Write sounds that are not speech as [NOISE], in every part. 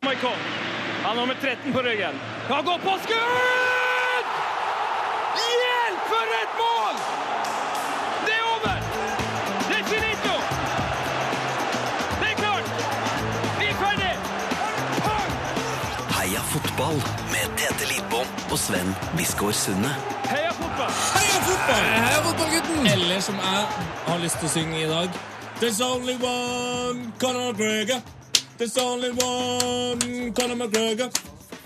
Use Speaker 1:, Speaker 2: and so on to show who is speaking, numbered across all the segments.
Speaker 1: kom. Han har nummer 13 på ryggen. Han går på skudd! Hjelp for et mål! Det er over! Det er finito! Det er klart! Vi er ferdig!
Speaker 2: Heia fotball med Tete Lidbom og Sven Biskår Sunne.
Speaker 1: Heia fotball!
Speaker 3: Heia fotball!
Speaker 4: Heia fotballgutten!
Speaker 3: Eller som jeg har lyst til å synge i dag There's only one Conor McGregor There's only one Conor McGregor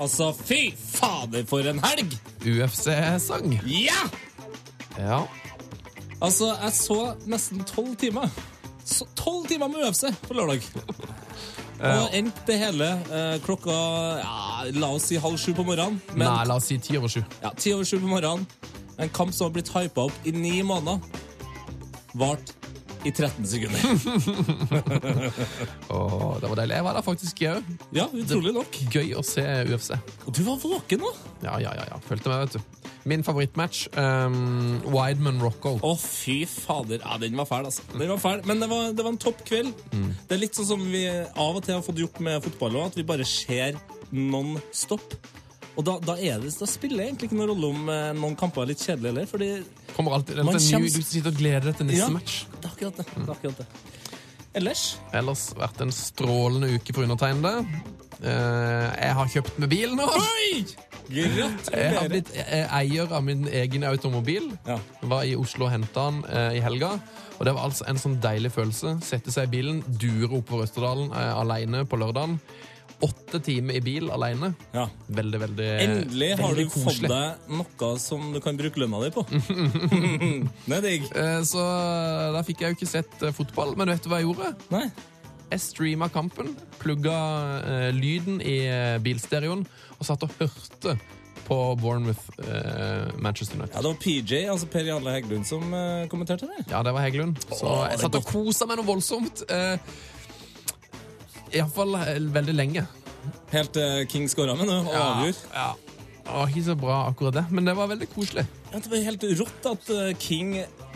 Speaker 3: Altså, fy fader for en helg!
Speaker 4: UFC-sang.
Speaker 3: Ja!
Speaker 4: Ja.
Speaker 3: Altså, jeg så nesten tolv timer. Så Tolv timer med UFC på lørdag. Og endte det hele eh, klokka ja, la oss si halv sju på morgenen. Men
Speaker 4: Nei, la oss si ti over sju.
Speaker 3: ja, ti over sju på morgenen. En kamp som har blitt hypa opp i ni måneder, vart i 13 [LAUGHS] sekunder.
Speaker 4: Åh, det var deilig. Jeg var der faktisk jeg òg.
Speaker 3: Ja, utrolig nok.
Speaker 4: Gøy å se UFC.
Speaker 3: Og du var våken nå?
Speaker 4: Ja, ja, ja. ja. Følte meg, vet du. Min favorittmatch, um, Wideman Rocco.
Speaker 3: Å, fy fader. Ja, den var fæl, altså. Den var fæl, Men det var, det var en topp kveld. Det er litt sånn som vi av og til har fått gjort med fotball òg, at vi bare ser non stop. Og da, da, er det, da spiller det egentlig ikke noen rolle om eh, noen kamper er litt kjedelige heller, fordi
Speaker 4: Kommer alltid den
Speaker 3: Man
Speaker 4: til ny,
Speaker 3: kjems-
Speaker 4: Du sitter og gleder deg til neste
Speaker 3: Ja.
Speaker 4: match.
Speaker 3: det er akkurat det. det, er akkurat det. Ellers
Speaker 4: Ellers vært en strålende uke for undertegnede. Eh, jeg har kjøpt meg bil nå.
Speaker 3: Oi!
Speaker 4: Jeg har
Speaker 3: Gratulerer.
Speaker 4: blitt eh, eier av min egen automobil.
Speaker 3: Ja.
Speaker 4: Var i Oslo og henta den eh, i helga. Og det var altså en sånn deilig følelse. Sette seg i bilen, dure oppover Østerdalen eh, alene på lørdagen. Åtte timer i bil alene.
Speaker 3: Ja.
Speaker 4: Veldig, veldig
Speaker 3: Endelig har du
Speaker 4: Eh, veldig
Speaker 3: fått deg noe som du kan bruke lønna di
Speaker 4: [LAUGHS]
Speaker 3: på. Det er digg.
Speaker 4: Eh, Så da fikk jeg jo ikke sett eh, fotball. Men vet du hva jeg gjorde?
Speaker 3: Nei.
Speaker 4: Jeg streama kampen, plugga eh, lyden i eh, bilstereoen og satt og hørte på Bournemouth eh, Manchester United.
Speaker 3: Ja, det var PJ, altså Per Jarle Heggelund, som eh, kommenterte det.
Speaker 4: Ja, det var Heggelund. Så
Speaker 3: Åh, det
Speaker 4: jeg
Speaker 3: er
Speaker 4: satt og kosa meg noe voldsomt. Eh, Iallfall eh, veldig lenge.
Speaker 3: Helt til King skåra med nå, og avgjorde.
Speaker 4: ja. Det var ikke så bra akkurat det, men det var veldig koselig.
Speaker 3: Ja, det var helt rått at eh, King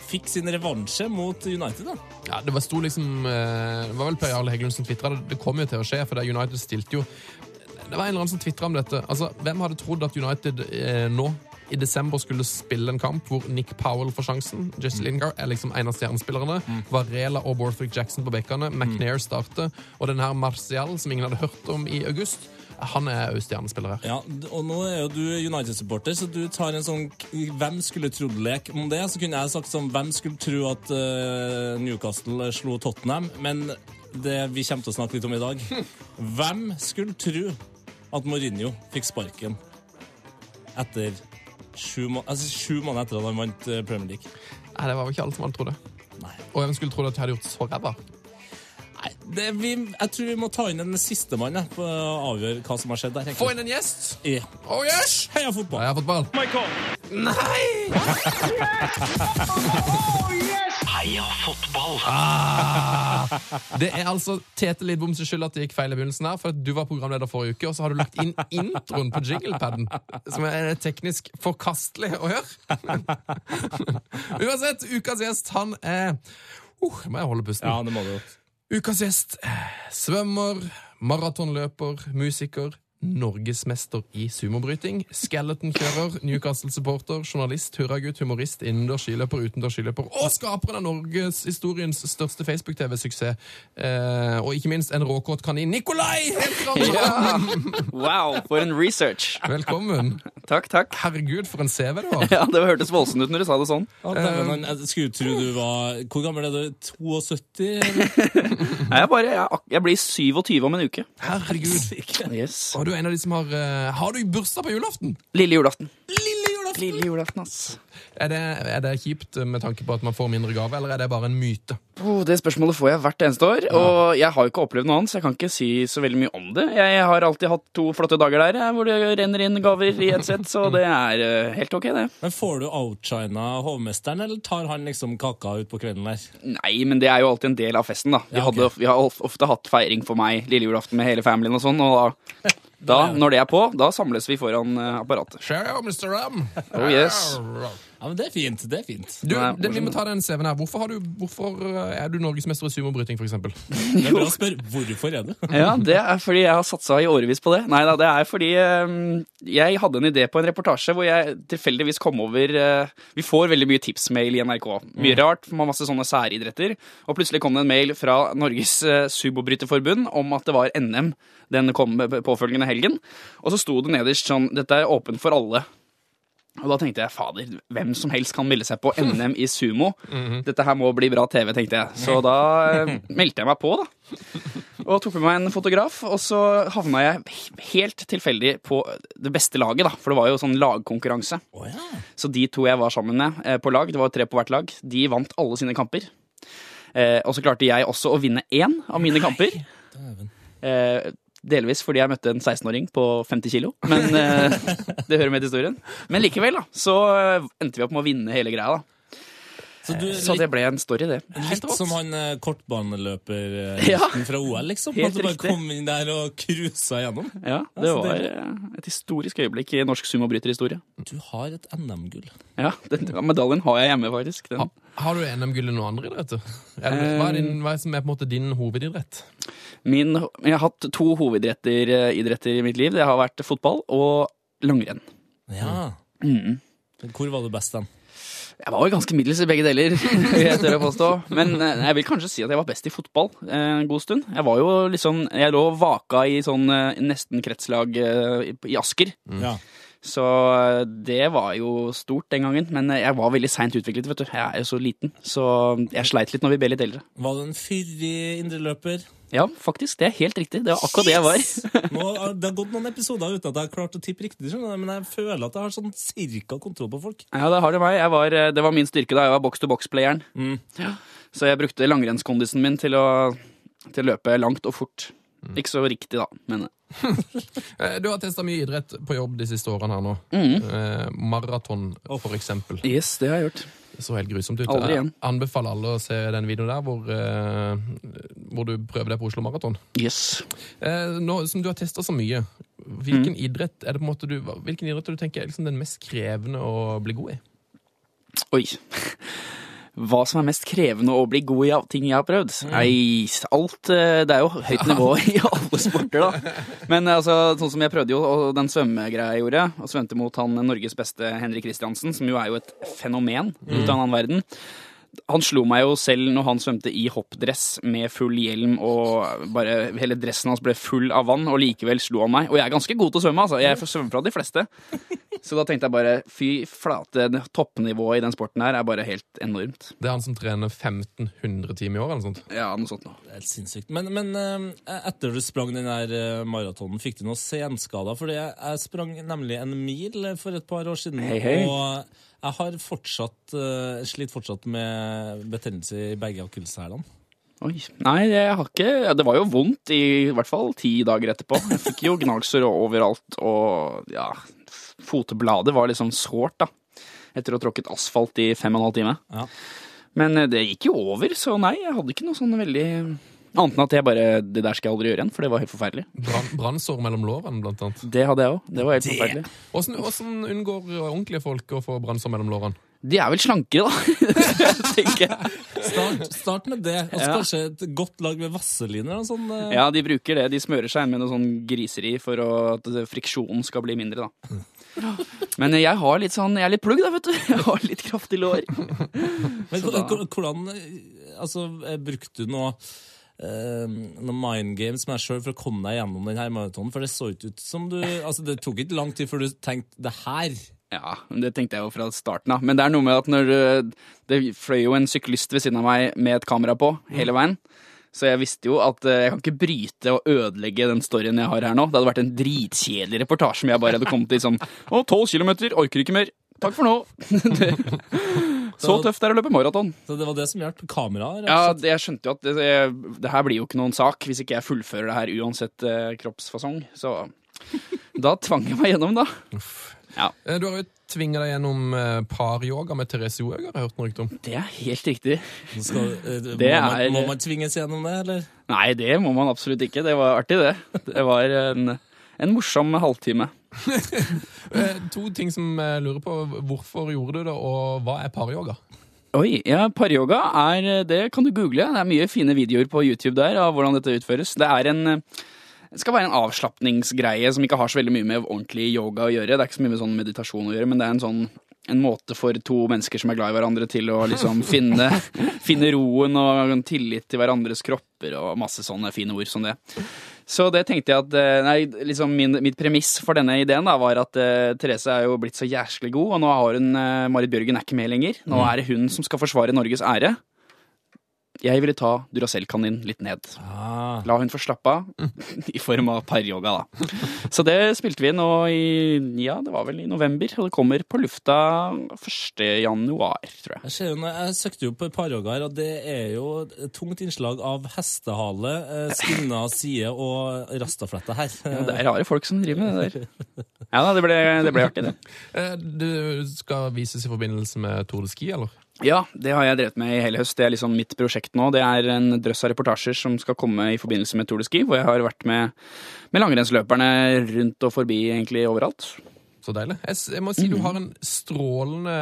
Speaker 3: fikk sin revansje mot United, da.
Speaker 4: Ja, det var sto liksom eh, Det var vel Per Jarle Heggelund som tvitra det. Det kom jo til å skje, for det United stilte jo Det var en eller annen som tvitra om dette. Altså, Hvem hadde trodd at United eh, nå i desember skulle spille en kamp hvor Nick Powell får sjansen? Jesse Lingard er liksom en av stjernespillerne. Varela og Borthwick Jackson på bekkene. McNair starter. Og den her Martial, som ingen hadde hørt om i august, han er òg stjernespiller her.
Speaker 3: Ja, d- og nå er jo du United-supporter, så du tar en sånn k- hvem skulle trodd-lek om det. Så kunne jeg sagt sånn hvem skulle tro at eh, Newcastle slo Tottenham, men det vi kommer til å snakke litt om i [LAUGHS] dag Hvem skulle tro at Mourinho fikk sparken etter sju, må altså, sju måneder etter at han vant eh, Premier League?
Speaker 4: Nei, det var vel ikke alle som hadde trodd det.
Speaker 3: Nei.
Speaker 4: Og hvem skulle trodd at de hadde gjort så ræva?
Speaker 3: Nei, det, vi, jeg tror vi må ta inn en sistemann jeg, for å avgjøre hva som har skjedd der.
Speaker 4: Få inn en gjest!
Speaker 3: Ja.
Speaker 4: Oh yes!
Speaker 3: Heia fotball!
Speaker 4: Heia fotball!
Speaker 1: Michael.
Speaker 4: Nei!
Speaker 2: Heia fotball!
Speaker 4: Det er altså Tete Lidbom sin skyld at det gikk feil i begynnelsen her, for at du var programleder forrige uke, og så har du lagt inn introen på jinglepaden, som er teknisk forkastelig å høre. [LAUGHS] Uansett, ukas gjest, han er uh, Må jeg holde pusten?
Speaker 3: Ja, det må du jo.
Speaker 4: Ukas gjest eh, svømmer, maratonløper, musiker, norgesmester i sumobryting, skeleton-kjører, Newcastle-supporter, journalist, hurragutt, humorist, innendørs skiløper, utendørs skiløper og skaperen av norgeshistoriens største Facebook-TV-suksess. Eh, og ikke minst en råkåt kanin, Nikolai Heltram!
Speaker 5: Wow, for en research.
Speaker 4: Velkommen.
Speaker 5: Takk, takk.
Speaker 4: Herregud, for en CV det var.
Speaker 5: [LAUGHS] Ja, Det hørtes voldsomt ut når du sa det sånn.
Speaker 3: Ja, dæven, han- jeg skulle tro du var Hvor gammel er du? 72? eller?
Speaker 5: Nei, Jeg, bare, jeg, er ak- jeg blir 27 om en uke.
Speaker 4: Herregud.
Speaker 3: Ikke?
Speaker 5: Yes.
Speaker 4: Og du er en av de som har eh, Har du bursdag på julaften?
Speaker 5: Lille julaften.
Speaker 3: Lille julaften!
Speaker 5: Lille julaften, ass.
Speaker 4: Er det, er det kjipt med tanke på at man får mindre gave, eller er det bare en myte?
Speaker 5: Oh, det spørsmålet får jeg hvert eneste år, og jeg har jo ikke opplevd noe annet, så jeg kan ikke si så veldig mye om det. Jeg har alltid hatt to flotte dager der eh, hvor det renner inn gaver i et sett, så det er eh, helt ok, det.
Speaker 3: Men får du outshina hovmesteren, eller tar han liksom kaka ut på kvelden der?
Speaker 5: Nei, men det er jo alltid en del av festen, da. Vi,
Speaker 3: Ja, ok.
Speaker 5: hadde, vi har of- ofte hatt feiring for meg lille julaften med hele familien og sånn, og da, da, når det er på, da samles vi foran eh, apparatet.
Speaker 4: Cheerio, Mr. Ram.
Speaker 5: Oh, yes.
Speaker 3: Ja, men det er fint. Det er fint.
Speaker 4: Du,
Speaker 5: Nei,
Speaker 4: det, vi må ta den CV-en her. Hvorfor, har du, hvorfor eh, er du norgesmester i sumobryting, for eksempel?
Speaker 3: Det er bra å spørre hvorfor er du
Speaker 5: Ja, det er fordi jeg har satsa i årevis på det. Nei da, det er fordi eh, jeg hadde en idé på en reportasje hvor jeg tilfeldigvis kom over eh, Vi får veldig mye tipsmail i NRK. Mye rart, man har masse sånne særidretter. Og plutselig kom det en mail fra Norges eh, Subobryterforbund om at det var NM den kom påfølgende helgen. Og så sto det nederst sånn Dette er åpent for alle. Og da tenkte jeg fader, hvem som helst kan melde seg på NM i sumo. Dette her må bli bra TV, tenkte jeg. Så da eh, meldte jeg meg på, da. Og tok med meg en fotograf, og så havna jeg he- helt tilfeldig på det beste laget, da. For det var jo sånn lagkonkurranse.
Speaker 3: Å ja.
Speaker 5: Så de to jeg var sammen med eh, på lag, det var tre på hvert lag, de vant alle sine kamper. Eh, og så klarte jeg også å vinne én av mine kamper. Eh, delvis fordi jeg møtte en 16-åring på 50 kilo, men eh, [LAUGHS] det hører med til historien. Men likevel, da, så eh, endte vi opp med å vinne hele greia, da.
Speaker 3: Så du er
Speaker 5: Så
Speaker 3: litt,
Speaker 5: det ble en story, det.
Speaker 3: litt som han eh, kortbaneløper eh,
Speaker 5: Ja.
Speaker 3: helten fra OL, liksom? At
Speaker 5: Helt
Speaker 3: du bare
Speaker 5: riktig.
Speaker 3: kom inn der og cruisa gjennom?
Speaker 5: Ja, det
Speaker 3: så
Speaker 5: var
Speaker 3: deilig.
Speaker 5: eh, et historisk øyeblikk i norsk sumobryterhistorie.
Speaker 3: Du har et NM-gull.
Speaker 5: Ja, den, medaljen har jeg hjemme, faktisk. Den.
Speaker 4: Ha, har du E NM-gull i noen andre idretter? Er det- Hva
Speaker 5: Eh.
Speaker 4: er, din, hva er som er på en måte din hovedidrett?
Speaker 5: Min, jeg har hatt to hovedidretter eh, idretter i mitt liv. Det har vært fotball og langrenn.
Speaker 3: Ja.
Speaker 5: Mm.
Speaker 3: Hvor var du best den?
Speaker 5: Jeg var jo ganske middels i begge deler, [LAUGHS] vil jeg tør å påstå. Men eh, jeg vil kanskje si at jeg var best i fotball eh, en god stund. Jeg var jo liksom Jeg lå og vaka i sånn eh, nesten kretslag eh, i- i Asker.
Speaker 3: Ja.
Speaker 5: Så eh, det var jo stort den gangen. Men eh, jeg var veldig seint utviklet, vet du. Jeg er jo så liten. Så eh, jeg sleit litt når vi ble litt eldre.
Speaker 3: Var du en fyrig indreløper?
Speaker 5: Ja, faktisk. Det er helt riktig. Det var akkurat det jeg var.
Speaker 3: Nå, har- det har gått noen episoder uten at jeg har klart å tippe riktig, skjønner du, men jeg føler at jeg har sånn cirka kontroll på folk.
Speaker 5: Ja, det har du meg. Jeg var, eh, det var min styrke da jeg var box-to-box-playeren. Ja. Så jeg brukte langrennskondisen min til å, til å løpe langt og fort. Ikke så riktig, da, men
Speaker 4: Eh, Du har testa mye idrett på jobb de siste årene her nå.
Speaker 5: Mm.
Speaker 4: Eh, Maraton, for eksempel.
Speaker 5: Yes, det har jeg gjort.
Speaker 4: Så helt grusomt ut.
Speaker 5: Aldri
Speaker 4: Jeg
Speaker 5: igjen.
Speaker 4: anbefaler alle å se den videoen der hvor, eh, hvor du prøver deg på Oslo Maraton.
Speaker 5: Yes.
Speaker 4: Eh, nå som du har testa så mye, hvilken
Speaker 5: Mm.
Speaker 4: idrett er det på en måte du, hva- hvilken idrett er det du tenker er liksom den mest krevende å bli god i?
Speaker 5: Oi. Hva som er mest krevende å bli god i av ting jeg har prøvd? Nei, alt eh, Det er jo høyt nivå i alle sporter, da. Men eh, altså, sånn som jeg prøvde jo, og den svømmegreia jeg gjorde, og svømte mot han eh, Norges beste Henrik Kristiansen, som jo er jo et fenomen ut av en annen verden. Han slo meg jo selv når han svømte i hoppdress med full hjelm og bare Hele dressen hans ble full av vann, og likevel slo han meg. Og jeg er ganske god til å svømme, altså. Jeg svømmer fra de fleste. Så da tenkte jeg bare fy flate, det toppnivået i den sporten her er bare helt enormt.
Speaker 4: Det er han som trener 1500 timer i året eller noe sånt.
Speaker 5: Ja, noe sånt nå.
Speaker 3: Det er helt sinnssykt. Men, men eh, etter du sprang den der eh, maratonen, fikk du noen senskader? Fordi jeg, jeg sprang nemlig en mil for et par år siden,
Speaker 5: Hei, hei.
Speaker 3: og jeg har fortsatt, eh, slitt fortsatt med betennelse i begge akilleshælene.
Speaker 5: Oi. Nei, jeg har ikke ja, Det var jo vondt i, i hvert fall ti dager etterpå. Jeg fikk jo gnagsår overalt, og ja Fotebladet var liksom sårt, da. Etter å ha tråkket asfalt i fem og en halv time.
Speaker 3: Ja.
Speaker 5: Men eh, det gikk jo over, så nei, jeg hadde ikke noe sånn veldig Annet enn at jeg bare Det der skal jeg aldri gjøre igjen, for det var helt forferdelig.
Speaker 4: Brann- Brannsår mellom lårene, blant annet.
Speaker 5: Det hadde jeg òg. Det var helt forferdelig.
Speaker 4: Åssen åssen unngår ordentlige folk å få brannsår mellom lårene?
Speaker 5: De er vel slankere, da, [LAUGHS] tenker jeg.
Speaker 3: Start, start med det. Og så
Speaker 5: Ja.
Speaker 3: kanskje et godt lag med vaseliner og sånn. eh.
Speaker 5: Ja, de bruker det. De smører seg inn med noe sånn griseri for å, at friksjonen skal bli mindre, da. Men jeg har litt sånn Jeg er litt plugg, da, vet du. [LAUGHS] Jeg har litt kraftig lår.
Speaker 3: Men
Speaker 5: så da-
Speaker 3: hva- hvordan eh, Altså, eh, brukte du noe eh, noen mind games med deg sjøl for å komme deg gjennom den her maratonen? For det så ikke ut som du Altså, det tok ikke lang tid før du tenkte 'det her'.
Speaker 5: Ja, men det tenkte jeg jo fra starten av. Men det er noe med at når øh, Det fløy jo en syklist ved siden av meg med et kamera på hele veien. Så jeg visste jo at øh, jeg kan ikke bryte og ødelegge den storyen jeg har her nå. Det hadde vært en dritkjedelig reportasje om jeg bare hadde kommet til sånn Å, tolv kilometer, orker ikke mer. Takk for nå. [LAUGHS] Så tøft det er å løpe maraton.
Speaker 3: Så det var det som hjalp kameraet? rett og
Speaker 5: Ja,
Speaker 3: slett.
Speaker 5: det, jeg skjønte jo at det, det, det her blir jo ikke noen sak hvis ikke jeg fullfører det her uansett eh, kroppsfasong. Så [LAUGHS] da tvang jeg meg gjennom, da.
Speaker 4: Eh, Du har jo tvinga deg gjennom eh, paryoga med Therese Johaug, har jeg hørt noe rykte om.
Speaker 5: Det er helt riktig.
Speaker 3: Nå skal, eh, må,
Speaker 5: Det
Speaker 3: man,
Speaker 5: er-
Speaker 3: må man tvinges gjennom det, eller?
Speaker 5: Nei, det må man absolutt ikke. Det var artig, det. Det var en, en morsom halvtime.
Speaker 4: Eh, To ting som jeg lurer på. Hvorfor gjorde du det, og hva er paryoga?
Speaker 5: Oi, ja, Paryoga er eh, Det kan du google. Det er mye fine videoer på YouTube der av hvordan dette utføres. Det er en eh, det skal være en avslapningsgreie som ikke har så veldig mye med ordentlig yoga å gjøre. Det er ikke så mye med sånn meditasjon å gjøre, men det er en sånn en måte for to mennesker som er glad i hverandre, til å liksom finne, finne roen og tillit til hverandres kropper og masse sånne fine ord som det. Så det tenkte jeg at eh, Nei, liksom min, mitt premiss for denne ideen da var at eh, Therese er jo blitt så jæsklig god, og nå har hun eh, Marit Bjørgen er ikke med lenger. Nå er det hun som skal forsvare Norges ære. Jeg ville ta Duracell-kanin litt ned.
Speaker 3: Ah.
Speaker 5: La hun få slappe av, [LAUGHS] i form av paryoga, da. Så det spilte vi nå i Ja, det var vel i november, og det kommer på lufta 1. januar, tror jeg.
Speaker 3: Jeg, ser jo, når jeg søkte jo på Paryoga her, og det er jo et tungt innslag av hestehale, eh, skinna side og rastafletta her.
Speaker 5: Ja, det er rare folk som driver med det der. Ja da, det ble, det ble artig, det.
Speaker 4: Eh, Det skal vises i forbindelse med Tour de Ski, eller?
Speaker 5: Ja, det har jeg drevet med i hele høst. Det er liksom mitt prosjekt nå. Det er en drøss av reportasjer som skal komme i forbindelse med Tour de Ski, hvor jeg har vært med, med langrennsløperne rundt og forbi egentlig overalt.
Speaker 4: Så deilig. Jeg, s- jeg må si du har en strålende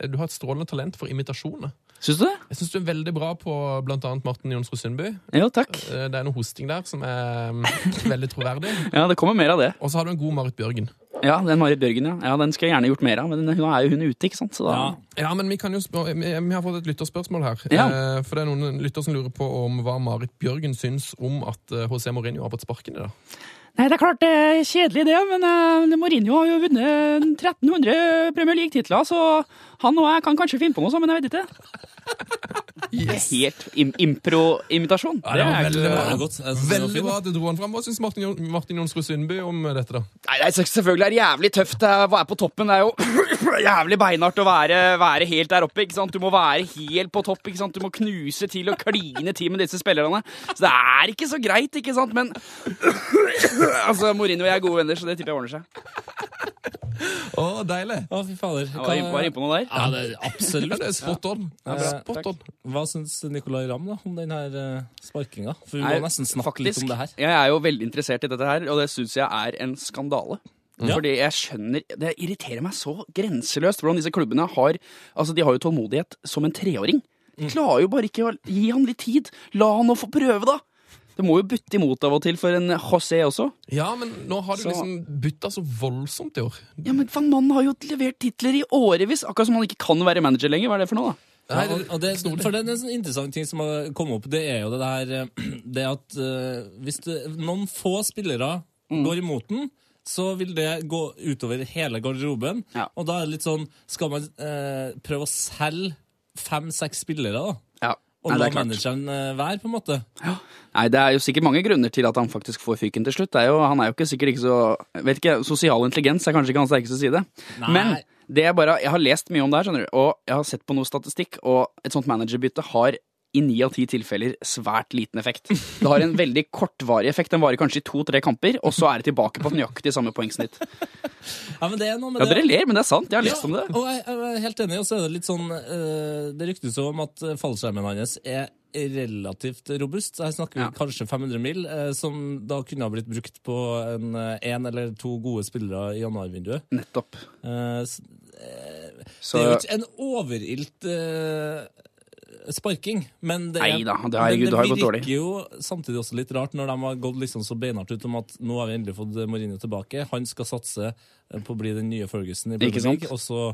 Speaker 4: eh, Du har et strålende talent for imitasjoner.
Speaker 5: Syns du det?
Speaker 4: Jeg syns du er veldig bra på blant annet Martin Jonsrud Sundby.
Speaker 5: Jo, takk.
Speaker 4: Eh, Det er noe hosting der som er mm, veldig troverdig.
Speaker 5: Ja, det kommer mer av det.
Speaker 4: Og så har du en god Marit Bjørgen.
Speaker 5: Ja, den Marit Bjørgen, ja. ja. Den skulle jeg gjerne gjort mer av, men nå er jo hun ute, ikke sant. Så da,
Speaker 3: Ja.
Speaker 4: Ja, men vi, kan jo spør vi, vi har fått et lytterspørsmål her.
Speaker 5: Ja.
Speaker 4: Eh, For det er noen lytter som lurer på om hva Marit Bjørgen syns om at eh, HC Mourinho har fått sparken i dag.
Speaker 5: Nei, det er klart det er kjedelig det, men eh, Mourinho har jo vunnet 1300 Premier League-titler, så han og jeg kan kanskje finne på noe sammen, jeg vet ikke.
Speaker 4: Yes.
Speaker 5: Helt im impro-imitasjon.
Speaker 4: det var
Speaker 5: er
Speaker 4: veldig
Speaker 3: Det
Speaker 5: ikke-
Speaker 3: var godt. Jeg synes det var
Speaker 4: Veldig
Speaker 3: fint, da.
Speaker 4: bra at du dro han fram. Hva syns Martin, Jon- Martin Jonsrud Sundby om eh, dette, da?
Speaker 5: Nei, det er selvfø- selvfølgelig er det jævlig tøft eh, å være på toppen. Det er jo [CLEARS THROAT] jævlig beinhardt å være, være helt der oppe. ikke sant? Du må være helt på topp. ikke sant? Du må knuse til og kline til med disse spillerne. Så det er ikke så greit, ikke sant? Men [CLEARS THROAT] altså, Mourinho og jeg er gode venner, så det tipper jeg ordner seg.
Speaker 4: Å, deilig!
Speaker 3: [LAUGHS] Å, fy fader.
Speaker 5: Var jeg var jeg inne på noe der?
Speaker 3: Ja, det er
Speaker 4: Ja,
Speaker 3: absolutt.
Speaker 4: det er spot on.
Speaker 3: Ja,
Speaker 4: Spot on.
Speaker 3: Hva syns Nicolay Ramm da, om den her eh, sparkinga? For vi må
Speaker 5: Nei,
Speaker 3: nesten snakke litt
Speaker 5: faktisk,
Speaker 3: om det her.
Speaker 5: Jeg er jo veldig interessert i dette her, og det syns jeg er en skandale.
Speaker 3: Ja.
Speaker 5: Fordi jeg skjønner, Det irriterer meg så grenseløst hvordan disse klubbene har altså de har jo tålmodighet som en treåring.
Speaker 3: Mm.
Speaker 5: De klarer jo bare ikke å gi han litt tid. La han nå få prøve, da! Det må jo butte imot av og til for en José også.
Speaker 4: Ja, men nå har du
Speaker 5: Så-
Speaker 4: liksom bytta så voldsomt i år.
Speaker 5: Ja, men faen, Mannen har jo levert titler i årevis! Akkurat som han ikke kan være manager lenger. Hva er det for noe, da?
Speaker 3: Ja, og, og det, for det er en sånn interessant ting som har kommet opp, det er jo det der eh, [CLEARS THROAT] Det at eh, hvis du, noen få spillere
Speaker 5: Mm.
Speaker 3: går imot den, så vil det gå utover hele garderoben.
Speaker 5: Ja.
Speaker 3: Og da er det litt sånn Skal man eh, prøve å selge fem-seks spillere, da?
Speaker 5: Ja,
Speaker 3: Og
Speaker 5: Nei, det
Speaker 3: la
Speaker 5: er klart.
Speaker 3: manageren eh, være, på en måte?
Speaker 5: Nei, Det er jo sikkert mange grunner til at han faktisk får fyken til slutt. Det er jo, han er jo ikke sikkert ikke så jeg vet ikke, Sosial intelligens er kanskje ikke hans sterkeste side.
Speaker 3: Nei.
Speaker 5: Men det er bare, jeg har lest mye om det her, skjønner du, og jeg har sett på noe statistikk, og et sånt managerbytte har i ni av ti tilfeller svært liten effekt. Det har en veldig kortvarig effekt. Den varer kanskje i to-tre kamper, og så er det tilbake på nøyaktig samme
Speaker 3: [LAUGHS]
Speaker 5: poengsnitt.
Speaker 3: Ja, men det er noe med
Speaker 5: Ja,
Speaker 3: det.
Speaker 5: dere ler, men det er sant. Jeg har lest om det.
Speaker 3: Ja, og jeg, jeg er helt enig, og så er det litt sånn eh, Det ryktes jo om at eh, fallskjermen hans er relativt robust. Her snakker vi
Speaker 5: Ja.
Speaker 3: kanskje 500 mil, eh, som da kunne ha blitt brukt på en, eh, en eller to gode spillere i januarvinduet.
Speaker 5: Nettopp.
Speaker 3: Eh, s- det
Speaker 5: Så
Speaker 3: er jo ikke en overilt eh, sparking, men det, er,
Speaker 5: Neida, det-
Speaker 3: men
Speaker 5: herregud, det har jo gått
Speaker 3: virker
Speaker 5: dårlig.
Speaker 3: jo samtidig også litt rart når de har gått liksom så beinhardt ut om at nå har vi endelig fått Mourinho tilbake. Han skal satse eh, på å bli den nye Ferguson i
Speaker 5: Ikke
Speaker 3: Premier
Speaker 5: sant?
Speaker 3: League, og så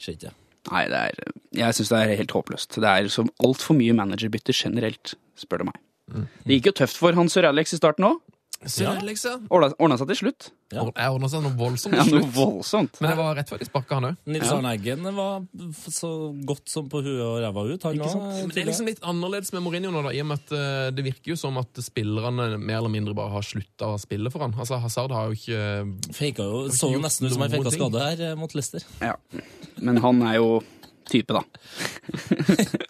Speaker 3: skjer ikke det.
Speaker 5: nei, det er Jeg syns det er helt håpløst. Det er som altfor mye managerbytter generelt, spør du meg.
Speaker 4: Mm.
Speaker 5: Det gikk jo tøft for han Sir Alex i starten òg.
Speaker 4: Så
Speaker 3: Ja.
Speaker 4: det liksom.
Speaker 5: Ordna seg til slutt.
Speaker 3: Ja.
Speaker 4: Jeg ordna seg noe voldsomt
Speaker 5: Ja,
Speaker 4: til slutt.
Speaker 5: noe voldsomt.
Speaker 4: Men det var rett før de sparka han òg.
Speaker 3: Nils
Speaker 5: Ja.
Speaker 3: Arne Eggen var f- så godt som på huet og ræva ut. Han
Speaker 5: Ikke sant?
Speaker 3: også,
Speaker 4: Men det er liksom litt annerledes med Mourinho nå, da, i og med at eh, det virker jo som at spillerne mer eller mindre bare har slutta å spille for han. Altså, Hazard har jo ikke eh,
Speaker 3: Faka jo, så jo
Speaker 4: gjort
Speaker 3: nesten ut som han
Speaker 4: noen
Speaker 3: faka
Speaker 4: ting.
Speaker 3: skade her eh, mot Leicester.
Speaker 4: [LAUGHS]
Speaker 5: Ja. Men han er jo type, da.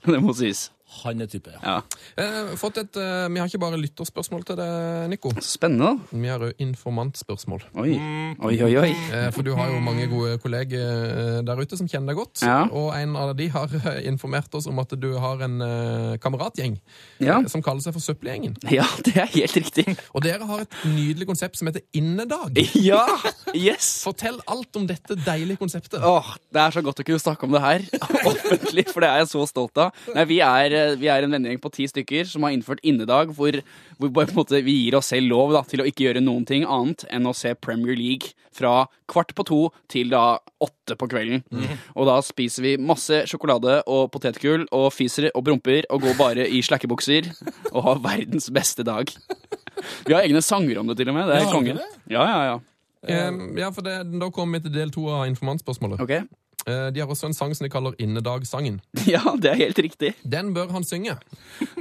Speaker 5: det må sies.
Speaker 3: Han er type, ja.
Speaker 5: Ja.
Speaker 4: Eh, fått et, eh, vi har ikke bare lytterspørsmål til det, Nico.
Speaker 5: Spennende, da.
Speaker 4: Vi har òg informantspørsmål.
Speaker 5: Oi, oi, oi. oi.
Speaker 4: Eh, For du har jo mange gode kolleger eh, der ute som kjenner deg godt.
Speaker 5: Ja.
Speaker 4: Og en av de har eh, informert oss om at du har en eh, kameratgjeng
Speaker 5: Ja.
Speaker 4: eh, som kaller seg for Søppelgjengen.
Speaker 5: ja, det er helt riktig.
Speaker 4: Og dere har et nydelig konsept som heter Innedag.
Speaker 5: [LAUGHS] Ja! Yes!
Speaker 4: Fortell alt om dette deilige konseptet.
Speaker 5: Åh, Det er så godt å kunne snakke om det her [LAUGHS] offentlig, for det er jeg så stolt av. Nei, Vi er, eh, vi er en vennegjeng på ti stykker som har innført innedag hvor, hvor bare på en måte vi gir oss selv lov da, til å ikke gjøre noen ting annet enn å se Premier League fra kvart på to til da åtte på kvelden.
Speaker 3: Mhm.
Speaker 5: Og da spiser vi masse sjokolade og potetgull og fiser og promper og går bare i slakkebukser og har verdens beste dag. Vi har egne sanger om det, til og med. Det er
Speaker 3: Ja, har
Speaker 5: kongen.
Speaker 3: dere
Speaker 5: Ja, ja, ja.
Speaker 4: Eh, ja, for det, Da kommer vi til del to av informantspørsmålet.
Speaker 5: Ok.
Speaker 4: Eh, de har også en sang som de kaller Innedagsangen.
Speaker 5: [LAUGHS] Ja, det er helt riktig.
Speaker 4: Den bør han synge.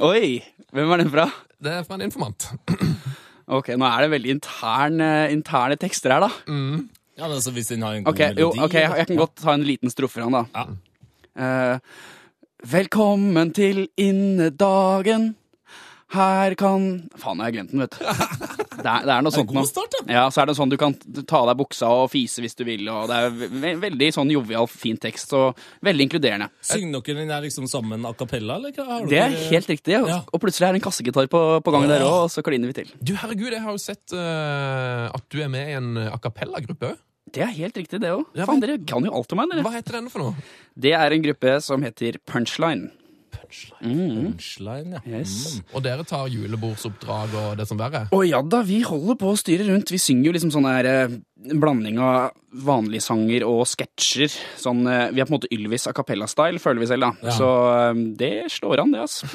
Speaker 5: Oi! Hvem er den fra?
Speaker 4: Det er fra en informant.
Speaker 5: Ok, nå er det veldig interne, interne tekster her, da.
Speaker 3: ja men altså, hvis den har en god
Speaker 5: Ok, jo,
Speaker 3: Mm. melodi
Speaker 5: ok, jeg, jeg kan godt ta en liten strofe fra han, da.
Speaker 3: Ja.
Speaker 5: Eh, velkommen til innedagen. Her kan Faen, jeg har
Speaker 3: [LAUGHS]
Speaker 5: glemt den, vet du. Det er, det er noe sånt
Speaker 3: god
Speaker 5: nå.
Speaker 3: start, da.
Speaker 5: Ja, så er det sånn du kan ta av deg buksa og fise hvis du vil, og det er ve ve veldig sånn jovial, fin tekst, og veldig inkluderende.
Speaker 3: Synger dere den der liksom sammen a cappella, eller hva? Har
Speaker 5: Det er
Speaker 3: dere-
Speaker 5: helt riktig, og,
Speaker 3: Ja.
Speaker 5: og plutselig er det en kassegitar på, på gang der òg, og så kliner vi til.
Speaker 4: Du, herregud, jeg har jo sett eh, at du er med i en a cappella-gruppe òg.
Speaker 5: Det er helt riktig, det òg.
Speaker 4: Ja,
Speaker 5: Faen,
Speaker 4: men-
Speaker 5: dere kan jo alt om meg, dere.
Speaker 4: Hva heter denne for noe?
Speaker 5: Det er en gruppe som heter Punchline.
Speaker 3: Punchline, ja.
Speaker 5: mm. Yes.
Speaker 4: Og dere tar julebordsoppdrag og det som verre er.
Speaker 5: Å ja da, vi holder på å styre rundt. Vi synger jo liksom sånn her eh, en blanding av vanlige sanger og sketsjer. Sånn, eh, vi er på en måte Ylvis a cappella-style, føler vi selv, da. Så eh, det slår an, det, altså.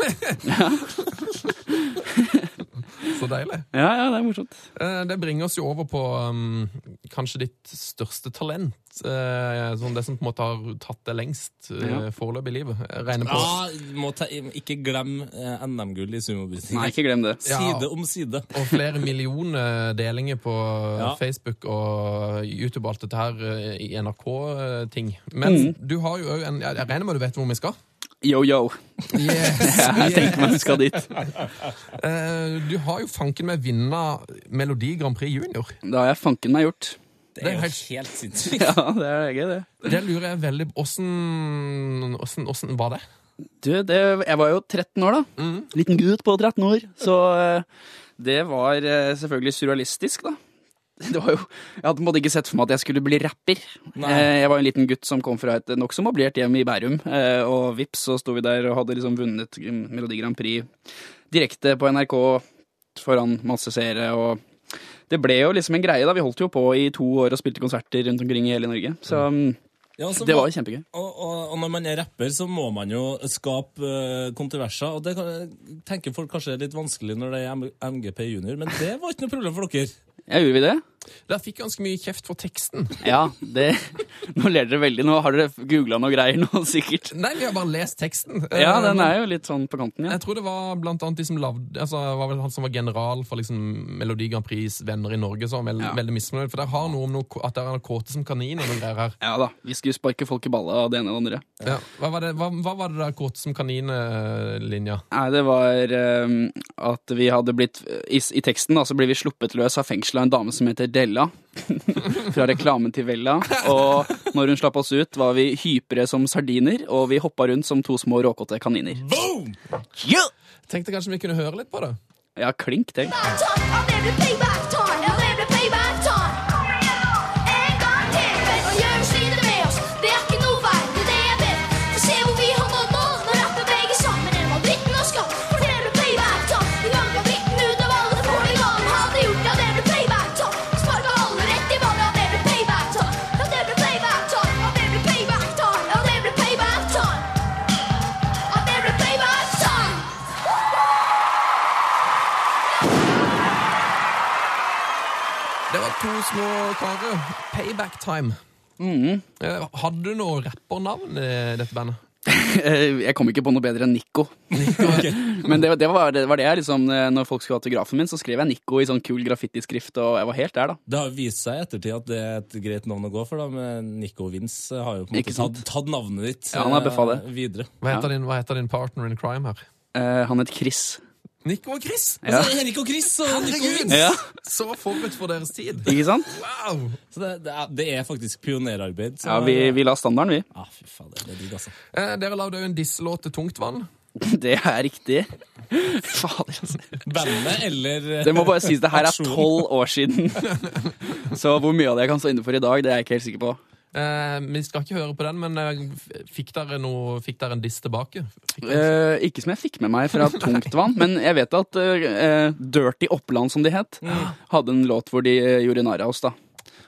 Speaker 4: Så deilig.
Speaker 5: [LAUGHS] Ja, ja, det er morsomt.
Speaker 4: Eh, Det bringer oss jo over på um, kanskje ditt største talent. eh, sånn det som på en måte har tatt deg lengst eh, foreløpig i livet. Jeg regner på
Speaker 3: Ja, må ta, ikke glem eh, NM-gull i sumobusiness.
Speaker 5: Nei, ikke glem det.
Speaker 3: Side om side.
Speaker 4: Og flere millioner delinger på
Speaker 3: Ja.
Speaker 4: Facebook og YouTube og alt dette her eh, i NRK-ting. Men
Speaker 5: Mm.
Speaker 4: du har jo òg en Jeg jeg regner med du vet hvor vi skal?
Speaker 5: [LAUGHS] Yo-yo.
Speaker 4: [LAUGHS]
Speaker 5: Jeg tenkte meg vi skal dit.
Speaker 4: Eh, Du har jo fanken meg vinna Melodi Grand Prix Junior.
Speaker 5: Det har jeg fanken meg gjort.
Speaker 3: Det er jo helt sinnssykt.
Speaker 5: [LAUGHS] Ja, det er gøy, det.
Speaker 4: Det lurer jeg veldig Åssen åssen- åssen var det?
Speaker 5: Du, det, jeg var jo 13 år, da. Liten gutt på 13 år. Så eh, det var eh, selvfølgelig surrealistisk, da. Det var jo, jeg hadde på en måte ikke sett for meg at jeg skulle bli rapper.
Speaker 3: Nei.
Speaker 5: Eh, Jeg var en liten gutt som kom fra et nokså moblert hjem i Bærum, eh, og vips, så sto vi der og hadde liksom vunnet Melodi Grand Prix direkte på NRK foran masse seere, og det ble jo liksom en greie, da. Vi holdt jo på i to år og spilte konserter rundt omkring i hele Norge, så mm,
Speaker 3: Ja, så
Speaker 5: det
Speaker 3: må-
Speaker 5: var jo kjempegøy.
Speaker 3: og, og, og når man er rapper, så må man jo skape eh, kontroverser. Og det kan, tenker folk kanskje er litt vanskelig når det er M MGP junior, men det var ikke noe problem for dere.
Speaker 5: Ja, gjorde vi det?
Speaker 4: Dere fikk ganske mye kjeft for teksten.
Speaker 5: Ja, det, [LAUGHS] nå ler dere veldig. Nå har dere googla noe greier nå, [LAUGHS] sikkert.
Speaker 4: Nei, vi har bare lest teksten. Eh,
Speaker 5: Ja, den er jo litt sånn på kanten, ja.
Speaker 4: Jeg tror det var blant annet de som lavde, altså, det var vel han som var general for liksom, Melodi Grand Prix venner i Norge, som var veld,
Speaker 5: Ja.
Speaker 4: veldig misfornøyd. For det har noe om noe, at dere er kåte som kaniner og noen greier her.
Speaker 5: Ja da, vi skulle sparke folk i balla av det ene og det andre.
Speaker 4: Ja. Hva, var det, hva, hva var det der kåte som eh, kanin-linja?
Speaker 5: Nei, det var ehm, at vi hadde blitt eh, i, I teksten da, så ble vi sluppet løs av fengselet av en dame som heter Della. [LAUGHS] Fra reklamen til Vella. Og når hun slapp oss ut, var vi hypre som sardiner, og vi hoppa rundt som to små råkåte kaniner.
Speaker 3: Boom!
Speaker 4: Tenkte kanskje vi kunne høre litt på det?
Speaker 5: Ja, klink til.
Speaker 6: I'm there to pay back time. I'm there to pay back time. En gang til. Og gjør oss slite med oss. Det er ikke noe vei. Det er det jeg vet. Få se hvor vi har nådd nå. Nå rapper begge sammen. En var dritten og skam. For det ble pay back time. Vi ganga dritten ut av alle for en gang. Hadde gjort det. Det ble pay back time. Sparka alle rett i vannet. Det ble pay back time. Ja, det ble pay back time. Ja, det ble pay back time. Ja, det ble pay back time. Ja, det ble pay back time.
Speaker 4: Det var to små karer. Payback Time. Eh, Hadde du noe rappernavn i dette bandet?
Speaker 5: [LAUGHS] Jeg kom ikke på noe bedre enn Nico. [LAUGHS] Men det, det, var, det var det jeg liksom eh, Når folk skulle ha autografen min, så skrev jeg Nico i sånn kul graffitiskrift, og jeg var helt der, da.
Speaker 3: Det har jo vist seg i ettertid at det er et greit navn å gå for, da, men Nico Vince har jo på en
Speaker 5: Ikke
Speaker 3: måte
Speaker 5: sant?
Speaker 3: tatt, tatt navnet ditt
Speaker 5: Ja, han har
Speaker 3: eh,
Speaker 5: bøffa det.
Speaker 3: videre.
Speaker 4: Hva heter, din, hva heter din partner in crime her?
Speaker 5: Eh, han het Chris.
Speaker 4: Nico og Chris!
Speaker 5: Ja.
Speaker 3: Altså, Erik og Chris og Nico
Speaker 4: Herregud!
Speaker 3: Vince!
Speaker 5: Ja,
Speaker 4: Så forut for deres tid!
Speaker 5: [LAUGHS] ikke sant?
Speaker 4: Wow!
Speaker 3: Så det, det, er, det er faktisk pionerarbeid. så-
Speaker 5: Ja, vi, vi la standarden, vi.
Speaker 3: Ah, fy fader, det er digg, altså.
Speaker 4: Eh, dere lagde jo en disselåt til Tungtvann.
Speaker 5: [LAUGHS] Det er riktig. Fader, altså.
Speaker 3: Bandet eller
Speaker 5: Det må bare sies, det her er
Speaker 3: Aksjonen.
Speaker 5: tolv år siden. [LAUGHS] Så hvor mye av det jeg kan stå inne for i dag, det er jeg ikke helt sikker på.
Speaker 4: Eh, vi skal ikke høre på den, men eh, f- fikk dere, noe, fikk dere en diss tilbake? Fikk dere-
Speaker 5: Eh, ikke som jeg fikk med meg fra Tungtvann, men jeg vet at eh, eh, Dirty Oppland, som de het,
Speaker 3: Mm.
Speaker 5: hadde en låt hvor de eh, gjorde narr av oss, da.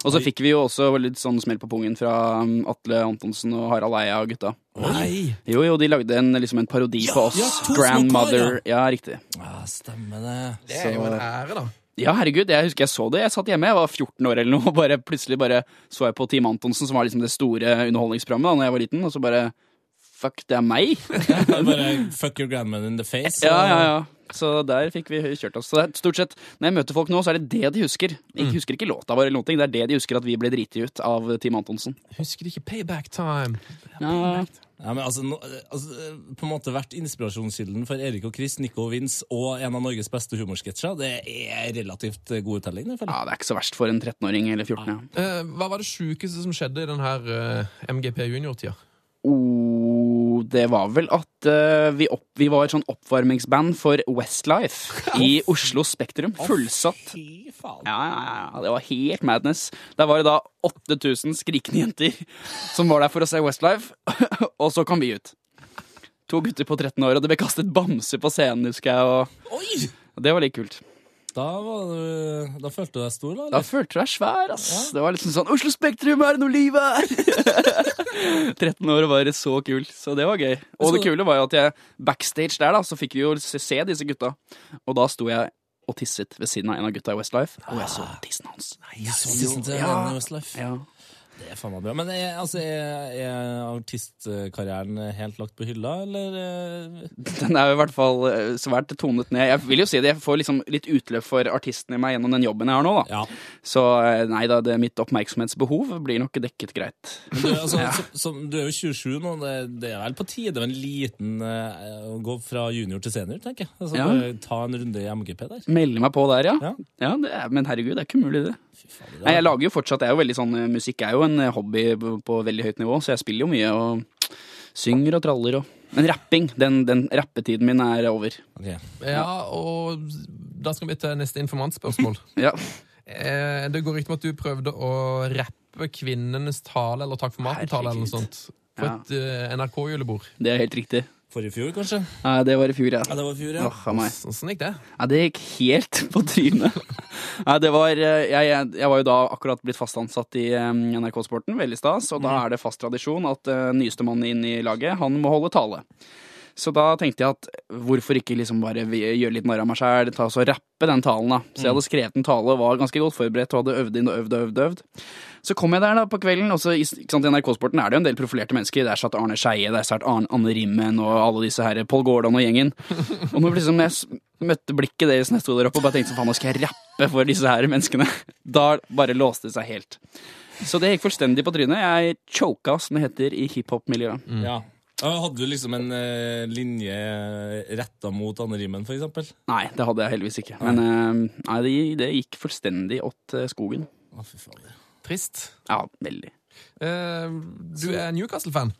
Speaker 5: Og så fikk vi jo også litt sånn smell på pungen fra um, Atle Antonsen og Harald Eia og gutta.
Speaker 4: Nei!
Speaker 5: Jo, jo, de lagde en, liksom en parodi på oss.
Speaker 3: ja, to små
Speaker 5: Grandmother.
Speaker 3: kar,
Speaker 5: Ja, riktig.
Speaker 3: ah, Stemmer det.
Speaker 4: Det er jo en ære, da.
Speaker 5: Ja, herregud, jeg husker jeg så det. Jeg satt hjemme, jeg var 14 år eller noe, [LAUGHS] og bare plutselig bare så jeg på Team Antonsen, som var liksom det store underholdningsprogrammet da når jeg var liten, og så bare Fuck, det er
Speaker 3: [LAUGHS]
Speaker 5: meg!
Speaker 3: Det er Bare fuck your grandman in the face.
Speaker 5: Ja,
Speaker 3: og-
Speaker 5: ja, ja. Så der fikk vi kjørt oss. Så det er stort sett, Når jeg møter folk nå, så er det det de husker. De husker ikke låta vår, eller noen ting. det er det de husker at vi ble driti ut av Team Antonsen.
Speaker 4: Husker de ikke Payback Time?
Speaker 5: Ja,
Speaker 3: Ja, men altså, nå- altså, på en måte vært inspirasjonskilden for Erik og Chris, Nico og Vince og en av Norges beste humorsketsjer. Det er relativt god uttelling, det, føler jeg.
Speaker 5: det er ikke så verst for en 13-åring eller 14. Ja.
Speaker 4: Eh, hva var det sjukeste som skjedde i den her eh, MGP junior-tida?
Speaker 5: Oh, det var vel at eh, vi, opp, vi var et sånn oppvarmingsband for
Speaker 3: [LAUGHS]
Speaker 5: Westlife i Oslo Spektrum. Fullsatt.
Speaker 3: Fy faen.
Speaker 5: Ja, ja, ja, ja, det var helt madness. Der var det da 8000 skrikende jenter som var der for å se Westlife, [LAUGHS] og så kom vi ut. To gutter på 13 år, og det ble kastet bamser på scenen, husker jeg. Og
Speaker 3: Oi!
Speaker 5: og det var litt kult.
Speaker 3: Da, var du, da følte du deg stor, da?
Speaker 5: Da
Speaker 3: Eller?
Speaker 5: følte du deg svær, ass. Det var liksom sånn Oslo Spektrum, er det noe liv her? [LAUGHS] 13 år og bare så kul, så det var gøy. Og det kule var jo at jeg backstage der, da, så fikk vi jo se, se disse gutta. Og da sto jeg og tisset ved siden av en av gutta i Westlife, og jeg så tissen hans.
Speaker 3: Ja, sånn, til
Speaker 5: Ja.
Speaker 3: Lennon Westlife.
Speaker 5: Ja.
Speaker 3: Det er faen meg bra. Men er, altså, er, er artistkarrieren helt lagt på hylla, eller? eh?
Speaker 5: Den er jo i hvert fall eh, svært tonet ned. Jeg vil jo si det, jeg får liksom litt utløp for artisten i meg gjennom den jobben jeg har nå, da.
Speaker 3: Ja.
Speaker 5: Så eh, nei da, det mitt oppmerksomhetsbehov blir nok dekket greit.
Speaker 3: Men Du, altså, som, som, du er jo 27 nå, det, det er vel på tide med en liten eh, Å gå fra junior til senior, tenker jeg. Altså,
Speaker 5: Ja.
Speaker 3: bare Ta en runde i MGP der.
Speaker 5: Melde meg på der, ja.
Speaker 3: Ja.
Speaker 5: ja det er, men herregud, det er ikke umulig, det.
Speaker 3: Fy faen, det
Speaker 5: Nei, jeg lager jo fortsatt, jeg er jo veldig sånn, eh, musikk er jo en eh, hobby på på veldig høyt nivå, så jeg spiller jo mye og synger og traller og Men rapping, den, den rappetiden min er over.
Speaker 3: Ok.
Speaker 4: Ja, og da skal vi til neste informantspørsmål.
Speaker 5: Ja.
Speaker 4: Eh, det går rykter om at du prøvde å rappe kvinnenes tale eller Takk for maten-tale eller noe
Speaker 5: Herregud.
Speaker 4: sånt på et eh, NRK-julebord.
Speaker 5: Det er helt riktig.
Speaker 3: For i fjor, kanskje?
Speaker 5: Nei, det var i fjor, ja.
Speaker 3: Ja, det var i fjor, ja.
Speaker 5: Åh, a meg.
Speaker 4: Sånn gikk det.
Speaker 5: Ja, det gikk helt [LAUGHS] på trynet. Nei, det var, eh, jeg, jeg, jeg var jo da akkurat blitt fast ansatt i eh, NRK Sporten, veldig stas, og da er det fast tradisjon at eh, nyeste mann inn i laget, han må holde tale. Så da tenkte jeg at hvorfor ikke liksom bare vi- gjøre litt narr av meg sjæl, ta og så rappe den talen, da. Så jeg hadde skrevet en tale, var ganske godt forberedt og hadde øvd inn og øvd og øvd. og øvd. Så kom jeg der da på kvelden, og så i- ikke sant, i NRK-sporten er det jo en del profilerte mennesker. Der satt Arne Skeie, der satt Arne, Anne Rimmen og alle disse her, Pål Gordon og gjengen. Og når liksom jeg s- møtte blikket deres når jeg sto der oppe og bare tenkte sånn, faen, nå skal jeg rappe for disse her menneskene, [LAUGHS] da bare låste det seg helt. Så det gikk fullstendig på trynet. Jeg choka, som det heter i hiphop-miljøet.
Speaker 3: ja. Ja, Hadde du liksom en eh, linje retta mot Anne Rimmen, for eksempel?
Speaker 5: Nei, det hadde jeg heldigvis ikke. Men eh, nei, det, det gikk fullstendig åt eh, skogen.
Speaker 3: Å, fy fader.
Speaker 4: Trist.
Speaker 5: Ja, veldig.
Speaker 4: Eh, du er Newcastle-fan.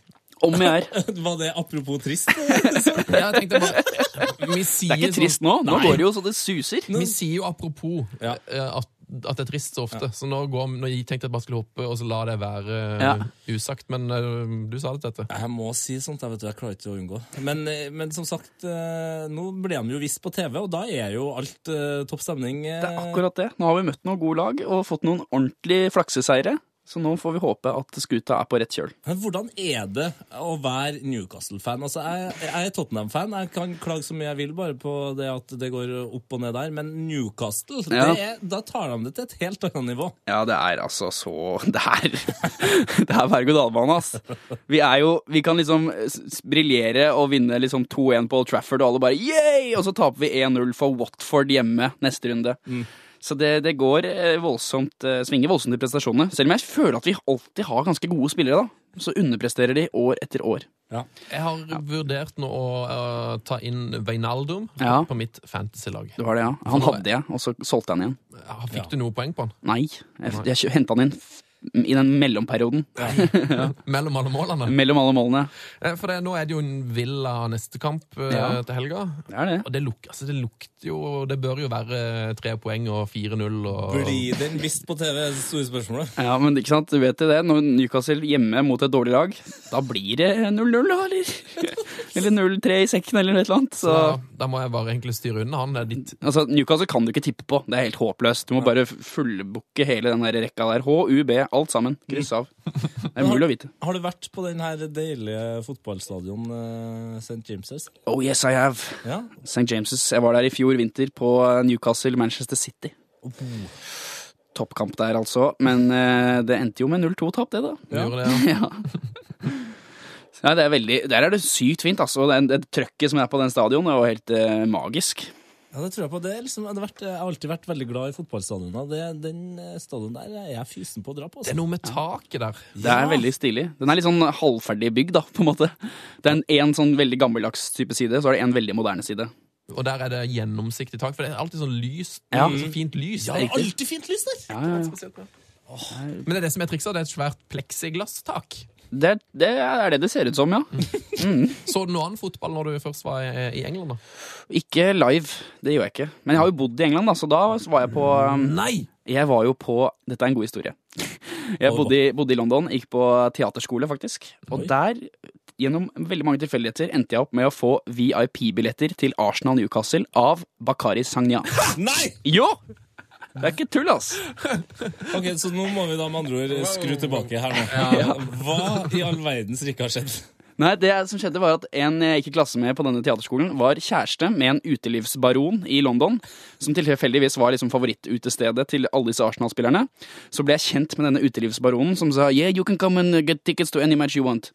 Speaker 5: Om jeg er.
Speaker 3: [LAUGHS] Var det apropos trist?
Speaker 4: Ja, jeg tenkte bare [LAUGHS] Vi
Speaker 5: Det
Speaker 4: sier,
Speaker 5: er ikke
Speaker 4: sånn-
Speaker 5: trist nå. Nå
Speaker 4: Nei.
Speaker 5: går det jo så det suser.
Speaker 4: vi sier jo apropos
Speaker 3: Ja.
Speaker 4: eh, at, at det er trist så ofte. Så nå, går, nå tenkte jeg bare skulle hoppe og så la det være eh,
Speaker 5: Ja.
Speaker 4: usagt. Men eh, du sa det, Tete.
Speaker 3: [LAUGHS] Jeg må si sånt, jeg vet du, jeg klarer ikke å unngå. Men, eh, men som sagt, eh, nå ble de jo visst på TV, og da er jo alt eh, topp stemning. eh.
Speaker 5: Det er akkurat det. Nå har vi møtt noen gode lag og fått noen ordentlig flakseseire. Så nå får vi håpe at skuta er på rett kjøl.
Speaker 3: Men hvordan er det å være Newcastle-fan? Altså, jeg, jeg er Tottenham-fan. Jeg kan klage så mye jeg vil bare på det at det går opp og ned der, men Newcastle,
Speaker 5: Ja.
Speaker 3: det er, da tar de det til et helt annet nivå.
Speaker 5: Ja, det er altså så [LAUGHS] Det er, det er berg-og-dal-bane, ass. Vi er jo Vi kan liksom s- s- briljere og vinne liksom 2-1 på Old Trafford, og alle bare yay! Og så taper vi 1-0 for Watford hjemme neste runde. Så det, det går eh, voldsomt eh, svinger voldsomt i prestasjonene. Selv om jeg føler at vi alltid har ganske gode spillere, da. Så underpresterer de år etter år.
Speaker 4: Jeg har vurdert nå å eh, ta inn Veinaldum
Speaker 5: Ja.
Speaker 4: på mitt fantasy-lag.
Speaker 5: Du har det, ja? Han hadde jeg, og så solgte jeg han igjen.
Speaker 4: Ja, Fikk du noe poeng på han?
Speaker 5: Nei. Jeg, jeg henta han inn f- i den mellomperioden.
Speaker 4: Mellom alle målene?
Speaker 5: Mellom alle målene.
Speaker 4: Eh, For det, nå er det jo en Villa neste kamp eh,
Speaker 5: Ja.
Speaker 4: til helga.
Speaker 5: Det er det.
Speaker 4: Og det, luk, altså, det lukter jo Det bør jo være eh, tre poeng og 4-0 og
Speaker 3: Blir den vist på TV, er det store spørsmålet.
Speaker 5: Ja, men ikke sant, du vet jo det. Når Newcastle hjemme mot et dårlig lag, da blir det 0-0, da, [LAUGHS] eller? Eller 0-3 i sekken, eller noe eller annet. Så,
Speaker 4: da, da må jeg bare egentlig styre unna han. Det er ditt
Speaker 5: altså, Newcastle kan du ikke tippe på. Det er helt håpløst. Du må bare fullbooke hele den der rekka der. H, U, B, alt sammen. Kryss [LAUGHS] av. Det er mulig å vite.
Speaker 3: Har du vært på den her deilige fotballstadion eh, St. James'?
Speaker 5: Oh yes, I have.
Speaker 3: Ja.
Speaker 5: St. James' Jeg var der i fjor vinter på eh, Newcastle, Manchester City. Toppkamp der, altså. Men eh, det endte jo med 0-2-tap, det, da.
Speaker 4: gjorde [LAUGHS] det. ja.
Speaker 5: [LAUGHS] Ja. Nei, det er veldig, Der er det sykt fint, altså. Det, er- det trøkket som er på den stadion, er jo helt eh, magisk.
Speaker 3: Ja, det tror jeg på. Det er liksom, det har vært, jeg har alltid vært veldig glad i fotballstadioner. Det, den eh, stadion der er jeg fysen på å dra på.
Speaker 4: Det
Speaker 3: Altså.
Speaker 4: er noe med taket der.
Speaker 5: Det er veldig stilig. Den er litt sånn halvferdig bygd, da, på en måte. Det er en, en sånn veldig gammeldags type side, så er det en veldig moderne side.
Speaker 4: Og der er det gjennomsiktig tak, for det er alltid sånn lyst.
Speaker 5: Ja.
Speaker 4: Så fint lys.
Speaker 3: Ja, det er alltid fint lys der!
Speaker 5: Ja, ja, ja.
Speaker 4: Men det er det som er trikset. Det er et svært pleksiglasstak.
Speaker 5: Det, det er det det ser ut som, ja.
Speaker 4: Så du noe annen fotball når du først var i i England? da?
Speaker 5: Ikke live, det gjør jeg ikke. Men jeg har jo bodd i England, da, så da var jeg på um,
Speaker 4: Nei!
Speaker 5: Jeg var jo på Dette er en god historie. Jeg bodde i, bodde i London, gikk på teaterskole, faktisk. Og
Speaker 3: Oi.
Speaker 5: der, gjennom veldig mange tilfeldigheter, endte jeg opp med å få VIP-billetter til Arsenal Newcastle av Bakari Sagna.
Speaker 3: Nei!
Speaker 5: Jo! Det er ikke tull, ass!
Speaker 3: Ok, Så nå må vi da med andre ord skru tilbake her nå. [LAUGHS] Hva i all verdens rike har skjedd?
Speaker 5: Nei, det som skjedde var at En jeg gikk i klasse med på denne teaterskolen, var kjæreste med en utelivsbaron i London, som tilfeldigvis var liksom favorittutestedet til alle disse Arsenal-spillerne. Så ble jeg kjent med denne utelivsbaronen som sa «Yeah, you can come and get tickets to any match you want».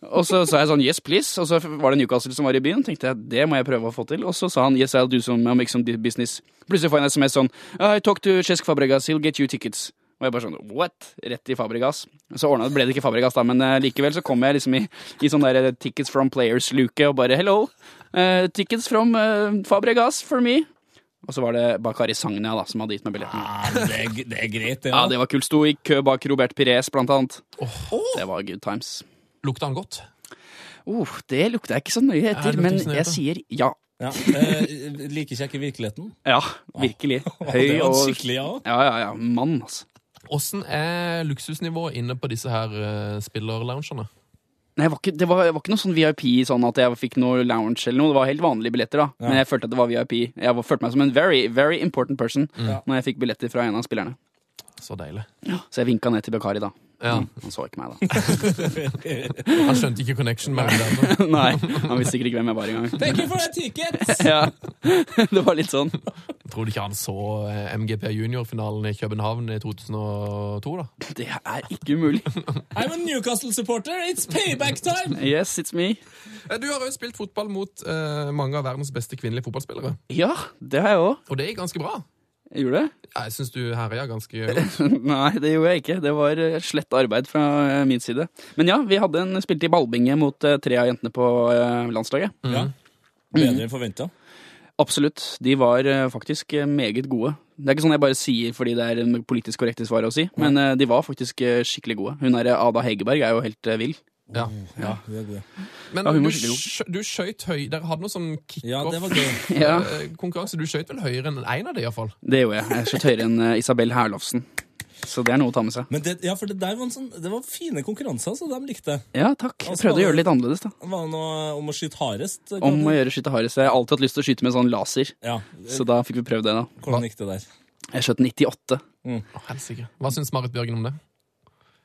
Speaker 5: Og så sa jeg sånn «Yes, please», og så var det Newcastle som var i byen, tenkte jeg «Det må jeg prøve å få til». Og så sa han «Yes, I'll do some, I'll make some business». Plutselig får jeg en sms sånn «I talk to Cesc Fabregas, he'll get you tickets». Og jeg bare sånn, what? Rett i Fabregas. Så ordnet, ble det ikke Fabregas da, men eh, likevel så kom jeg liksom i, i sånn der eh, tickets from players-luke og bare, hello, eh, tickets from eh, Fabregas for me. Og så var det Bakari Sagna da, som hadde gitt meg billetten.
Speaker 3: Det er, g- det er greit, det.
Speaker 5: Ja,
Speaker 3: Ja.
Speaker 5: det var kult. Sto i kø bak Robert Pires, blant annet. Det var good times.
Speaker 4: Lukta han godt?
Speaker 5: Oh, det lukta jeg ikke så nøye
Speaker 4: Ja, det
Speaker 5: etter,
Speaker 4: lukter
Speaker 5: men
Speaker 4: ikke så nøye
Speaker 5: jeg
Speaker 4: etter.
Speaker 5: sier ja.
Speaker 3: Ja. Eh, liker ikke jeg ikke virkeligheten?
Speaker 5: Ja, virkelig.
Speaker 3: Å,
Speaker 5: Høy
Speaker 3: det var et
Speaker 5: og...
Speaker 3: skikkelig ja.
Speaker 5: Ja, ja, ja. Mann, altså.
Speaker 4: Åssen er luksusnivået inne på disse her eh, spillerloungene?
Speaker 5: Nei, jeg var ikke, det var, det var ikke noe sånn VIP, sånn at jeg fikk noe lounge eller noe. Det var helt vanlige billetter, da. Men jeg følte at det var VIP. Jeg var, følte meg som en very, very important person når jeg fikk billetter fra en av spillerne.
Speaker 4: Så deilig.
Speaker 5: Så jeg vinka ned til Bakari, da.
Speaker 4: Ja.
Speaker 5: Han så ikke meg, da. [LAUGHS]
Speaker 4: Han skjønte ikke connection mellom dem.
Speaker 5: Nei, han visste sikkert ikke hvem jeg var engang.
Speaker 3: Thank you for that ticket!
Speaker 5: Ja, [LAUGHS] det var litt sånn.
Speaker 4: Tror du ikke han så eh, MGP Junior-finalen i København i 2002, da?
Speaker 5: Det er ikke umulig.
Speaker 3: I'm a Newcastle-supporter! It's payback time!
Speaker 5: Yes, it's me.
Speaker 4: Eh, Du har jo spilt fotball mot eh, mange av verdens beste kvinnelige fotballspillere.
Speaker 5: Ja, det har jeg òg.
Speaker 4: Og det gikk ganske bra.
Speaker 5: Gjorde det?
Speaker 4: Ja, jeg syns du herja
Speaker 3: [LAUGHS]
Speaker 4: ganske godt.
Speaker 5: [LAUGHS] Nei, det gjorde jeg ikke. Det var eh, slett arbeid fra eh, min side. Men ja, vi hadde en, spilte i ballbinge mot eh, tre av jentene på eh, landslaget.
Speaker 3: Ja. Bedre enn forventa.
Speaker 5: Absolutt. De var eh, faktisk eh, meget gode. Det er ikke sånn jeg bare sier fordi det er en politisk korrekte svar å si, men eh, de var faktisk eh, skikkelig gode. Hun der eh, Ada Hegerberg er jo helt eh, vill.
Speaker 4: Ja.
Speaker 3: Ja, vi er gode.
Speaker 4: Men
Speaker 5: Ja, hun
Speaker 4: du,
Speaker 5: var skikkelig
Speaker 4: skj du skøyt høy Dere hadde noe sånn
Speaker 3: ja det var
Speaker 4: kickoff-konkurranse. [LAUGHS]
Speaker 3: gøy.
Speaker 5: [LAUGHS] [LAUGHS] Ja,
Speaker 4: Du skøyt vel høyere enn én av dem, iallfall.
Speaker 5: det gjorde jeg. Jeg skjøt høyere enn eh, Isabel Herlofsen. Så det er noe å ta med seg.
Speaker 3: Men det, ja, for det der var, en sånn, det var fine konkurranser, så de likte jeg.
Speaker 5: Ja, takk. Jeg prøvde å gjøre det litt annerledes, da.
Speaker 3: Var det noe om å skyte hardest?
Speaker 5: Om å gjøre skyte hardest. Jeg har alltid hatt lyst til å skyte med sånn laser,
Speaker 3: Ja.
Speaker 5: så da fikk vi prøvd det, da.
Speaker 3: Hvordan gikk det der?
Speaker 5: Jeg skjøt 98.
Speaker 4: Hva syns Marit Bjørgen om det?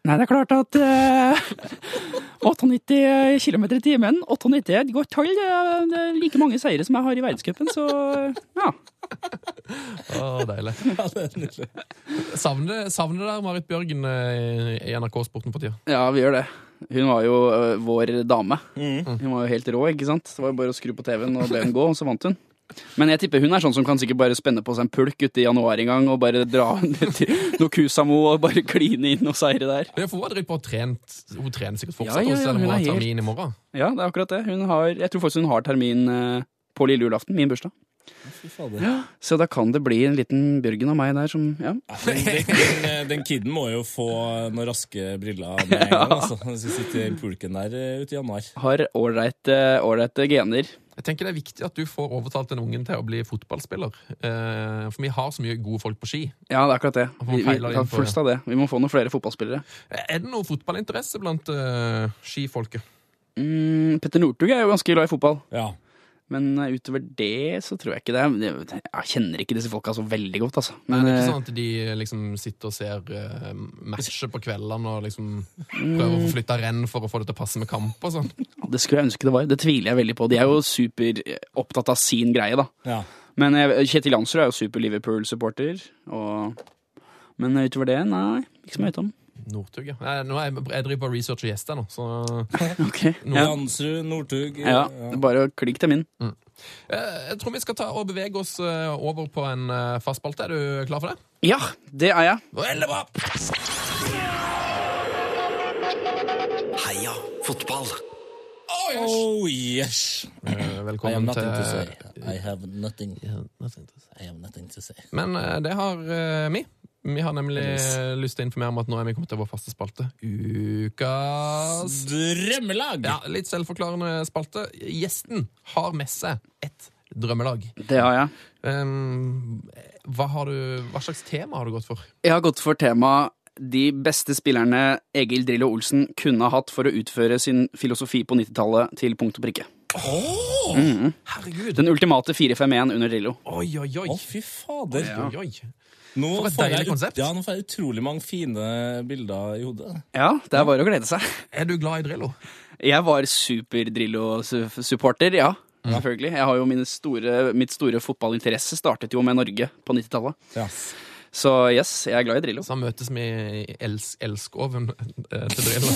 Speaker 5: Nei, det er klart at eh, [LAUGHS] 98 km i timen, 98 er et godt tall. Det er- det er like mange seire som jeg har i verdenscupen, så eh, ja.
Speaker 4: Å, deilig.
Speaker 3: Ja, det er nydelig.
Speaker 4: Savner savner det der Marit Bjørgen eh, i NRK Sporten for tida.
Speaker 5: Ja, vi gjør det. Hun var jo ø, vår dame. Hun var jo helt rå, ikke sant? Det var jo bare å skru på TV-en og la henne gå, og så vant hun. Men jeg tipper hun er sånn som kan sikkert bare spenne på seg en pulk ute i januar en gang og bare dra [LAUGHS] ned til Nokusamo og bare kline inn og seire der.
Speaker 4: Ja, for hun har drevet på og trent. Hun trener sikkert fortsatt,
Speaker 5: Ja, ja, ja,
Speaker 4: og selv om
Speaker 5: hun
Speaker 4: hun
Speaker 5: er
Speaker 4: har
Speaker 5: helt-
Speaker 4: termin i morgen.
Speaker 5: Ja, det er akkurat det. Hun har, jeg tror faktisk hun har termin ø, på lille julaften, min bursdag.
Speaker 3: Fy fader.
Speaker 5: Så da kan det bli en liten Bjørgen av meg der som Ja.
Speaker 3: Den, den, den kiden må jo få noen raske briller med en gang. Altså. Han skal sitte i pulken der eh, ute i januar.
Speaker 5: Har ålreit, ø, ålreite gener.
Speaker 4: Jeg tenker Det er viktig at du får overtalt den ungen til å bli fotballspiller. Eh, for vi har så mye gode folk på ski.
Speaker 5: Ja, det er akkurat det.
Speaker 4: Og man
Speaker 5: Vi, vi,
Speaker 4: feiler
Speaker 5: ja,
Speaker 4: inn på det.
Speaker 5: flest av det. vi må få noen flere fotballspillere.
Speaker 4: Er det noe fotballinteresse blant eh, skifolket?
Speaker 5: Mm, Petter Northug er jo ganske glad i fotball.
Speaker 3: Ja.
Speaker 5: Men eh, utover det så tror jeg ikke det. Jeg- Jeg kjenner ikke disse folka så veldig godt, altså.
Speaker 4: Er
Speaker 5: Men,
Speaker 4: det ikke
Speaker 5: eh,
Speaker 4: sånn at de liksom sitter og ser eh, matcher på kveldene og liksom prøver å få flytta renn for å få det til å passe med kamp og sånn?
Speaker 5: det skulle jeg ønske det var. Det tviler jeg veldig på. De er jo superopptatt av sin greie, da.
Speaker 3: ja.
Speaker 5: Men eh, Kjetil Jansrud er jo super Liverpool-supporter. Og... Men utover det, nei. Ikke som jeg vet om.
Speaker 4: Northug, ja. Nei, nå er jeg, jeg driver bare research og gjester nå, så [LAUGHS]
Speaker 5: Ok. Ja.
Speaker 3: Jansrud, Northug eh,
Speaker 5: Ja, det er bare å klikke dem inn.
Speaker 4: Eh, Jeg tror vi skal ta og bevege oss eh, over på en eh, fast spalte. Er du klar for det?
Speaker 5: Ja, det er jeg.
Speaker 4: Veldig bra!
Speaker 2: Heia fotball!
Speaker 3: Oh yes!
Speaker 4: Eh,
Speaker 3: I have
Speaker 4: Velkommen
Speaker 3: nothing to say.
Speaker 4: til
Speaker 3: I have nothing,
Speaker 4: Ja,
Speaker 3: I have nothing to say.
Speaker 4: Men eh, det har eh, vi. Vi har nemlig
Speaker 3: Yes.
Speaker 4: eh, lyst til å informere om at nå er vi kommet til vår faste spalte. Ukas
Speaker 3: Drømmelag!
Speaker 4: Ja, litt selvforklarende spalte. Gjesten har med seg et drømmelag.
Speaker 5: Det har jeg.
Speaker 4: Ehm, hva, har du, hva slags tema har du gått for?
Speaker 5: Jeg har gått for temaet de beste spillerne Egil Drillo Olsen kunne ha hatt for å utføre sin filosofi på 90-tallet til punkt og prikke.
Speaker 4: Herregud!
Speaker 5: Den ultimate 4-5-1 under Drillo.
Speaker 4: Oi, oi, oi!
Speaker 3: Å, fy fader.
Speaker 5: Ja.
Speaker 4: oi, oi.
Speaker 3: Nå
Speaker 4: For et
Speaker 3: får
Speaker 4: deilig
Speaker 3: jeg ut-
Speaker 4: konsept.
Speaker 3: Ja, nå får jeg utrolig mange fine bilder i hodet.
Speaker 5: Ja, det er bare å glede seg.
Speaker 4: Er du glad i Drillo?
Speaker 5: Jeg var super-Drillo-supporter, ja. Selvfølgelig. Jeg har jo mine store, mitt store fotballinteresse startet jo med Norge på 90-tallet.
Speaker 3: Ja.
Speaker 5: Så yes, jeg er glad i Drillo.
Speaker 4: Så møtes vi i els elskoven eh, til Drillo.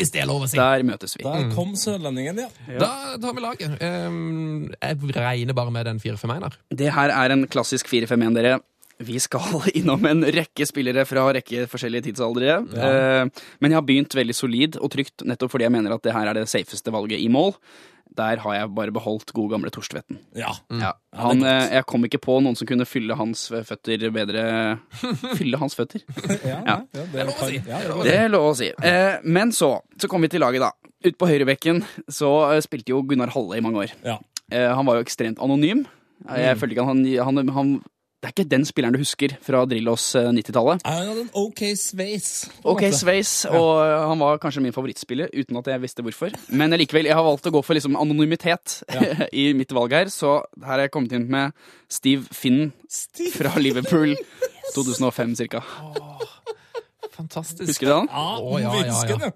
Speaker 4: Hvis det er lov å si.
Speaker 5: Der møtes vi.
Speaker 3: Der kom sørlendingen, ja.
Speaker 4: Da tar vi laget. Ehm, jeg regner bare med den 4-5-1 her.
Speaker 5: Det her er en klassisk 4-5-1, dere. Vi skal [LAUGHS] innom en rekke spillere fra rekke forskjellige tidsaldere. Eh, Men jeg har begynt veldig solid og trygt, nettopp fordi jeg mener at det her er det safeste valget i mål. Der har jeg bare beholdt gode gamle Torstvedten.
Speaker 3: ja.
Speaker 5: Ja, han, eh, jeg kom ikke på noen som kunne fylle hans føtter bedre Fylle hans føtter?
Speaker 3: Ja,
Speaker 5: Ja.
Speaker 3: ja, det
Speaker 4: lov å
Speaker 3: kan-
Speaker 4: si.
Speaker 3: Ja, det er lov å
Speaker 5: Det er lov å si. Eh, men så, så kom vi til laget, da. Ute på høyrebekken så eh, spilte jo Gunnar Halle i mange år.
Speaker 3: si. Ja. Mm.
Speaker 5: Eh, han var jo ekstremt anonym. Eh, Jeg følte ikke at han, han, han Det er ikke den spilleren du husker fra Drillos eh, 90-tallet.
Speaker 3: Han hadde en OK sveis. på en
Speaker 5: Ok,
Speaker 3: måte.
Speaker 5: Sveis, og eh, han var kanskje min favorittspiller, uten at jeg visste hvorfor. Men likevel, jeg har valgt å gå for liksom anonymitet [LAUGHS] i mitt valg her, så her har jeg kommet inn med Steve Finn
Speaker 3: Stiv.
Speaker 5: fra
Speaker 3: [LAUGHS]
Speaker 5: Liverpool 2005 cirka.
Speaker 4: Fantastisk.
Speaker 5: Husker du han?
Speaker 3: Ja,
Speaker 4: Å, ja, ja, ja.
Speaker 3: vinsken, ja.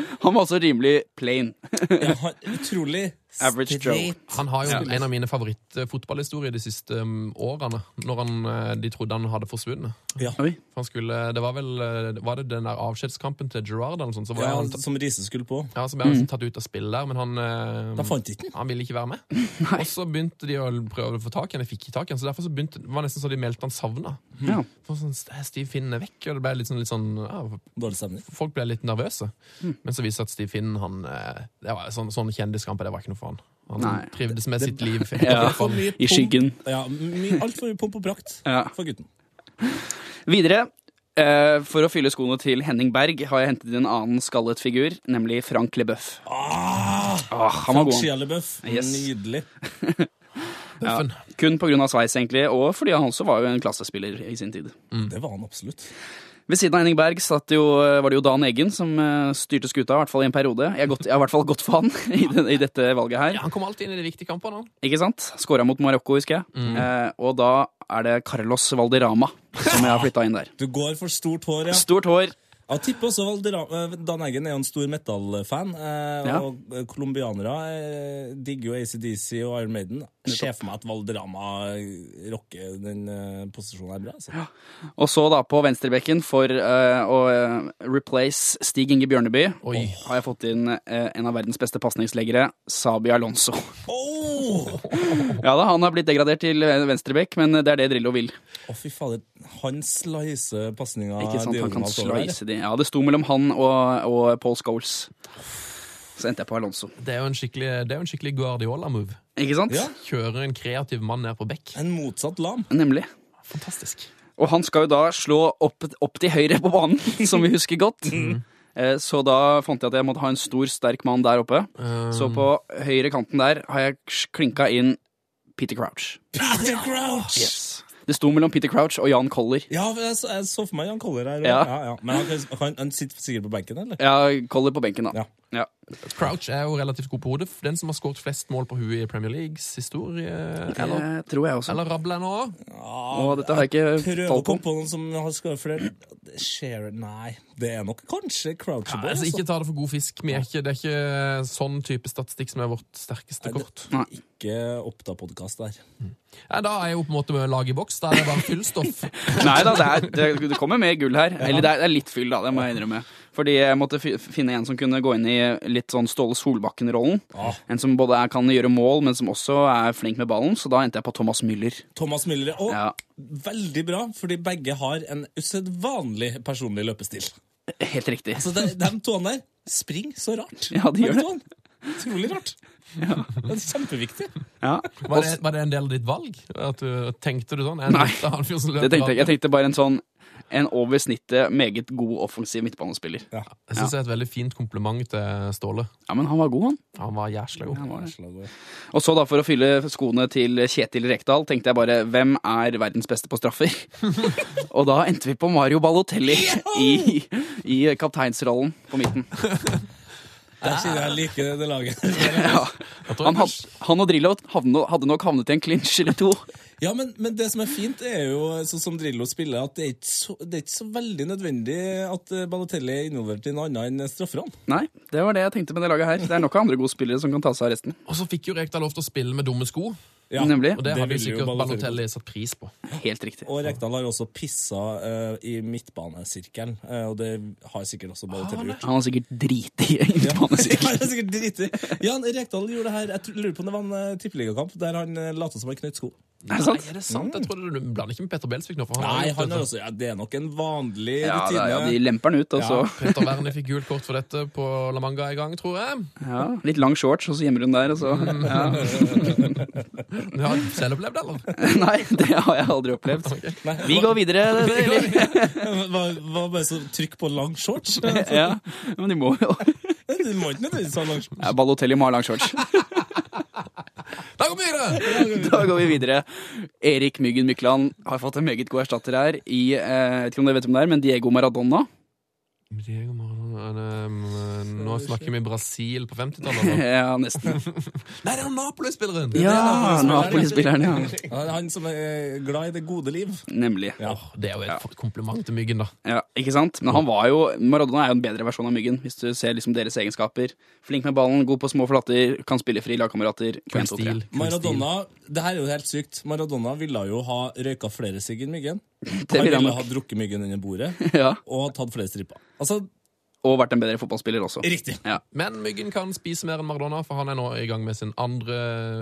Speaker 5: Ja, han var også rimelig plain.
Speaker 3: Ja, han- utrolig
Speaker 5: Average Joe.
Speaker 3: straight.
Speaker 4: Han har jo en av mine favorittfotballhistorier de siste um, årene, når han, eh, de trodde han hadde forsvunnet.
Speaker 3: Ja.
Speaker 5: Oi.
Speaker 4: For han skulle, det var vel eh, var det den der avskjedskampen til Gerrard eller noe sånt, så var
Speaker 3: Ja,
Speaker 4: han,
Speaker 3: som Riise skulle på.
Speaker 4: ja, så ble han tatt ut av spill der, men han, eh,
Speaker 3: Da fant de ikke den.
Speaker 4: han ville ikke være med. Og så begynte de å prøve å få tak i han, de fikk ikke tak i han, så derfor så begynte, det var nesten så de meldte han savna.
Speaker 5: Ja.
Speaker 4: For sånn, Steve Finn er vekk, og det ble litt sånn, litt sånn ja,
Speaker 3: Dårlig stemning.
Speaker 4: folk ble litt nervøse. Men så viste det seg at Steve Finn, han, eh, det var sånn, sånn kjendiskamp, det var ikke noe for han. Han
Speaker 5: Nei.
Speaker 4: trivdes med sitt liv.
Speaker 5: Ja.
Speaker 3: For mye
Speaker 5: I
Speaker 3: pomp-
Speaker 5: skyggen.
Speaker 3: Ja, my- Altfor mye pomp og prakt
Speaker 5: Ja.
Speaker 3: for gutten.
Speaker 5: Videre, eh, for å fylle skoene til Henning Berg, har jeg hentet inn en annen skallet figur, nemlig Frank Leboeuf.
Speaker 3: Ah,
Speaker 5: Ah, han var god. han.
Speaker 3: Chialebøff.
Speaker 5: Yes.
Speaker 3: Nydelig.
Speaker 5: Ja. Kun pga. sveis, egentlig, og fordi han også var jo en klassespiller i sin tid.
Speaker 3: Det var han absolutt.
Speaker 5: Ved siden av Henning Berg satt jo, var det jo Dan Eggen som eh, styrte skuta, i hvert fall i en periode. Jeg, har gått, jeg har i hvert fall gått for han [LAUGHS] i, den, i dette valget her.
Speaker 4: Ja, han kom alltid inn i de viktige kampene. Han.
Speaker 5: Ikke sant? Skåra mot Marokko, husker jeg. Eh, og da er det Carlos Valderama som jeg har flytta inn der.
Speaker 3: Du går for stort hår, ja.
Speaker 5: Stort hår,
Speaker 3: Jeg tipper også Valderam- eh, Dan Eggen er jo en stor metallfan, eh,
Speaker 5: Ja.
Speaker 3: og eh, colombianere eh, digger jo ACDC og Iron Maiden. Jeg ser for meg at Valderama eh, rocker den eh, posisjonen her bra. altså.
Speaker 5: Og så da på venstrebekken for eh, å eh, replace Stig Inge Bjørneby
Speaker 4: Oi.
Speaker 5: har jeg fått inn eh, en av verdens beste pasningsleggere, Sabi Alonso.
Speaker 3: Åh!
Speaker 5: [LAUGHS] Ja da, han har blitt degradert til eh, venstrebekk, men det er det Drillo vil.
Speaker 3: Å, fy fader. Han slicer pasninga
Speaker 5: Ikke sant, han kan
Speaker 3: diagonalt over der.
Speaker 5: slice de. Ja, det sto mellom han og, og Paul Scholes. Så endte jeg på Alonso.
Speaker 4: Det er jo en skikkelig, det er jo en skikkelig Guardiola-move.
Speaker 5: Ikke sant?
Speaker 3: Ja.
Speaker 4: Kjører en kreativ mann ned på bekk.
Speaker 3: En motsatt lam.
Speaker 5: Nemlig.
Speaker 4: Fantastisk.
Speaker 5: Og han skal jo da slå opp, opp til høyre på banen, [LAUGHS] som vi husker godt.
Speaker 3: Mm.
Speaker 5: Eh, Så da fant jeg at jeg måtte ha en stor, sterk mann der oppe.
Speaker 3: Eh.
Speaker 5: Så på høyre kanten der har jeg ks- klinka inn Peter Crouch.
Speaker 3: Peter Crouch!
Speaker 5: Det sto mellom Peter Crouch og Jan Coller.
Speaker 3: Ja, for jeg, så- jeg så for meg Jan Koller her. Ja.
Speaker 5: Ja.
Speaker 3: Ja, ja. Men han, kan- han, han sitter sikkert på benken, eller?
Speaker 5: Ja, Coller på benken, da.
Speaker 3: Ja.
Speaker 5: Ja.
Speaker 4: Crouch er jo relativt god på hodet. Den som har skåret flest mål på huet i Premier Leagues historie. Eller,
Speaker 5: Det tror jeg også.
Speaker 4: eller rabler nå.
Speaker 5: Og dette har jeg ikke
Speaker 3: Prøv å
Speaker 5: tall på.
Speaker 3: komme på noen som har skåret flere. Share Nei, det er nok kanskje Crouchable.
Speaker 4: Altså,
Speaker 3: altså.
Speaker 4: ikke ta det for god fisk. Vi er ikke, det er ikke sånn type statistikk som er vårt sterkeste kort.
Speaker 5: Nei.
Speaker 3: altså. Ikke Oppda-podkast der.
Speaker 4: Nei, da er jeg jo på en måte lag i boks. Da er det bare fyllstoff.
Speaker 5: Nei da, det, er, det, det kommer mer gull her. Eller det er, det er litt fyll, da. Det må jeg innrømme. Fordi jeg måtte fi- finne en som kunne gå inn i litt sånn Ståle Solbakken-rollen.
Speaker 3: Ah.
Speaker 5: En som både er, kan gjøre mål, men som også er flink med ballen. Så da endte jeg på Thomas Müller.
Speaker 3: Thomas Müller. Og
Speaker 5: Ja.
Speaker 3: veldig bra, fordi begge har en usedvanlig personlig løpestil.
Speaker 5: Helt riktig.
Speaker 3: Så de, de to der springer så rart.
Speaker 5: Ja, de gjør det.
Speaker 3: to han. Utrolig rart. Det er kjempeviktig.
Speaker 5: Ja.
Speaker 4: Var det, var det en del av ditt valg? At du, tenkte du sånn? Jeg
Speaker 5: Nei.
Speaker 4: tenkte han fyren som løper
Speaker 5: Det tenkte jeg.
Speaker 4: langt.
Speaker 5: Jeg tenkte bare en sånn en over snittet meget god offensiv midtbanespiller.
Speaker 3: Ja.
Speaker 4: Jeg synes det er et veldig fint kompliment til Ståle.
Speaker 5: Ja, men han var god, han.
Speaker 4: Han var jæsla god.
Speaker 5: han var det.
Speaker 3: Slagord.
Speaker 5: Og så da for å fylle skoene til Kjetil Rekdal tenkte jeg bare hvem er verdens beste på straffer? og da endte vi på Mario Balotelli i, i kapteinsrollen på midten.
Speaker 3: Der sier jeg liker det laget.
Speaker 5: Ja.
Speaker 4: Jeg tror
Speaker 5: Han, had,
Speaker 4: kanskje-
Speaker 5: han og Drillo havne- hadde nok havnet i en clinch eller to.
Speaker 3: Ja, men, men det som er fint, er jo sånn som Drillo spiller, at det er ikke så, det er ikke så veldig nødvendig at eh, Balotelli er involvert i noe annet enn strafferne.
Speaker 5: Nei, det var det jeg tenkte med det laget her. Det er nok av andre gode spillere som kan ta seg av resten.
Speaker 4: Og så fikk jo Rekdal lov til å spille med dumme sko, og
Speaker 3: Ja.
Speaker 5: Nemlig.
Speaker 4: det,
Speaker 3: Det
Speaker 4: hadde jo
Speaker 3: ville jo
Speaker 4: sikkert
Speaker 3: Balotelli
Speaker 4: Balotelli satt pris på.
Speaker 5: Helt riktig.
Speaker 3: Og Rekdal har også pissa eh, i midtbanesirkelen, eh, og det har sikkert også
Speaker 4: Ah,
Speaker 3: Balotelli gjort.
Speaker 5: Han var sikkert driti i
Speaker 3: [LAUGHS]
Speaker 5: midtbanesirkelen.
Speaker 3: Han er sikkert dritig. Jan Rekdal gjorde det her, jeg tror- lurer på om det var en eh, tippeligakamp, der han eh, lot som han knøt sko.
Speaker 5: Er det sant?
Speaker 4: Nei, er det sant? Jeg trodde du blander ikke med Petter Belsvik nå, for han har
Speaker 3: Nei,
Speaker 4: gjort
Speaker 3: han
Speaker 4: dette.
Speaker 3: er også, ja, det er nok en vanlig
Speaker 5: Ja, da,
Speaker 3: rutine.
Speaker 5: ja,
Speaker 3: [LAUGHS]
Speaker 5: de lemper han ut, og så
Speaker 4: Petter Wernie fikk gult kort for dette på La Manga en gang, tror jeg.
Speaker 5: ja, Litt lang shorts, og så gjemmer hun der, og så ja.
Speaker 4: Du har selv opplevd det, eller?
Speaker 5: [LAUGHS] Nei, det har jeg aldri opplevd.
Speaker 3: Nei,
Speaker 5: [LAUGHS] Vi går videre. eller?
Speaker 3: Var, var bare så trykk på lang
Speaker 5: [LAUGHS]
Speaker 3: shorts. Du
Speaker 5: Ja, men de må jo
Speaker 3: må ikke nødvendigvis ha lang shorts.
Speaker 5: ja, Balotelli må ha lang [LAUGHS] shorts.
Speaker 4: Da går vi videre!
Speaker 5: Da går vi videre. Erik Myggen Mykland har fått en meget god erstatter her i eh, jeg vet ikke om dere vet hvem det er, men Diego Maradona. [LAUGHS]
Speaker 4: Diego Maradona, eh, Nå snakker vi Brasil på 50-tallet.
Speaker 5: [LAUGHS]
Speaker 4: eller?
Speaker 5: Ja, nesten.
Speaker 4: Nei, det er jo Napoli-spilleren!
Speaker 5: Ja, Napoli-spilleren, ja.
Speaker 3: Ja, det er han som er glad i det gode liv.
Speaker 5: Nemlig.
Speaker 3: Ja.
Speaker 4: Åh, Det er jo et kompliment til Myggen, da.
Speaker 5: Ja, ikke sant? Men han var jo Maradona er jo en bedre versjon av Myggen, hvis du ser liksom deres egenskaper. Flink med ballen, god på små flater, kan spille fri lagkamerater.
Speaker 4: Kul
Speaker 5: 1, 2, 3.
Speaker 4: stil. kul
Speaker 3: Maradona det her er jo helt sykt. Maradona ville jo ha røyka flere sigg enn myggen.
Speaker 5: Det
Speaker 3: Han
Speaker 5: vil han
Speaker 3: ville
Speaker 5: nok.
Speaker 3: ha drukket myggen under bordet
Speaker 5: [LAUGHS] Ja,
Speaker 3: og ha tatt flere stripper. Altså,
Speaker 5: og vært en bedre fotballspiller også.
Speaker 3: riktig.
Speaker 4: Men Myggen kan spise mer enn Maradona, for han er nå i gang med sin andre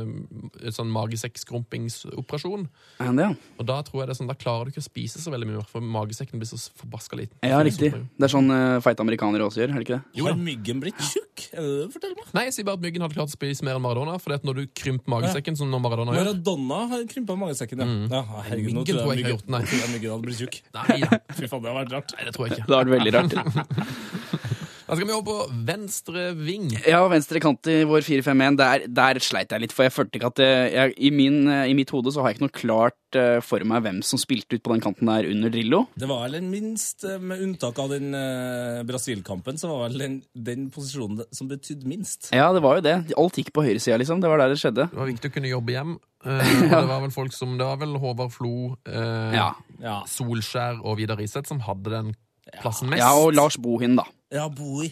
Speaker 4: eh, sånn magesekkskrumpingsoperasjon.
Speaker 5: Er han det, ja?
Speaker 4: Og da tror jeg det er sånn, da klarer du ikke å spise så veldig mye, mer, for magesekken blir så forbaska liten.
Speaker 5: Ja, riktig. Det er sånn eh, feite amerikanere også gjør, er det ikke det?
Speaker 3: Har myggen blitt tjukk? Er det det du forteller meg?
Speaker 4: Nei, jeg sier bare at Myggen hadde klart å spise mer enn Maradona, for når du krymper magesekken, som når Maradona gjør
Speaker 3: Maradona har krympa magesekken, ja.
Speaker 5: Mm.
Speaker 3: ja. Herregud, nå
Speaker 4: Myggen
Speaker 3: tror
Speaker 4: tror
Speaker 3: jeg myggen,
Speaker 4: jeg ikke har gjort,
Speaker 3: [LAUGHS]
Speaker 4: nei.
Speaker 3: tror jeg myggen hadde blitt tjukk.
Speaker 4: Nei, da.
Speaker 3: Fy faen, det har vært rart.
Speaker 4: Nei, det tror jeg [LAUGHS] ikke.
Speaker 5: Det har vært veldig rart.
Speaker 4: Da skal vi over på venstre ving.
Speaker 5: [LAUGHS] Ja, venstre kant i vår 4-5-1, der, der sleit jeg litt, for jeg følte ikke at eh, jeg, i, min, eh, I mitt hode så har jeg ikke noe klart eh, for meg hvem som spilte ut på den kanten der under Drillo.
Speaker 3: Det var vel den minst, eh, med unntak av den eh, Brasil-kampen, så var vel den, den posisjonen som betydde minst.
Speaker 5: Ja, det var jo det. Alt gikk på høyresida, liksom. Det var der det skjedde.
Speaker 4: Det var viktig å kunne jobbe hjem. [LAUGHS] eh, og det var vel folk som Det var vel Håvard Flo, eh,
Speaker 5: Ja.
Speaker 3: Ja.
Speaker 4: Solskjær og Vidar Riseth som hadde den plassen mest.
Speaker 5: Ja, og Lars Bohin, da.
Speaker 3: Ja, Boi.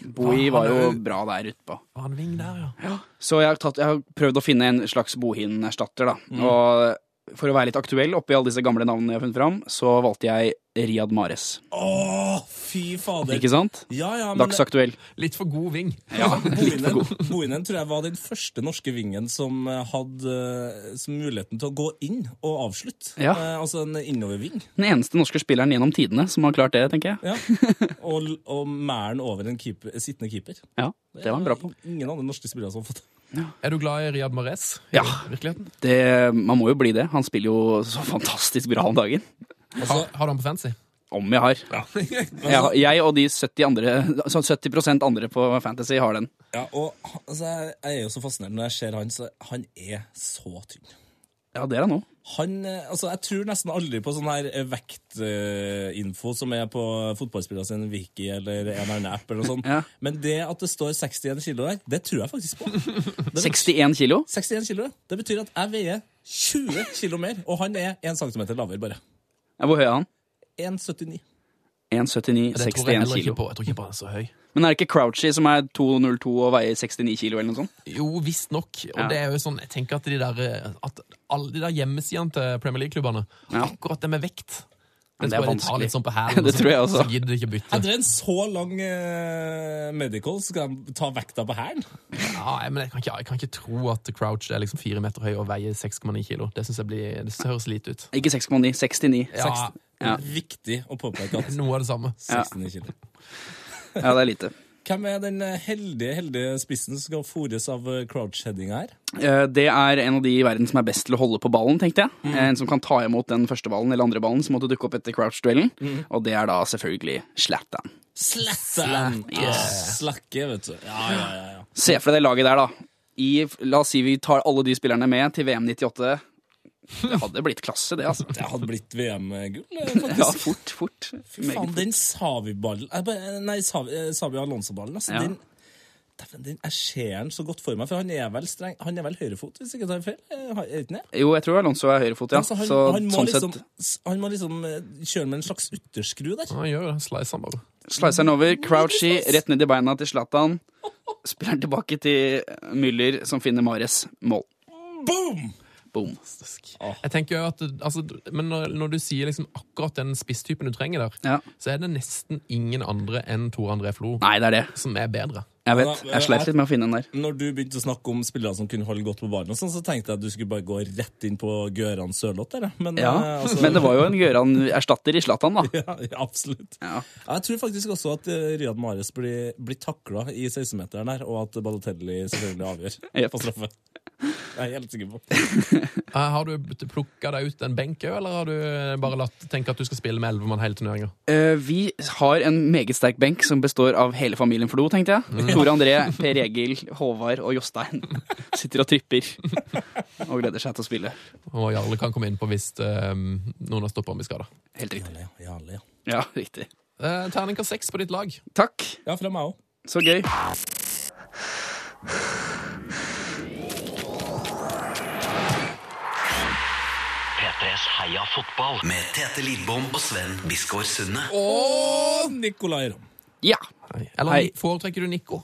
Speaker 4: Ah,
Speaker 5: Bohi var
Speaker 4: han er
Speaker 5: jo
Speaker 4: jo-
Speaker 5: bra der utpå.
Speaker 4: Faen, Ving der, ja.
Speaker 5: Så jeg har, tatt, jeg har prøvd å finne en slags Bohin-erstatter, da. Og for å være litt aktuell oppi alle disse gamle navnene jeg har funnet fram, så valgte jeg Riyad Mares.
Speaker 3: Å, fy fader.
Speaker 5: Ikke sant?
Speaker 3: Ja, ja, men
Speaker 5: Dagsaktuell.
Speaker 4: Litt for god Ving.
Speaker 5: Ja, litt for god. [LAUGHS]
Speaker 3: Bohinen, Bohinen tror jeg var den første norske vingen som eh, hadde eh, som muligheten til å gå inn og avslutte.
Speaker 5: Ja.
Speaker 3: Eh, altså en innoverving.
Speaker 5: Den eneste norske spilleren gjennom tidene som har klart det, tenker jeg. [LAUGHS]
Speaker 3: Ja. og og mæren over en keeper, sittende keeper.
Speaker 5: Ja, Det var han bra på.
Speaker 3: Ingen andre norske spillere som har fått det.
Speaker 4: Er du glad i Riyad Mahrez? i
Speaker 5: Ja.
Speaker 4: Virkeligheten?
Speaker 5: Det, man må jo bli det. Han spiller jo så fantastisk bra om dagen.
Speaker 4: Har, har du han på fancy?
Speaker 5: Om jeg har. Jeg, jeg og de 70, andre, så 70 andre på Fantasy har den.
Speaker 3: [LAUGHS] Ja, og han- altså, jeg, jeg er jo så fascinert når jeg ser han, så han er så tynn.
Speaker 5: Ja, det er han òg.
Speaker 3: Han, eh, altså Jeg tror nesten aldri på sånn her eh, vektinfo som er på fotballspillere sin wiki eller en eller annen app. eller noe sånt.
Speaker 5: [LAUGHS] Ja.
Speaker 3: Men det at det står 61 kilo der, det tror jeg faktisk på.
Speaker 5: 61 kilo.
Speaker 3: 61 kilo, ja. Det betyr at jeg veier 20 kilo mer, og han er 1 cm lavere, bare.
Speaker 5: Ja, Hvor høy er han?
Speaker 3: 1,79.
Speaker 5: 1,79,
Speaker 4: Det tror jeg
Speaker 5: 61
Speaker 4: heller ikke
Speaker 5: kilo.
Speaker 4: på. Jeg tror ikke på han er så høy.
Speaker 5: Men er det ikke Crouchy som er 2,02 og veier 69 kilo eller noe sånt?
Speaker 4: Jo, visstnok. Og
Speaker 5: Ja.
Speaker 4: det er jo sånn, jeg tenker at de der, eh, at alle de der hjemmesidene til Premier League-klubbene
Speaker 5: Ja.
Speaker 4: Akkurat det med vekt.
Speaker 5: Men
Speaker 4: Det,
Speaker 5: det
Speaker 4: tror jeg de tar
Speaker 5: er vanskelig.
Speaker 4: litt sånn på hælen.
Speaker 5: [LAUGHS] Det
Speaker 4: og så-
Speaker 5: tror jeg også.
Speaker 4: Så gidder de ikke bytte.
Speaker 3: Etter en så lang eh, medical skal jeg ta vekta på hælen?
Speaker 4: Ja, jeg- men jeg kan, ikke, jeg kan ikke tro at Crouch er liksom fire meter høy og veier 6,9 kilo. Det synes jeg blir, det høres lite ut.
Speaker 5: Ikke 6,9, 69.
Speaker 4: Ja,
Speaker 5: Ja.
Speaker 3: Viktig å påpeke at
Speaker 4: noe av det samme.
Speaker 3: 69 kilo.
Speaker 5: Ja, det er lite.
Speaker 3: Hvem er den eh, heldige, heldige spissen som skal fôres av eh, crouch-headinga her?
Speaker 5: Eh, Det er en av de i verden som er best til å holde på ballen, tenkte jeg.
Speaker 3: Mm.
Speaker 5: Eh, En som kan ta imot den første ballen eller andre ballen som måtte dukke opp etter Crouch-duellen.
Speaker 3: Mm.
Speaker 5: Og det er da selvfølgelig Zlatan.
Speaker 3: Slattan!
Speaker 5: Yes.
Speaker 3: Ah, Slakke, vet du. Ja, ja, ja. ja.
Speaker 5: Se for deg det laget der, da. I, la oss si vi tar alle de spillerne med til VM 98. Det hadde blitt klasse, det,
Speaker 3: [LAUGHS]
Speaker 5: altså.
Speaker 3: Det hadde blitt VM-gull, eh,
Speaker 5: [LAUGHS] Ja,
Speaker 3: faktisk.
Speaker 5: fort, fort.
Speaker 3: Fy faen, den Savi-ballen eh, bare- Nei, Savi, eh, Savi Alonso-ballen, altså.
Speaker 5: Ja.
Speaker 3: Den, Dæven, den, jeg ser den så godt for meg, for han er vel streng Han er vel høyrefot, hvis jeg ikke tar feil? Eh, har- Er ikke det?
Speaker 5: Jo, jeg tror Alonso er høyrefot, ja.
Speaker 3: Altså, han,
Speaker 5: så
Speaker 3: han, må
Speaker 5: sånn
Speaker 3: liksom,
Speaker 5: sett
Speaker 3: s- han må liksom eh, kjøre med en slags ytterskru der.
Speaker 4: Han gjør jo det. Slicer han bare.
Speaker 5: slicer han over. Crouchy rett ned i beina til Zlatan. Spiller han tilbake til eh, Müller, som finner Mares mål.
Speaker 3: Boom!
Speaker 5: Boom.
Speaker 4: Jeg tenker jo at, altså, men når, når du sier liksom akkurat den spisstypen du trenger der,
Speaker 5: Ja.
Speaker 4: så er det nesten ingen andre enn Tor André Flo
Speaker 5: Nei, det er det.
Speaker 4: som er bedre.
Speaker 5: Jeg vet. Jeg
Speaker 3: eh,
Speaker 5: sleit litt med å finne den der.
Speaker 3: Når du begynte å snakke om spillere som kunne holde godt på ballen, og sånn, så tenkte jeg at du skulle bare gå rett inn på Gøran Sørloth. der, Men,
Speaker 5: Ja,
Speaker 3: eh, altså-
Speaker 5: Men det var jo en Gøran-erstatter i Zlatan, da.
Speaker 3: [LAUGHS] Ja, ja, absolutt.
Speaker 5: Ja.
Speaker 3: Ja, Jeg tror faktisk også at eh, Riyad Mahrez blir, blir takla i 16-meteren her, og at Balotelli selvfølgelig
Speaker 5: [LAUGHS]
Speaker 3: avgjør
Speaker 5: Jep.
Speaker 3: på straffe. Jeg er helt sikker på.
Speaker 4: Eh, Har du plukka deg ut en benk òg, eller har du eh, bare latt tenke at du skal spille med elleve mann hele turneringa?
Speaker 5: Eh, vi har en meget sterk benk som består av hele familien Flo, tenkte jeg.
Speaker 3: Mm.
Speaker 5: Tore André, Per Egil, Håvard og Jostein [LAUGHS] sitter og tripper og gleder seg til å spille.
Speaker 4: Og Jarle kan komme innpå hvis eh, noen har stoppa ham i skade.
Speaker 5: Helt riktig.
Speaker 3: Jale, ja, jale, ja.
Speaker 5: Ja, riktig.
Speaker 4: Uh, Terningkast seks på ditt lag.
Speaker 5: Takk.
Speaker 3: ja, fra meg òg.
Speaker 5: Så gøy.
Speaker 2: P3s Heia fotball med Tete Lidbom og Sven Biskår Sunde.
Speaker 3: Og Nicolay
Speaker 5: [LAUGHS]
Speaker 3: Ramm.
Speaker 5: Ja.
Speaker 4: Eller
Speaker 5: Hei.
Speaker 4: foretrekker du Nico?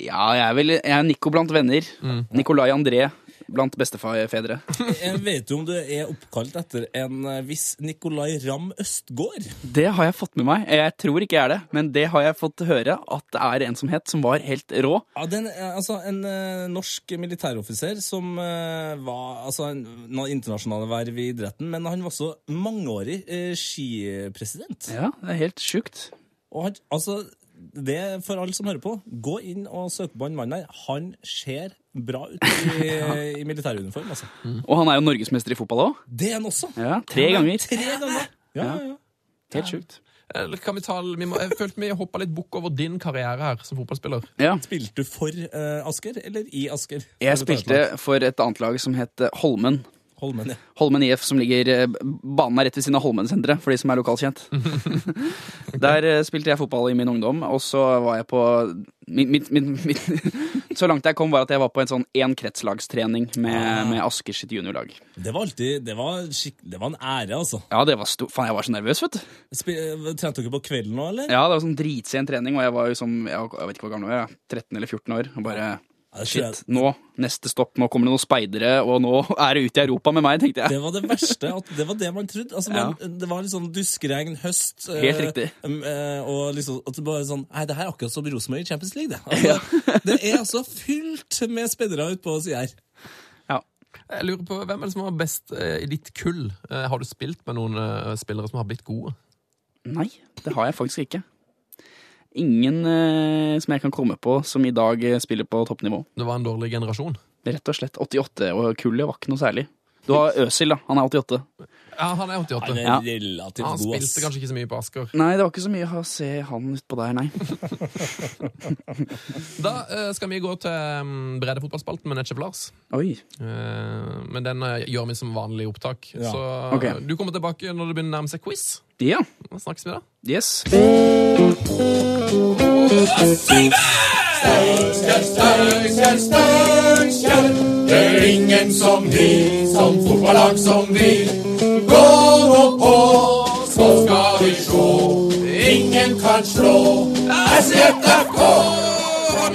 Speaker 5: Ja, jeg er vel jeg er Nico blant venner.
Speaker 3: Mm.
Speaker 5: Nicolai André blant bestefedre.
Speaker 3: Jeg Eh, Vet du om du er oppkalt etter en eh, viss Nicolay Ramm Østgård?
Speaker 5: Det har jeg fått med meg. Jeg tror ikke jeg er det, men det har jeg fått høre at det er en som het, som var helt rå.
Speaker 3: Ja, den, eh, altså, en eh, norsk militæroffiser som eh, var altså, en, noe internasjonale verv i idretten, men han var også mangeårig eh, skipresident.
Speaker 5: Ja, det er helt sjukt.
Speaker 3: Og han, altså, det er for alle som hører på, gå inn og søk på han mannen der. Han ser bra ut
Speaker 5: [LAUGHS]
Speaker 3: i, eh, i militæruniform, altså.
Speaker 5: Og han er jo norgesmester i fotball òg.
Speaker 3: Det er han også.
Speaker 5: Ja, tre ganger.
Speaker 3: Tre ganger. Ja, ja, ja.
Speaker 5: Helt sjukt.
Speaker 4: Eller kan vi ta, vi må, jeg følte vi hoppa litt bukk over din karriere her som fotballspiller.
Speaker 5: Ja.
Speaker 3: Spilte du for eh, Asker, eller i Asker?
Speaker 5: Jeg spilte for et annet lag som het eh, Holmen.
Speaker 3: Holmen, ja.
Speaker 5: Holmen IF, som ligger eh, Banen er rett ved siden av Holmen-senteret, for de som er
Speaker 3: [LAUGHS]
Speaker 5: lokalkjent. Der eh, spilte jeg fotball i min ungdom, og så var jeg på min, min, min, [LAUGHS] min, Så langt jeg kom, var at jeg var på en sånn én kretslagstrening
Speaker 3: Ah.
Speaker 5: med, med Askers sitt juniorlag.
Speaker 3: Det var alltid Det var, skikk- det var en ære, altså.
Speaker 5: Ja, det var stor... Faen, jeg var så nervøs, vet du.
Speaker 3: Spi- eh, Trente dere på kvelden nå, eller?
Speaker 5: Ja, det var sånn dritsen trening, og jeg var jo som Jeg var- jeg vet ikke hvor gammel jeg var, jeg. 13 eller 14 år. Og bare
Speaker 3: det tror jeg-
Speaker 5: Shit, nå, neste stopp, nå kommer det noen speidere, og nå er det ute i Europa med meg, tenkte jeg.
Speaker 3: Det var det verste. At det var det man trodde. Altså, man, Det var litt sånn duskregn, høst eh,
Speaker 5: Helt riktig.
Speaker 3: em, eh, og liksom, at det bare sånn Nei, det her er akkurat som Rosenborg i Champions League, det. Altså, det er altså fylt med speidere utpå sida her.
Speaker 4: Jeg lurer på, Hvem er det som var best eh, i ditt kull? Eh, Har du spilt med noen eh, spillere som har blitt gode?
Speaker 5: Nei, det har jeg faktisk ikke. Ingen eh, som jeg kan komme på som i dag eh, spiller på toppnivå.
Speaker 4: Det var en dårlig generasjon.
Speaker 5: Rett og slett. 88 og kullet var ikke noe særlig. Du har Øsil, da. Han er 88.
Speaker 4: Ja, Han er 88.
Speaker 3: Han er
Speaker 5: Ja.
Speaker 3: relativt
Speaker 4: han
Speaker 3: god, ass.
Speaker 4: spilte kanskje ikke så mye på Asker.
Speaker 5: Nei, det var ikke så mye å se han utpå der, nei.
Speaker 4: Da eh, skal vi gå til um, Brede fotballspalten med Netchef Lars.
Speaker 5: Oi.
Speaker 4: Eh, men den eh, gjør vi som vanlig opptak.
Speaker 3: Ja.
Speaker 4: Så eh,
Speaker 5: Ok.
Speaker 4: du kommer tilbake når det begynner å nærme seg quiz.
Speaker 5: Ja.
Speaker 4: Da snakkes vi da.
Speaker 5: Yes.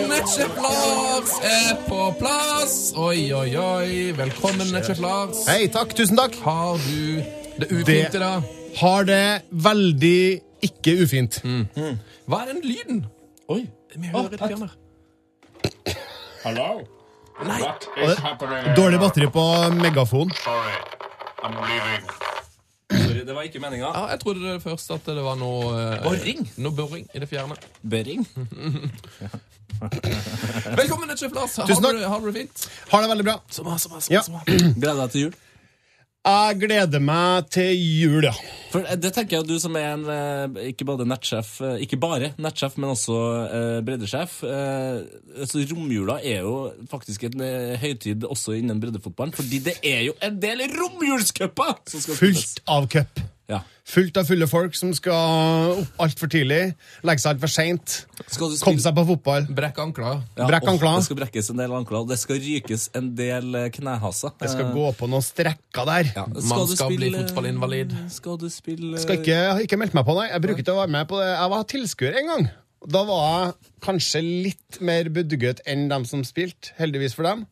Speaker 4: Netchef Lars er på plass! Oi, oi, oi. Velkommen, Netchef Lars.
Speaker 7: Hei, takk. Tusen takk.
Speaker 4: Har du det ufint i dag?
Speaker 7: Har det veldig ikke ufint.
Speaker 4: Hva er den lyden?
Speaker 3: Oi.
Speaker 4: Vi hører litt fjernere.
Speaker 8: Hello?
Speaker 4: Nei.
Speaker 8: What is happening?
Speaker 7: Dårlig batteri på megafon.
Speaker 8: Sorry, I'm leaving.
Speaker 3: Sorry, det var ikke meninga.
Speaker 4: Ja, jeg trodde det først at det var noe eh,
Speaker 3: Boring?
Speaker 4: Noe boring i det fjerne.
Speaker 3: Bering.
Speaker 4: Velkommen, Netchef Lars. Har,
Speaker 7: Tusen
Speaker 4: du
Speaker 7: takk.
Speaker 4: det- har du det fint?
Speaker 7: Har det veldig bra.
Speaker 4: Som har, som har,
Speaker 7: Ja.
Speaker 4: som har.
Speaker 3: Gleder deg til jul.
Speaker 7: Jeg gleder meg til jul, ja.
Speaker 3: For eh, det tenker jeg at du som er en eh, ikke bare nettsjef, eh, ikke bare nettsjef, men også eh, breddesjef eh, altså Romjula er jo faktisk en eh, høytid også innen breddefotballen, fordi det er jo en del romjulscuper! som skal spilles.
Speaker 7: Fullt av cup.
Speaker 3: Ja.
Speaker 7: Fullt av fulle folk som skal opp altfor tidlig, legge seg altfor seint,
Speaker 3: Skal du
Speaker 7: komme
Speaker 3: spille?
Speaker 7: seg på fotball.
Speaker 4: Brekk ankler.
Speaker 3: Ja,
Speaker 7: brekk
Speaker 3: åh,
Speaker 7: anklene.
Speaker 3: Det skal brekkes en del ankler, og det skal rykes en del eh, knehaser.
Speaker 7: Jeg skal gå på noen strekker der.
Speaker 3: Ja,
Speaker 4: Man
Speaker 3: du
Speaker 4: skal bli
Speaker 3: spille-
Speaker 4: fotballinvalid.
Speaker 3: Skal du spille
Speaker 7: Skal ikke, ikke melde meg på, nei. Jeg bruker ikke å være med på det. Jeg var tilskuer en gang. Da var jeg kanskje litt mer budget enn dem som spilte, heldigvis for dem.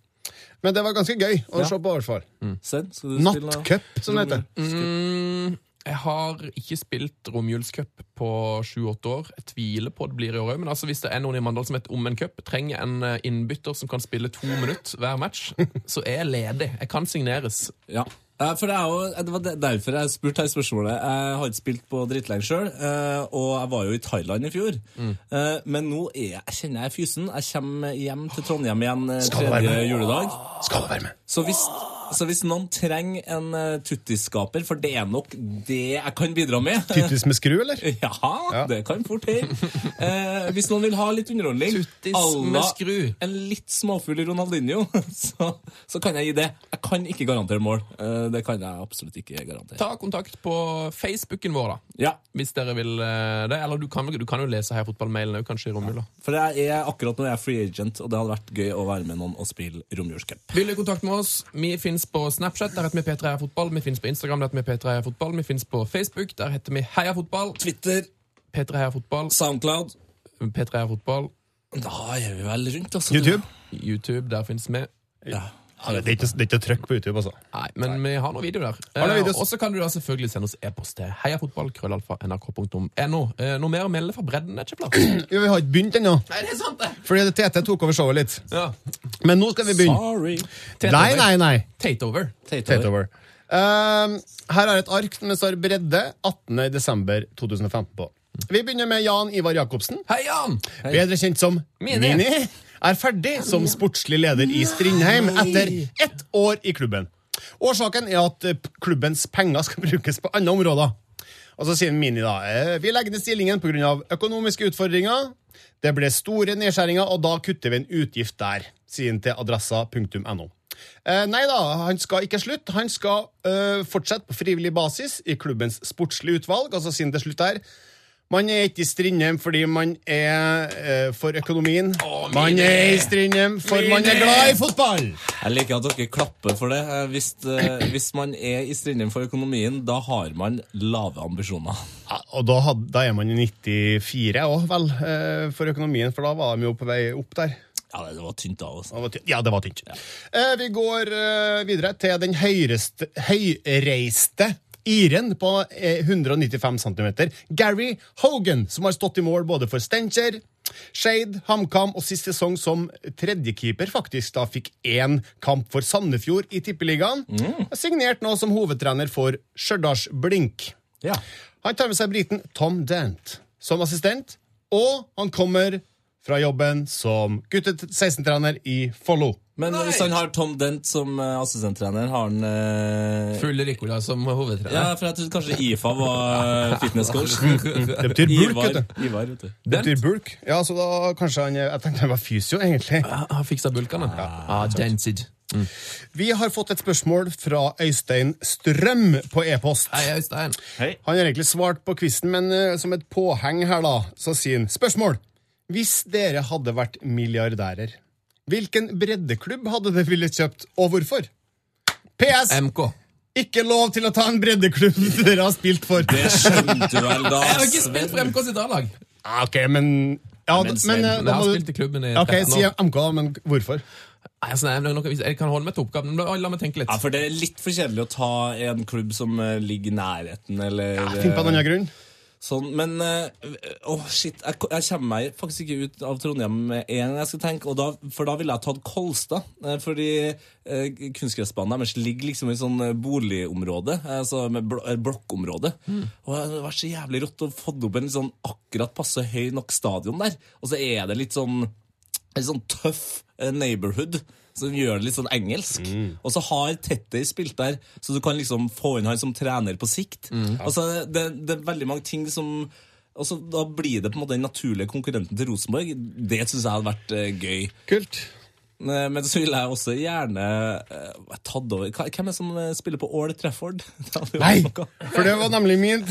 Speaker 7: Men det var ganske gøy å se på, i hvert fall.
Speaker 3: Sven, skal du spille noe?
Speaker 7: Nattcup, som det heter.
Speaker 4: Mm, jeg har ikke spilt romjulscup på sju-åtte år. Jeg tviler på det blir i år òg, men altså, hvis det er noen i Mandal som heter Om en cup, trenger en eh, innbytter som kan spille to minutter hver match, så er jeg ledig. Jeg kan signeres.
Speaker 3: Ja. Eh, For det, er jo, det var de- derfor jeg spurte her spørsmålet. Jeg har ikke spilt på drittlenge sjøl, og jeg var jo i Thailand i fjor.
Speaker 7: Mm.
Speaker 3: Eh, Men nå er jeg, jeg kjenner jeg er fysen. Jeg kommer hjem til Trondheim igjen eh,
Speaker 7: Skal du være
Speaker 3: tredje
Speaker 7: med?
Speaker 3: juledag.
Speaker 7: Skal være med.
Speaker 3: Så hvis, så hvis noen trenger en eh, tuttiskaper, for det er nok det jeg kan bidra med
Speaker 7: Tyttis med skru, eller?
Speaker 3: ja, det kan fort hende. Eh, hvis noen vil ha litt underholdning,
Speaker 4: Tuttis
Speaker 3: à la
Speaker 4: med skru.
Speaker 3: en litt småfugl i Ronaldinho, [LAUGHS] så, så kan jeg gi det. Jeg kan ikke garantere mål. Eh, det kan jeg absolutt ikke garantere.
Speaker 4: Ta kontakt på Facebooken vår, da.
Speaker 3: Ja,
Speaker 4: Hvis dere vil eh, det. Eller du kan, du kan jo lese her fotballmailen òg, kanskje, i romjula.
Speaker 3: For jeg er akkurat nå er jeg free agent, og det hadde vært gøy å være med noen og spille romjulscup.
Speaker 4: Vil du i kontakt med oss? Vi finnes på Snapchat, der heter vi P3 Heia Fotball. Vi finnes på Instagram, der heter vi P3 Heia Fotball. Vi finnes på Facebook, der heter vi Heia Fotball.
Speaker 3: Twitter,
Speaker 4: P3 Heia Fotball.
Speaker 3: Soundcloud
Speaker 4: P3 Heia Fotball.
Speaker 3: Da er vi vel rundt, altså.
Speaker 7: YouTube?
Speaker 4: YouTube, der finnes vi.
Speaker 3: Ja.
Speaker 7: Ja, det er ikke, det er ikke trøkk på YouTube, altså.
Speaker 4: Nei, men vi har noen videoer der.
Speaker 7: Har noen
Speaker 4: Eh,
Speaker 7: videoer.
Speaker 4: Og så kan du da selvfølgelig sende oss e-post til heiafotballkrøllalfa.nrk.no. Eh, Noe mer å melde fra bredden, er ikke plass. Nei,
Speaker 7: Jo, vi har ikke begynt ennå,
Speaker 4: det er sant, det!
Speaker 7: fordi det TT tok over showet litt.
Speaker 4: Ja.
Speaker 7: Men nå skal vi begynne.
Speaker 3: Sorry.
Speaker 7: Nei, nei, nei.
Speaker 4: Tate over.
Speaker 7: Tate over. Ehm, her er et ark med står bredde 18. desember 2015 på. Vi begynner med Jan Ivar Jacobsen.
Speaker 4: Hei, Jan!
Speaker 7: Bedre kjent som
Speaker 4: Mini.
Speaker 7: Mini. er ferdig som sportslig leder i Strindheim etter ett år i klubben. Årsaken er at eh, p- klubbens penger skal brukes på andre områder. Og så sier Mini da eh, vi legger ned stillingen pga. økonomiske utfordringer. Det ble store nedskjæringer, og da kutter vi en utgift der, sier han til adressa.no. Eh, nei da, han skal ikke slutte. Han skal eh, fortsette på frivillig basis i klubbens sportslige utvalg, altså siden det er slutt her. Man er ikke i Strindheim fordi man er eh, for økonomien. man er i Strindheim for man er glad i fotball!
Speaker 3: Jeg liker at dere klapper for det. Eh, Hvis, eh, hvis man er i striden for økonomien, da har man lave ambisjoner.
Speaker 7: Ja, og da, had, da er man i 94 òg, vel, eh, for økonomien, for da var de jo på vei opp der.
Speaker 3: Ja, det var tynt av oss.
Speaker 7: Det var tynt. Ja, det var tynt. Eh, vi går eh, videre til den høyreste, høyreiste iren på eh, 195 cm. Gary Hogan, som har stått i mål både for Steinkjer, Skeid, HamKam og sist sesong som tredjekeeper, faktisk. Da fikk én kamp for Sandefjord i Tippeligaen. Er Signert nå som hovedtrener for Stjørdals Blink.
Speaker 3: Ja.
Speaker 7: Han tar med seg briten Tom Dent som assistent, og han kommer fra jobben som gutte-16-trener i Follo.
Speaker 3: Men hvis han har Tom Dent som eh, assistenttrener, har han eh,
Speaker 4: Fulle Ricola som
Speaker 3: Ja,
Speaker 4: hovedtrener.
Speaker 3: for jeg trodde kanskje IFA var
Speaker 7: [LAUGHS]
Speaker 3: eh, fitnesscoach.
Speaker 7: Det betyr bulk,
Speaker 3: Ivar,
Speaker 7: vet du.
Speaker 3: Ivar, vet du.
Speaker 7: Det betyr bulk. Ja, så da kanskje han Jeg tenkte han var fysio, egentlig.
Speaker 4: Han har fiksa bulkene. Ah, Densid.
Speaker 7: Vi har fått et spørsmål fra Øystein Strøm på e-post.
Speaker 4: Hei, Øystein.
Speaker 7: Han har egentlig svart på quizen, men eh, som et påheng her, da, så sier han Spørsmål! Hvis dere hadde vært milliardærer, hvilken breddeklubb hadde dere villet kjøpt, og hvorfor? PS.
Speaker 4: MK.
Speaker 7: Ikke lov til å ta en breddeklubb [LAUGHS] dere har spilt for.
Speaker 3: Det skjønte du vel [LAUGHS] da,
Speaker 4: Jeg har ikke
Speaker 3: Sven?
Speaker 4: spilt for MK sitt A-lag.
Speaker 7: Ja, Ah, Ok, men ja,
Speaker 3: Men
Speaker 7: men,
Speaker 3: Sven,
Speaker 7: eh,
Speaker 4: Men Jeg
Speaker 7: da
Speaker 4: har
Speaker 7: må
Speaker 4: spilt
Speaker 7: du
Speaker 4: i klubben i
Speaker 7: Ok,
Speaker 4: 13
Speaker 7: si
Speaker 4: år.
Speaker 7: MK, men hvorfor?
Speaker 4: Nei, altså, nei, det er noe- Jeg kan holde meg til oppgaven. men La meg tenke litt.
Speaker 3: Ja, for det er litt for kjedelig å ta en klubb som eh, ligger i nærheten, eller
Speaker 7: Finn på
Speaker 3: eh,
Speaker 7: en annen grunn.
Speaker 3: sånn. Men eh, åh, shit, jeg, ko- jeg kommer meg faktisk ikke ut av Trondheim med en gang jeg skal tenke, og da, for da ville jeg tatt Kolstad. eh, Fordi eh, kunstgressbanen deres ligger liksom i sånn eh, boligområde, eh, altså med blo eh, blokkområde. Og det hadde vært så jævlig rått å få opp en litt sånn akkurat passe høy nok stadion der, og så er det litt sånn en sånn tøff eh, neighborhood som gjør det litt sånn engelsk.
Speaker 7: Mm.
Speaker 3: Og så har Tetter spilt der, så du kan liksom få inn han som trener på sikt.
Speaker 7: Mm.
Speaker 3: Altså, det, det er veldig mange ting som og så Da blir det på en måte den naturlige konkurrenten til Rosenborg. Det syns jeg hadde vært eh, gøy.
Speaker 7: Kult.
Speaker 3: Eh, Men så ville jeg også gjerne uh, tatt over Hva- Hvem er det som eh, spiller på All Trafford? [LAUGHS] Det hadde jo vært
Speaker 7: Nei,
Speaker 3: noe.
Speaker 7: for det var nemlig min.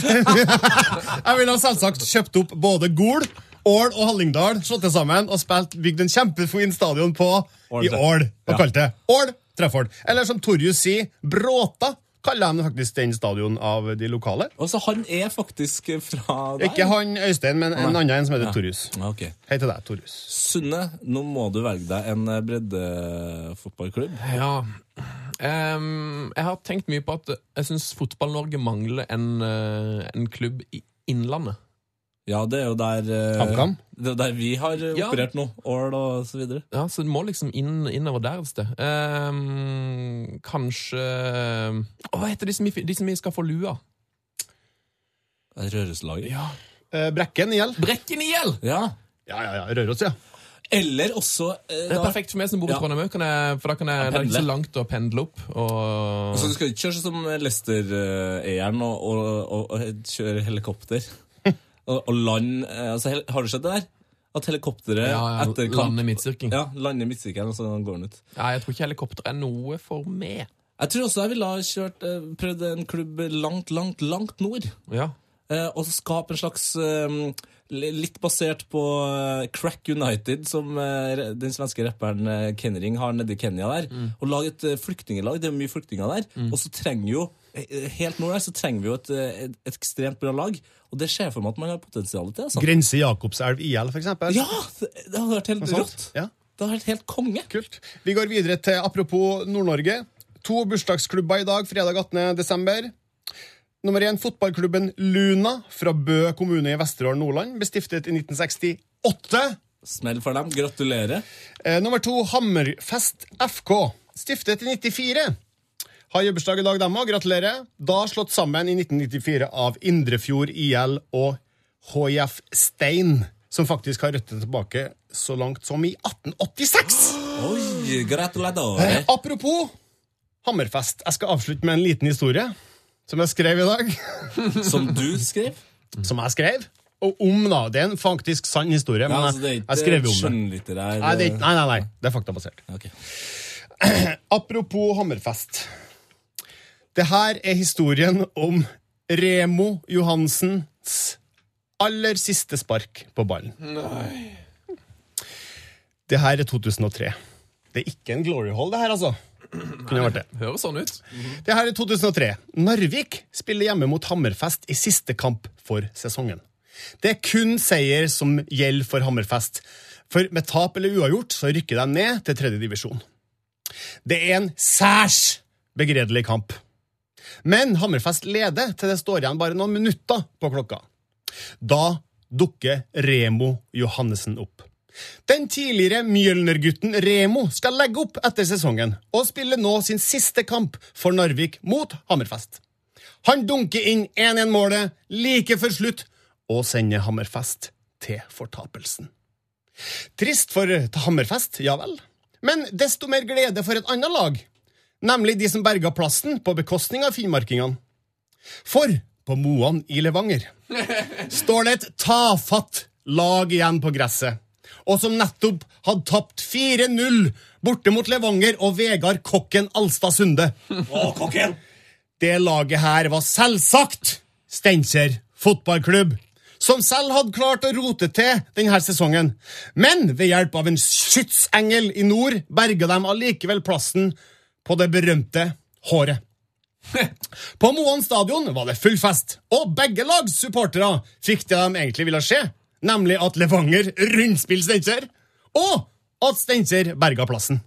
Speaker 7: [LAUGHS] Jeg ville ha selvsagt kjøpt opp både Gol, Ål og Hallingdal, slått det sammen og spilt, bygd en kjempefin stadion på
Speaker 3: Ål,
Speaker 7: i
Speaker 3: det.
Speaker 7: Ål, og
Speaker 3: Ja.
Speaker 7: kalt det Ål Trefford. Eller som Torjus sier, Bråta kaller de faktisk den stadion av de lokale.
Speaker 3: Og så han er faktisk fra der.
Speaker 7: Ikke han Øystein, men en annen en som heter Torjus.
Speaker 3: Ja, ok.
Speaker 7: Hei til deg, Torjus.
Speaker 3: Sunne, nå må du velge deg en eh, breddefotballklubb.
Speaker 4: Ja. Ehm, jeg har tenkt mye på at jeg syns Fotball-Norge mangler en, eh, en klubb i Innlandet.
Speaker 3: Ja, det er jo der eh,
Speaker 7: HamKam?
Speaker 3: Det er jo der vi har eh,
Speaker 4: Ja.
Speaker 3: operert nå. Ål og så videre.
Speaker 4: Ja, Så det må liksom inn, innover der et sted. Ehm, kanskje Å, Hva heter de som, vi- de som vi skal få lua?
Speaker 3: Det er Røroslaget.
Speaker 4: Ja.
Speaker 7: Eh, Brekken IL.
Speaker 4: Brekken i hjel!
Speaker 3: Ja.
Speaker 7: Ja, ja, ja. Røros, ja.
Speaker 3: Eller også eh,
Speaker 4: Det er
Speaker 3: da-
Speaker 4: perfekt for meg som bor i
Speaker 3: Ja.
Speaker 4: Trondheim òg, for da kan jeg, det er ikke så langt å pendle opp. Og...
Speaker 3: Så du skal ikke kjøre sånn som Lester-eieren og, og, og, og kjøre
Speaker 4: [LAUGHS]
Speaker 3: helikopter? og, og land eh, altså, hel, Har du sett det der? At helikopteret
Speaker 4: ja, ja,
Speaker 3: etter kamp
Speaker 4: lande midtsirkelen.
Speaker 3: ja, lander i midtsykkelen, og så går den ut.
Speaker 4: Ja, jeg tror ikke helikopter er noe for meg.
Speaker 3: Jeg tror også jeg ville ha kjørt, eh, prøvd en klubb langt, langt, langt nord.
Speaker 4: Ja.
Speaker 3: Eh, og så skape en slags eh, li- Litt basert på eh, Crack United, som eh, re- den svenske rapperen eh, Kenring har nede i Kenya der.
Speaker 7: Mm.
Speaker 3: Og lage et eh, flyktningelag. Det er mye flyktninger der. Og så trenger jo eh, Helt nord der så trenger vi jo et, eh, et, et ekstremt bra lag. Og det ser jeg for meg at man har potensial til. Altså.
Speaker 7: Grense Jakobselv IL, for eksempel.
Speaker 3: Ja! Det det hadde vært helt
Speaker 7: Noe sånt.
Speaker 3: rått.
Speaker 7: Ja.
Speaker 3: Det hadde vært helt konge.
Speaker 7: Kult. Vi går videre til apropos Nord-Norge. To bursdagsklubber i dag, fredag 18. desember. Nummer én, fotballklubben Luna fra Bø kommune i Vesterålen, Nordland. Bestiftet i 1968.
Speaker 3: Smell for dem. Gratulerer.
Speaker 7: Eh, nummer to, Hammerfest FK. Stiftet i 94. Har jubileumsdag i dag, dem òg. Gratulerer. Da slått sammen i 1994 av Indrefjord IL og HIF Stein, som faktisk har røtter tilbake så langt som i 1886!
Speaker 3: Oi,
Speaker 7: Eh,
Speaker 3: gratulerer.
Speaker 7: Apropos Hammerfest. Jeg skal avslutte med en liten historie som jeg skrev i dag.
Speaker 3: Som du skrev.
Speaker 7: Som jeg skrev. Og om, da. Det er en faktisk sann historie, men
Speaker 3: Ja, altså, det er
Speaker 7: jeg,
Speaker 3: ikke
Speaker 7: jeg skrev jo om det.
Speaker 3: skjønnlitterær eh,
Speaker 7: Nei, det er ikke, nei, nei, nei, det er faktabasert.
Speaker 3: Ok.
Speaker 7: Apropos Hammerfest. Det her er historien om Remo Johansens aller siste spark på ballen. Det her er 2003. Det er ikke en glory hall, det her, altså. Kunne vært det.
Speaker 4: Høres sånn ut.
Speaker 7: Det her er 2003. Narvik spiller hjemme mot Hammerfest i siste kamp for sesongen. Det er kun seier som gjelder for Hammerfest, for med tap eller uavgjort så rykker de ned til tredje divisjon. Det er en særs begredelig kamp. Men Hammerfest leder til det står igjen bare noen minutter på klokka. Da dukker Remo Johannessen opp. Den tidligere Mjølner-gutten Remo skal legge opp etter sesongen og spiller nå sin siste kamp for Narvik mot Hammerfest. Han dunker inn 1-1-målet like før slutt og sender Hammerfest til fortapelsen. Trist for Hammerfest, ja vel, men desto mer glede for et annet lag, nemlig de som berga plassen på bekostning av finnmarkingene. For på Moan i Levanger står det et tafatt lag igjen på gresset, og som nettopp hadde tapt 4-0 borte mot Levanger og Vegard Kokken Alstad Sunde. Det laget her var selvsagt Steinkjer fotballklubb, som selv hadde klart å rote til denne sesongen. Men ved hjelp av en skytsengel i nord berga de allikevel plassen på det berømte håret. På Moan stadion var det full fest, og begge lags supportere fikk det de egentlig ville se, nemlig at Levanger rundspiller Steinkjer, og at Steinkjer berga plassen.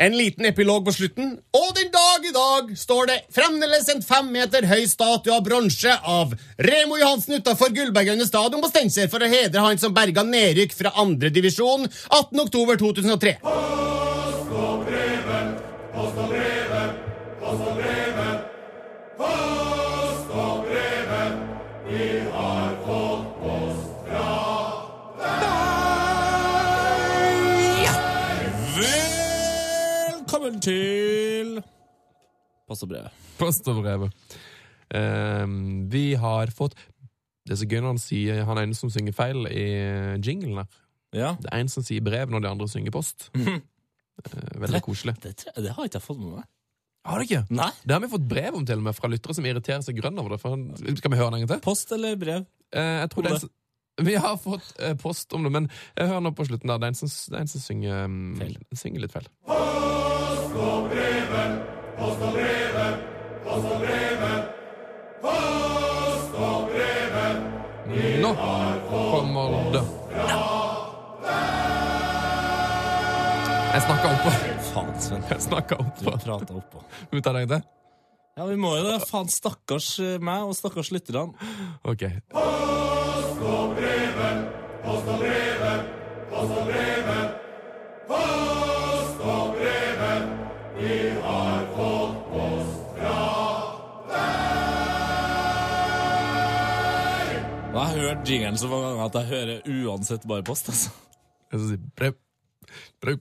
Speaker 7: En liten epilog på slutten, og den dag i dag står det fremdeles en fem meter høy statue av bronse av Remo Johansen utafor Gullbergøyene stadion på Steinkjer for å hedre han som berga nedrykk fra andredivisjon 18.10.2003.
Speaker 3: Velkommen til Pass og brev.
Speaker 4: Post og brev. Ehm, vi har fått Det er så gøy når han sier Han er en som synger feil i jinglen her.
Speaker 3: Ja.
Speaker 4: Det er en som sier brev når de andre synger post. Eh, veldig koselig.
Speaker 3: Det, tre- det har ikke jeg fått med meg.
Speaker 4: Har du ikke?
Speaker 3: Nei.
Speaker 4: Det har vi fått brev om til og med fra lyttere som irriterer seg grønn over det. For, han- skal vi høre den en gang til?
Speaker 3: Post eller brev?
Speaker 4: Eh, jeg tror
Speaker 3: Om
Speaker 4: det er
Speaker 3: det.
Speaker 4: en som- [LAUGHS] vi har fått eh, post om det, men eh, hør nå på slutten. der Det er en som, det er en som synger, mm,
Speaker 3: Feil.
Speaker 4: synger litt feil. Nå kommer det. Jeg snakka oppå. [LAUGHS]
Speaker 3: Faen, Sven.
Speaker 4: Jeg snakka
Speaker 3: Du
Speaker 4: oppå.
Speaker 3: prata oppå.
Speaker 4: Skal vi ta det en gang til?
Speaker 3: Ja, vi må jo det. Faen, stakkars eh, meg og stakkars lytterne.
Speaker 4: Ok.
Speaker 3: Og Jeg har hørt jingelen så mange ganger at jeg hører uansett bare post, altså.
Speaker 4: Jeg skal si brev. Brev.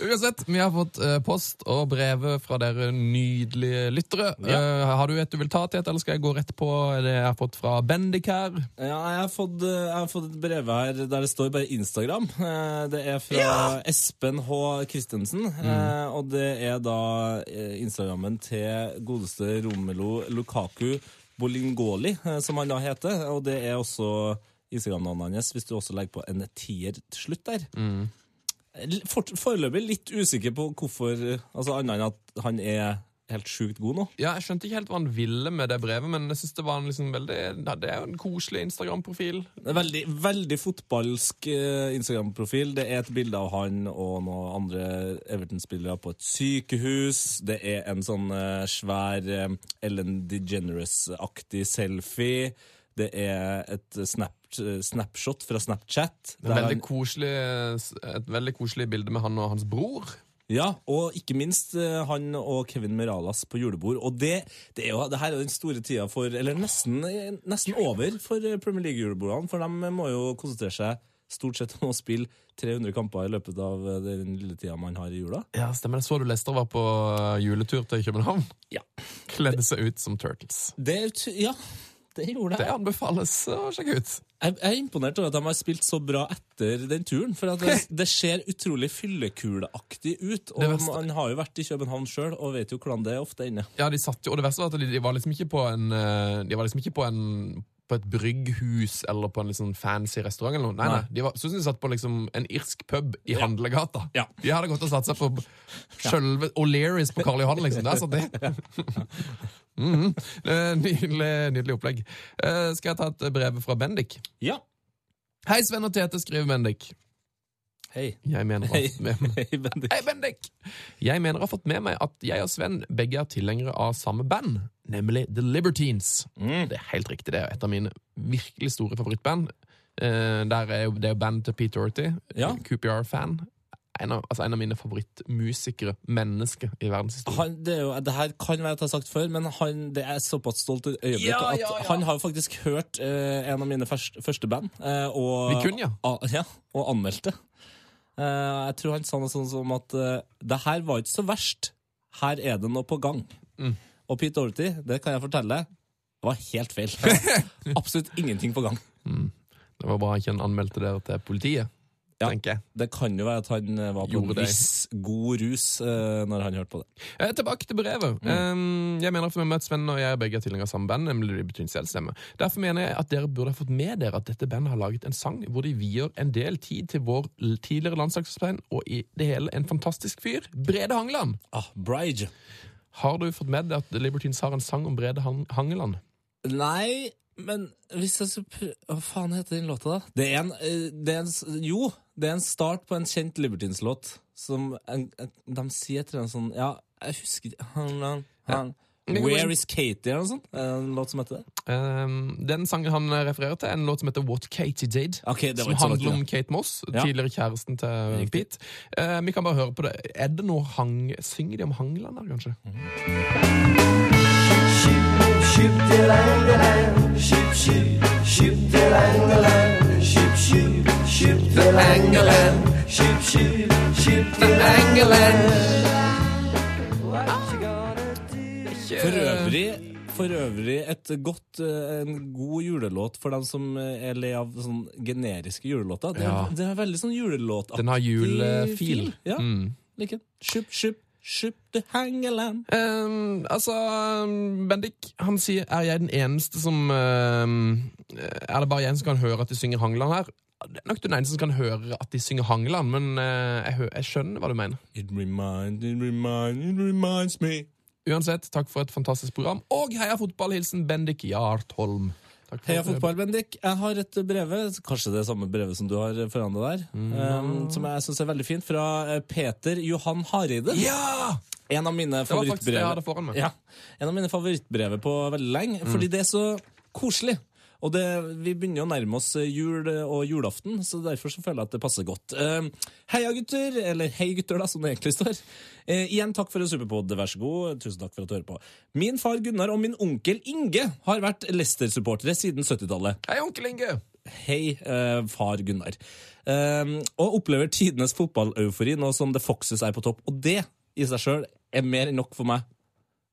Speaker 4: Uansett, vi har fått eh, post og brevet fra dere nydelige lyttere. Eh, har du et du vil ta til, eller skal jeg gå rett på det jeg har fått fra Bendik her?
Speaker 3: Ja, jeg har fått, eh, jeg har fått et brev her der det står bare Instagram. Eh, Det er fra Espen H. Christensen, eh, og det er da eh, Instagrammen til godeste Romelo Lukaku Bolingoli, eh, som han da heter. Og det er også Instagram-navnet hans, hvis du også legger på en tier til slutt der. L- fort- Foreløpig litt usikker på hvorfor, eh, altså annet enn at han er helt sjukt god nå.
Speaker 4: Ja, jeg skjønte ikke helt hva han ville med det brevet, men jeg synes det var en liksom veldig... Ja, det er jo en koselig Instagram-profil.
Speaker 3: Det er Veldig, veldig fotballsk eh, Instagram-profil. Det er et bilde av han og noen andre Everton-spillere på et sykehus. Det er en sånn eh, svær eh, Ellen DeGeneres-aktig selfie. Det er et eh, snap, eh, snapshot fra Snapchat.
Speaker 4: En
Speaker 3: der
Speaker 4: veldig
Speaker 3: han-
Speaker 4: koselig, et veldig koselig bilde med han og hans bror.
Speaker 3: ja, og ikke minst eh, han og Kevin Meralas på julebord. Og det, det er jo det her er den store tida for Eller nesten, eh, nesten over for eh, Premier League-julebordene, for de må jo konsentrere seg stort sett om å spille 300 kamper i løpet av eh, den lille tida man har i jula.
Speaker 4: Ja, stemmer. Jeg så du Lester var på eh, juletur til København.
Speaker 3: Ja.
Speaker 4: Kledde seg ut som Turtles.
Speaker 3: Det er ut, ja. Det gjorde
Speaker 4: Det
Speaker 3: jeg.
Speaker 4: anbefales å sjekke ut.
Speaker 3: Jeg jeg er imponert over at de har spilt så bra etter den turen. For at [LAUGHS] det, det ser utrolig fyllekuleaktig ut.
Speaker 4: Det
Speaker 3: Og
Speaker 4: verste-
Speaker 3: man har jo vært i København sjøl og vet jo hvordan det ofte ender.
Speaker 4: Ja, de satt jo, og det verste var at de, de var liksom ikke på en eh, De var liksom ikke på en på et brygghus eller på en litt sånn fancy restaurant. eller noe. Nei, nei.
Speaker 3: Nei.
Speaker 4: De var, synes de satt på liksom en irsk pub i handlegata.
Speaker 3: Ja.
Speaker 4: De hadde gått og satt seg på sjølve O'Learys på Karl Johan. liksom. Der satt de.
Speaker 3: [LAUGHS]
Speaker 4: Mhm. Eh, nydelig, nydelig opplegg. Eh, skal jeg ta et brev fra Bendik?
Speaker 3: Ja.
Speaker 4: Hei, Sven og Tete, skriver Bendik.
Speaker 3: Hei.
Speaker 4: Jeg mener
Speaker 3: Hei,
Speaker 4: at med,
Speaker 3: Hei, Bendik.
Speaker 4: Hei, Bendik! Jeg mener jeg har fått med meg at jeg og Sven begge er tilhengere av samme band, nemlig The Libertines.
Speaker 3: Mm.
Speaker 4: Det er helt riktig, det er et av mine virkelig store favorittband. Eh, der er jo, det er jo band til Pete Doherty,
Speaker 3: Ja.
Speaker 4: QPR-fan. En av, altså en av mine favorittmusikere, mennesker, i verdenshistorien.
Speaker 3: Han, det, er jo, det her kan være at jeg har sagt før, men han, det er såpass stolt et øyeblikk
Speaker 4: Ja, ja,
Speaker 3: at
Speaker 4: ja.
Speaker 3: han har jo faktisk hørt eh, en av mine første, første band. eh, og,
Speaker 4: Vikunja.
Speaker 3: a- ja, og anmeldte. Eh, jeg tror han sa noe sånn som at eh, det her var ikke så verst. Her er det noe på gang.
Speaker 4: Mm.
Speaker 3: Og Pete Doherty, det kan jeg fortelle, var helt
Speaker 4: [LAUGHS]
Speaker 3: feil. Absolutt ingenting på gang.
Speaker 4: Det var bra han ikke anmeldte dere til politiet,
Speaker 3: Ja.
Speaker 4: tenker jeg.
Speaker 3: Det kan jo være at han eh, var på
Speaker 4: Gjorde
Speaker 3: en
Speaker 4: det.
Speaker 3: viss god rus eh, når han hørte på det.
Speaker 4: Eh, Tilbake til brevet.
Speaker 3: Mm.
Speaker 4: Eh, jeg mener for meg at Sven og jeg er begge er tilhengere av samme band, nemlig Libertines selvstemme. Derfor mener jeg at dere burde ha fått med dere at dette bandet har laget en sang hvor de vier en del tid til vår l- tidligere landslagskaptein og i det hele en fantastisk fyr, Brede Hangeland.
Speaker 3: Ah, Bride.
Speaker 4: Har du fått med deg at Libertines har en sang om Brede Han Hangeland?
Speaker 3: Nei, men hvis jeg skulle prøve Hva faen heter den låta, da? Det er en, eh, det er en s- Jo, det er en start på en kjent Libertines-låt som en, en, de sier etter en sånn Ja, jeg husker ikke han, han, han.
Speaker 4: Ja.
Speaker 3: Where is Katie, eller noe sånt? Er det En låt som heter det?
Speaker 4: Eh, den sangen han eh, refererer til, er en låt som heter What Katie Did.
Speaker 3: Ok, det var
Speaker 4: som
Speaker 3: ikke så lett,
Speaker 4: handler om
Speaker 3: ja.
Speaker 4: Kate Moss,
Speaker 3: Ja.
Speaker 4: tidligere kjæresten til
Speaker 3: Riktig.
Speaker 4: Pete. Eh, vi kan bare høre på det. Er det noe hang... Synger de om Hangeland der, kanskje?
Speaker 3: For øvrig for øvrig et godt, eh, en god julelåt for dem som eh, er lei av sånn generiske julelåter. Det er,
Speaker 4: Ja.
Speaker 3: det er veldig sånn julelåtaktig
Speaker 4: Den har julefil. Mm.
Speaker 3: fil. Ja, liker den. Shup, shup, shup the hangeland.
Speaker 4: Ehm, altså, Bendik han sier Er jeg den eneste som ehm, Er det bare jeg som kan høre at de synger Hangeland her? Det er nok den eneste som kan høre at de synger Hangeland, men eh, jeg, hø- jeg skjønner hva du mener.
Speaker 3: It reminds, it reminds, it reminds me.
Speaker 4: Uansett, takk for et fantastisk program, og heia fotball! Hilsen Bendik Jartholm. Takk for-
Speaker 3: Heia fotball, Bendik. Jeg har et brev, kanskje det er samme brevet som du har foran deg der, eh, som jeg syns er veldig fint, fra eh, Peter Johan Hareide.
Speaker 4: Ja!
Speaker 3: En av mine
Speaker 4: var faktisk det jeg hadde foran
Speaker 3: favorittbrev
Speaker 4: meg.
Speaker 3: ja, En av mine favorittbrev på veldig lenge,
Speaker 4: Mm.
Speaker 3: fordi det er så koselig. Og det, vi begynner jo å nærme oss eh, jul og julaften, så derfor så føler jeg at det passer godt. Eh, heia, gutter! Eller hei, gutter, da, som det egentlig står. Eh, igjen takk for en superpod, vær så god. Tusen takk for at du hører på. Min far Gunnar og min onkel Inge har vært Leicester-supportere siden 70-tallet.
Speaker 4: Hei, onkel Inge!
Speaker 3: Hei, eh, far Gunnar. Ehm, og opplever tidenes fotballeufori nå som The Foxes er på topp. Og det i seg sjøl er mer enn nok for meg.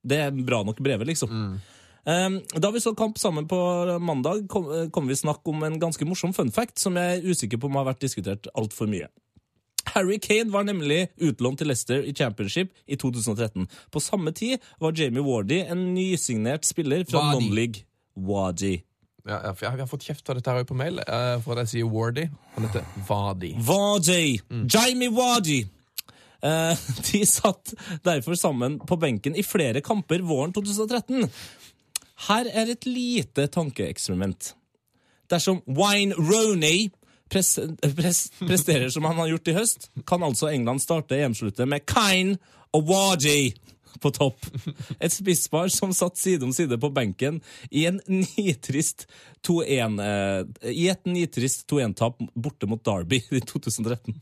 Speaker 3: Det er bra nok brevet, liksom. Ehm, da vi så kamp sammen på mandag, kom, eh, kom vi snakk om en ganske morsom fun fact som jeg er usikker på om har vært diskutert altfor mye. Harry Kane var nemlig utlånt til Leicester i Championship i 2013. På samme tid var Jamie Wardy en nysignert spiller fra
Speaker 4: Vardy.
Speaker 3: non-league Wadi.
Speaker 4: Ja, ja, for jeg, vi har fått kjeft for dette her også på mail, eh, for at jeg sier Wardy. Han heter Vadi.
Speaker 3: Vardy. Jamie Vardy. Eh, [LAUGHS] de satt derfor sammen på benken i flere kamper våren 2013. Her er et lite tankeeksperiment. Dersom Wine Rooney pres pres presterer som han har gjort i høst, kan altså England starte EM-sluttet med Kine og Wardy på topp. Et spisspar som satt side om side på benken i, en nitrist 2-1, eh, i et nitrist 2-1-tap borte mot Derby i 2013.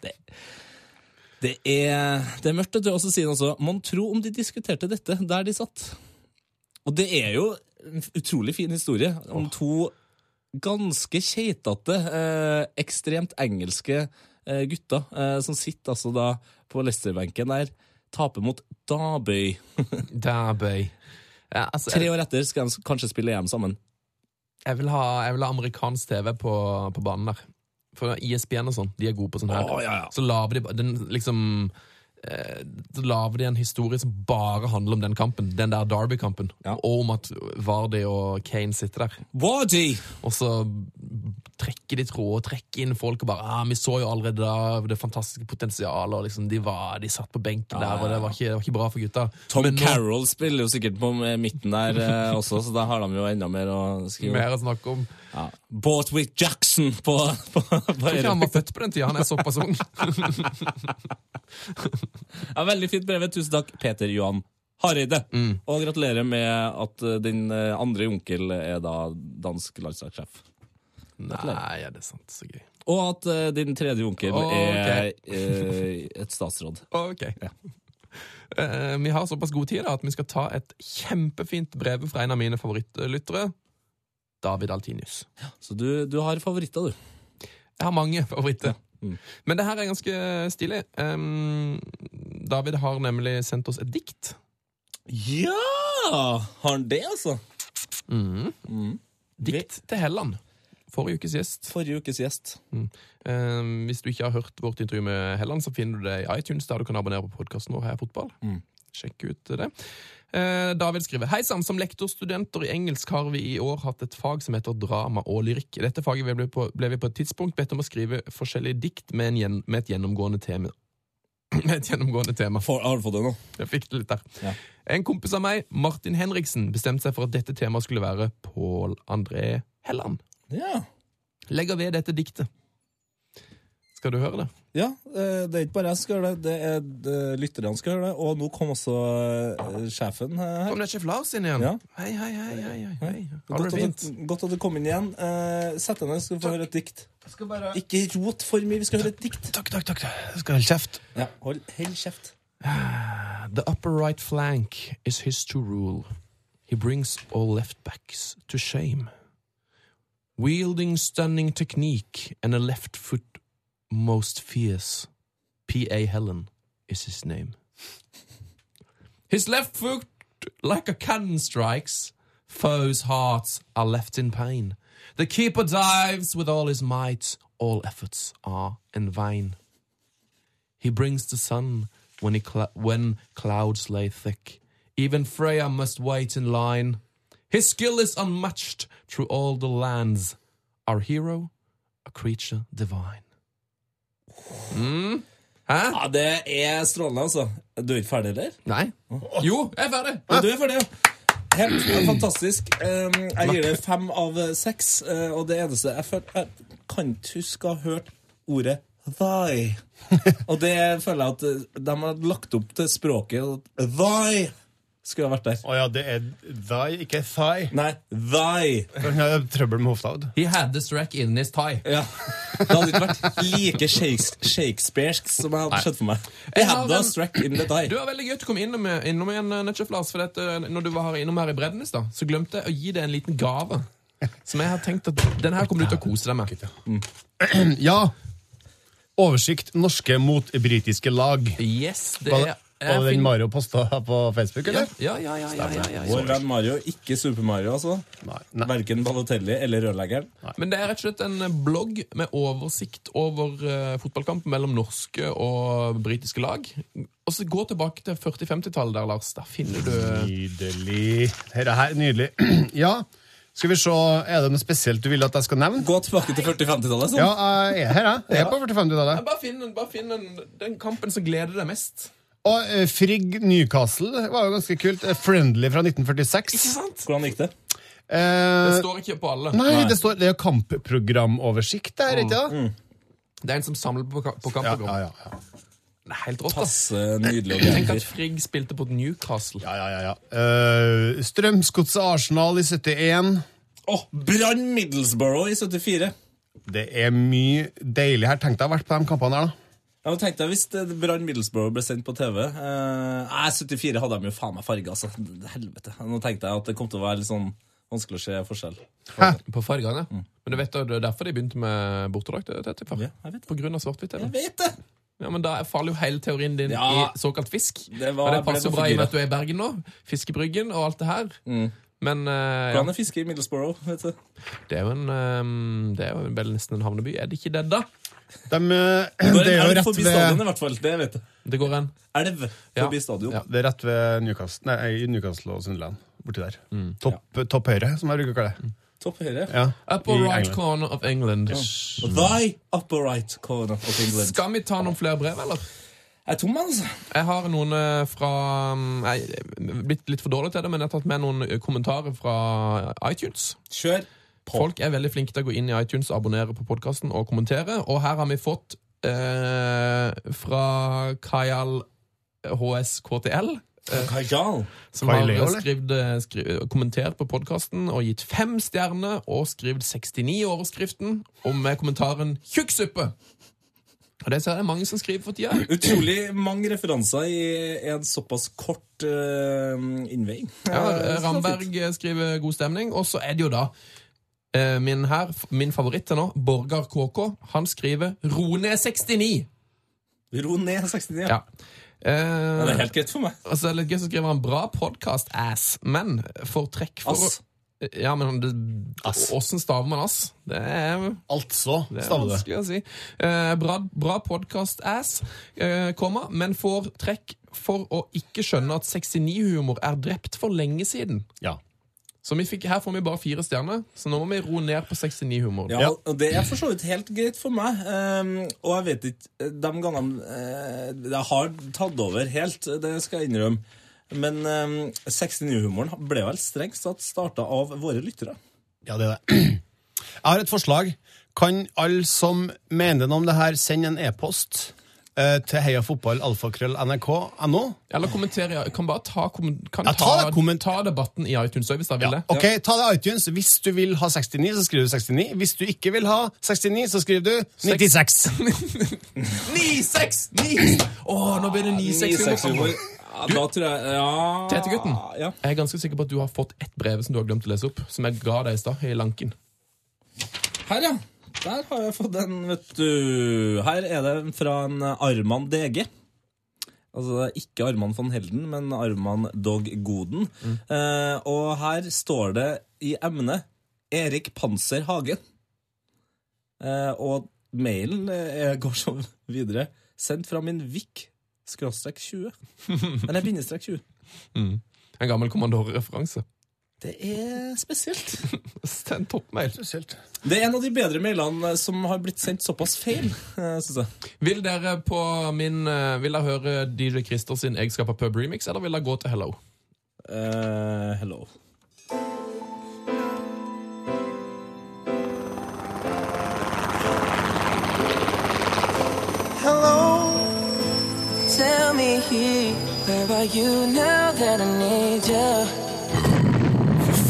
Speaker 3: Det, det, er, det er mørkt, vet du. Og så sier han også Mon tro om de diskuterte dette der de satt? Og det er jo en utrolig fin historie om to ganske keitete, eh, ekstremt engelske eh, gutter eh, som sitter altså da på Leicester-benken der, taper mot Dabøy.
Speaker 4: Dabøy. Ja, altså,
Speaker 3: Tre år etter skal de kanskje spille EM sammen.
Speaker 4: Jeg vil ha, jeg vil ha amerikansk TV på, på banen der. For ISBN og sånn, de er gode på sånn her.
Speaker 3: Å, ja, ja.
Speaker 4: Så lager de ba- den, liksom eh, så lager de en historie som bare handler om den kampen. Den der Derby-kampen.
Speaker 3: Ja.
Speaker 4: Og om at Vardy og Kane sitter der.
Speaker 3: Wardy!
Speaker 4: Og så trekker de tråder og trekker inn folk og bare ah, 'Vi så jo allerede da det fantastiske potensialet', og liksom de, var, de satt på benken
Speaker 3: Ja,
Speaker 4: der, og det var ikke, det var ikke bra for gutta.
Speaker 3: Tom
Speaker 4: Men nå-
Speaker 3: Carroll spiller jo sikkert på med midten der eh, også, så da har de jo enda mer å skrive.
Speaker 4: Mer å snakke om.
Speaker 3: Ja. Bortwick Jackson på, [LAUGHS] på, på
Speaker 4: Jeg tror ikke han var født på den tida, han er
Speaker 3: [LAUGHS]
Speaker 4: såpass ung.
Speaker 3: Ja, veldig fint brevet. Tusen takk, Peter Johan Hareide.
Speaker 4: Mm.
Speaker 3: Og gratulerer med at eh, din eh, andre onkel er da dansk landslagssjef.
Speaker 4: Nei, ja, det er sant. Så gøy.
Speaker 3: Og at eh, din tredje onkel
Speaker 4: Ok.
Speaker 3: er eh, et statsråd.
Speaker 4: Ok.
Speaker 3: Ja.
Speaker 4: Eh, vi har såpass god tid da, at vi skal ta et kjempefint brev fra en av mine favorittlyttere. David Altinius.
Speaker 3: Så du, du har favoritter, du.
Speaker 4: Jeg har mange favoritter. Men det her er ganske stilig. Ehm, David har nemlig sendt oss et dikt.
Speaker 3: Ja! Har han det, altså?
Speaker 4: Dikt til Helland. Forrige ukes gjest.
Speaker 3: Forrige ukes gjest.
Speaker 4: Ehm, hvis du ikke har hørt vårt intervju med Helland, så finner du det i iTunes, der du kan abonnere på podkasten vår Heia fotball. Sjekk ut det. Eh, David skriver Hei sann, som lektorstudenter i engelsk har vi i år hatt et fag som heter drama og lyrikk. I dette faget ble, på, ble vi på et tidspunkt bedt om å skrive forskjellige dikt med, en gjen, med et gjennomgående tema. [CLEARS THROAT] Med et gjennomgående tema. [LAUGHS]
Speaker 3: For, har du fått det nå?
Speaker 4: Jeg fikk det litt der.
Speaker 3: Ja.
Speaker 4: En kompis av meg, Martin Henriksen, bestemte seg for at dette temaet skulle være Pål André Helland.
Speaker 3: Ja.
Speaker 4: Legger ved dette diktet. Skal du høre det?
Speaker 3: Ja, eh, det er ikke bare jeg som skal gjøre det, det er eh, lytterne som skal gjøre det. Og nå kom også eh, sjefen eh, her.
Speaker 4: Kom det er sjef Lars inn igjen?
Speaker 3: Ja.
Speaker 4: Hei, hei, hei, hei, hei, hei. Har du
Speaker 3: Godt
Speaker 4: det
Speaker 3: at,
Speaker 4: fint?
Speaker 3: du, godt at du kom inn igjen. Eh, Sett deg ned, så skal du få høre et dikt.
Speaker 4: Skal bare...
Speaker 3: Ikke rot for mye, vi skal høre et dikt.
Speaker 4: Takk, takk, takk. Jeg skal holde kjeft.
Speaker 3: Ja, hold, Hold kjeft.
Speaker 4: The upper right flank is his to rule. He brings all left backs to shame. Wielding stunning technique and a left foot most fierce, P.A. Helen is his name. His left foot, like a cannon strikes, foes' hearts are left in pain. The keeper dives with all his might, all efforts are in vain. He brings the sun when, he cl- when clouds lay thick. Even Freya must wait in line. His skill is unmatched through all the lands. Our hero, a creature divine.
Speaker 3: Ja, Det er strålende, altså. Du er ikke ferdig, eller?
Speaker 4: Nei. Oh. Jo, jeg er ferdig!
Speaker 3: Ja, du er ferdig, ja. Helt fantastisk. Um, Jeg gir det fem av seks, eh, og det eneste jeg føler Jeg kan ikke huske å ha hørt ordet thy. Og det føler jeg at eh, de har lagt opp til språket. og Thy skulle ha vært der.
Speaker 7: Å ja, det er thy, ikke thigh.
Speaker 3: Nei, thy.
Speaker 7: Han har trøbbel med hofta. vet du.
Speaker 4: He had the strack in his tie.
Speaker 3: Ja. Det hadde ikke vært like Shakes- shakespearsk som jeg hadde sett for meg. Jeg
Speaker 4: har
Speaker 3: hadde
Speaker 4: en-
Speaker 3: strack in the
Speaker 4: Du
Speaker 3: thy.
Speaker 4: var veldig gøy at du kom innom, eh, innom igjen, Netchef Lars. For at, eh, når du var innom her i bredden i stad, så glemte jeg å gi deg en liten gave. Som jeg har tenkt at Den her kommer du til å kose deg med.
Speaker 7: Ja. Oversikt norske mot britiske lag.
Speaker 4: Yes, det er
Speaker 7: Var det, var det den Mario posta på Facebook,
Speaker 4: Ja,
Speaker 7: eller?
Speaker 4: ja, ja. ja, ja, ja, ja, ja.
Speaker 3: Vår venn Mario, ikke Super Mario, altså.
Speaker 7: Nei. Nei.
Speaker 3: Verken Balotelli eller rørleggeren.
Speaker 4: Men det er rett og slett en eh, blogg med oversikt over eh, fotballkampen mellom norske og britiske lag. Og så gå tilbake til 40-50-tallet der, Lars. Der finner du
Speaker 7: Nydelig. Dette her er nydelig. [CLEARS THROAT] Ja, skal vi se. Er det noe spesielt du vil at jeg skal nevne?
Speaker 3: Gå tilbake til 40-50-tallet. sånn.
Speaker 7: Ja, jeg er her, jeg. Jeg er på 45-tallet.
Speaker 4: Bare finn, den- bare finn den, den kampen som gleder deg mest.
Speaker 7: Og eh, Frigg Newcastle var jo ganske kult. Eh, Friendly fra 1946.
Speaker 4: Ikke sant?
Speaker 3: Hvordan gikk det?
Speaker 4: Det
Speaker 7: Eh,
Speaker 4: står ikke på alle.
Speaker 7: nei, det står Det er jo kampprogramoversikt der, ikke det?
Speaker 4: Det er en som samler på, ka- på
Speaker 7: Ja,
Speaker 4: kampen.
Speaker 7: ja, ja, ja.
Speaker 4: Det er helt rått, ass.
Speaker 3: Passe nydelig og
Speaker 4: Tenk
Speaker 3: gøy.
Speaker 4: at Frigg spilte på Newcastle.
Speaker 7: ja, ja, ja, ja. Eh, Strømsgodset Arsenal i 71.
Speaker 3: Oh, Brann Middlesbrough i 74.
Speaker 7: Det er mye deilig her. Tenk deg å ha vært på de kampene her, da.
Speaker 3: Jeg tenkte Hvis det- Brann Middlesbrough ble sendt på TV eh, Nei, 74 hadde de jo faen meg farge, altså. Helvete. Nå tenkte jeg at det kom til å være litt sånn vanskelig å se forskjell.
Speaker 4: På
Speaker 7: Mm.
Speaker 4: fargene. Men du vet, det er derfor de begynte med bortedrakt. Tete, far.
Speaker 3: Ja, jeg vet det.
Speaker 4: På grunn av svart-hvitt.
Speaker 3: Jeg vet det!
Speaker 4: Ja, men Da faller jo hele teorien din
Speaker 3: Ja.
Speaker 4: i såkalt fisk.
Speaker 3: Det var-
Speaker 4: og det
Speaker 3: ble
Speaker 4: passer
Speaker 3: for Mm.
Speaker 4: bra i og med
Speaker 3: dyre.
Speaker 4: at du er i Bergen nå. Fiskebryggen og alt det her. Men eh, ja,
Speaker 3: Hvordan er fiske i Middlesbrough? Vet du?
Speaker 4: det er jo en eh, Det er jo vel nesten en havneby. Er det ikke det, da?
Speaker 7: De, eh, [CLEARS THROAT]
Speaker 3: Det
Speaker 7: det er jo
Speaker 3: elv
Speaker 7: rett
Speaker 3: forbi
Speaker 7: ved
Speaker 3: stadion, i hvert fall. Det vet jeg.
Speaker 4: Det går en.
Speaker 3: Elv
Speaker 4: Ja.
Speaker 3: forbi stadion.
Speaker 4: Ja.
Speaker 7: Det er rett ved Newcastle, nei, i Newcastle og Sunderland. Borti der.
Speaker 4: Mm.
Speaker 7: Topp, topp høyre, som jeg bruker å kalle det.
Speaker 3: Topp høyre.
Speaker 7: Ja.
Speaker 4: Upper
Speaker 7: I
Speaker 4: right
Speaker 7: England.
Speaker 4: corner of England.
Speaker 3: Thy upper right corner of England.
Speaker 4: Skal vi ta noen flere brev, eller?
Speaker 3: Jeg er tom, altså.
Speaker 4: Jeg har noen eh, fra mm, Jeg er blitt litt for dårlig til det, men jeg har tatt med noen eh, kommentarer fra iTunes.
Speaker 3: Kjør.
Speaker 4: Folk er veldig flinke til å gå inn i iTunes, abonnere på podkasten og kommentere. Og her har vi fått eh, fra Kajal HSKTL,
Speaker 3: Kajal.
Speaker 4: som har
Speaker 7: Kyle, eller?
Speaker 4: skrevet, eh, skri- kommentert på podkasten og gitt fem stjerner og skrevet 69 i overskriften, og med kommentaren 'tjukksuppe'. Og det ser jeg mange som skriver for tida.
Speaker 3: Utrolig mange referanser i en såpass kort uh, innveiing.
Speaker 4: Ja,
Speaker 3: Eh, så fint.
Speaker 4: Ramberg skriver god stemning. Og så er det jo da eh, min, her, min favoritt til nå, Borgar KK, han skriver 'Ro ned 69'.
Speaker 3: Ro ned 69. Ja.
Speaker 4: Ja. Eh,
Speaker 3: Det er helt greit for meg.
Speaker 4: og så er Altså, det litt gøy, så skriver han 'bra podkast, ass', men for trekk for
Speaker 3: Ass.
Speaker 4: Ja, men det,
Speaker 7: Ass.
Speaker 4: Åssen staver man ass? Det er,
Speaker 7: Altså,
Speaker 4: det er
Speaker 7: staver det.
Speaker 4: vanskelig å si. Eh, bra bra podkast, ass, eh, komma, men får trekk for å ikke skjønne at 69-humor er drept for lenge siden.
Speaker 7: Ja.
Speaker 4: Så vi fikk, her får vi bare fire stjerner, så nå må vi roe ned på 69-humor.
Speaker 3: Ja,
Speaker 7: Ja.
Speaker 3: og det er for så vidt helt greit for meg. ehm, og jeg vet ikke De gangene eh, jeg har tatt over helt, det skal jeg innrømme. Men um, 69-humoren ble vel strengt tatt starta av våre lyttere.
Speaker 7: ja, det er det. [CLEARS THROAT] Jeg har et forslag. Kan alle som mener noe om det her, sende en e-post eh, til heiafotballalfakrøll.nrk.no?
Speaker 4: Eller kommentere, ja. kan bare ta, kom- kan
Speaker 7: Ja, ta det, komment-
Speaker 4: ta debatten i iTunes òg, hvis dere vil det.
Speaker 7: Ok, ta det iTunes. Hvis du vil ha 69, så skriver du 69. Hvis du ikke vil ha 69, så skriver du 96.
Speaker 4: [LAUGHS] 96! 9! Å, nå blir det
Speaker 3: 96-humor.
Speaker 4: 96-humor.
Speaker 3: Ja, da tror jeg Ja.
Speaker 4: Tetegutten.
Speaker 3: Ja.
Speaker 4: Jeg er ganske sikker på at du har fått ett brev som du har glemt å lese opp, som jeg ga deg i stad, i lanken.
Speaker 3: Her, ja. Der har jeg fått en, vet du. Her er det en fra en Arman DG. Altså det er ikke Arman von Helden, men Arman Dog Goden. Eh, og her står det i emnet Erik Panser Hagen. Eh, og mailen eh, går sånn videre. Sendt fra min VIK skråstrek 20. Eller bindestrek 20.
Speaker 4: En gammel kommandorreferanse.
Speaker 3: Det er spesielt.
Speaker 4: Send toppmail.
Speaker 3: Det er en av de bedre mailene som har blitt sendt såpass feil, eh, synes jeg.
Speaker 4: Vil dere på min eh, Vil dere høre DJ Christer sin 'Jeg skaper pub remix', eller vil dere gå til Hello?
Speaker 3: Eh, hello.
Speaker 9: Tell me here, where are you now that I need you?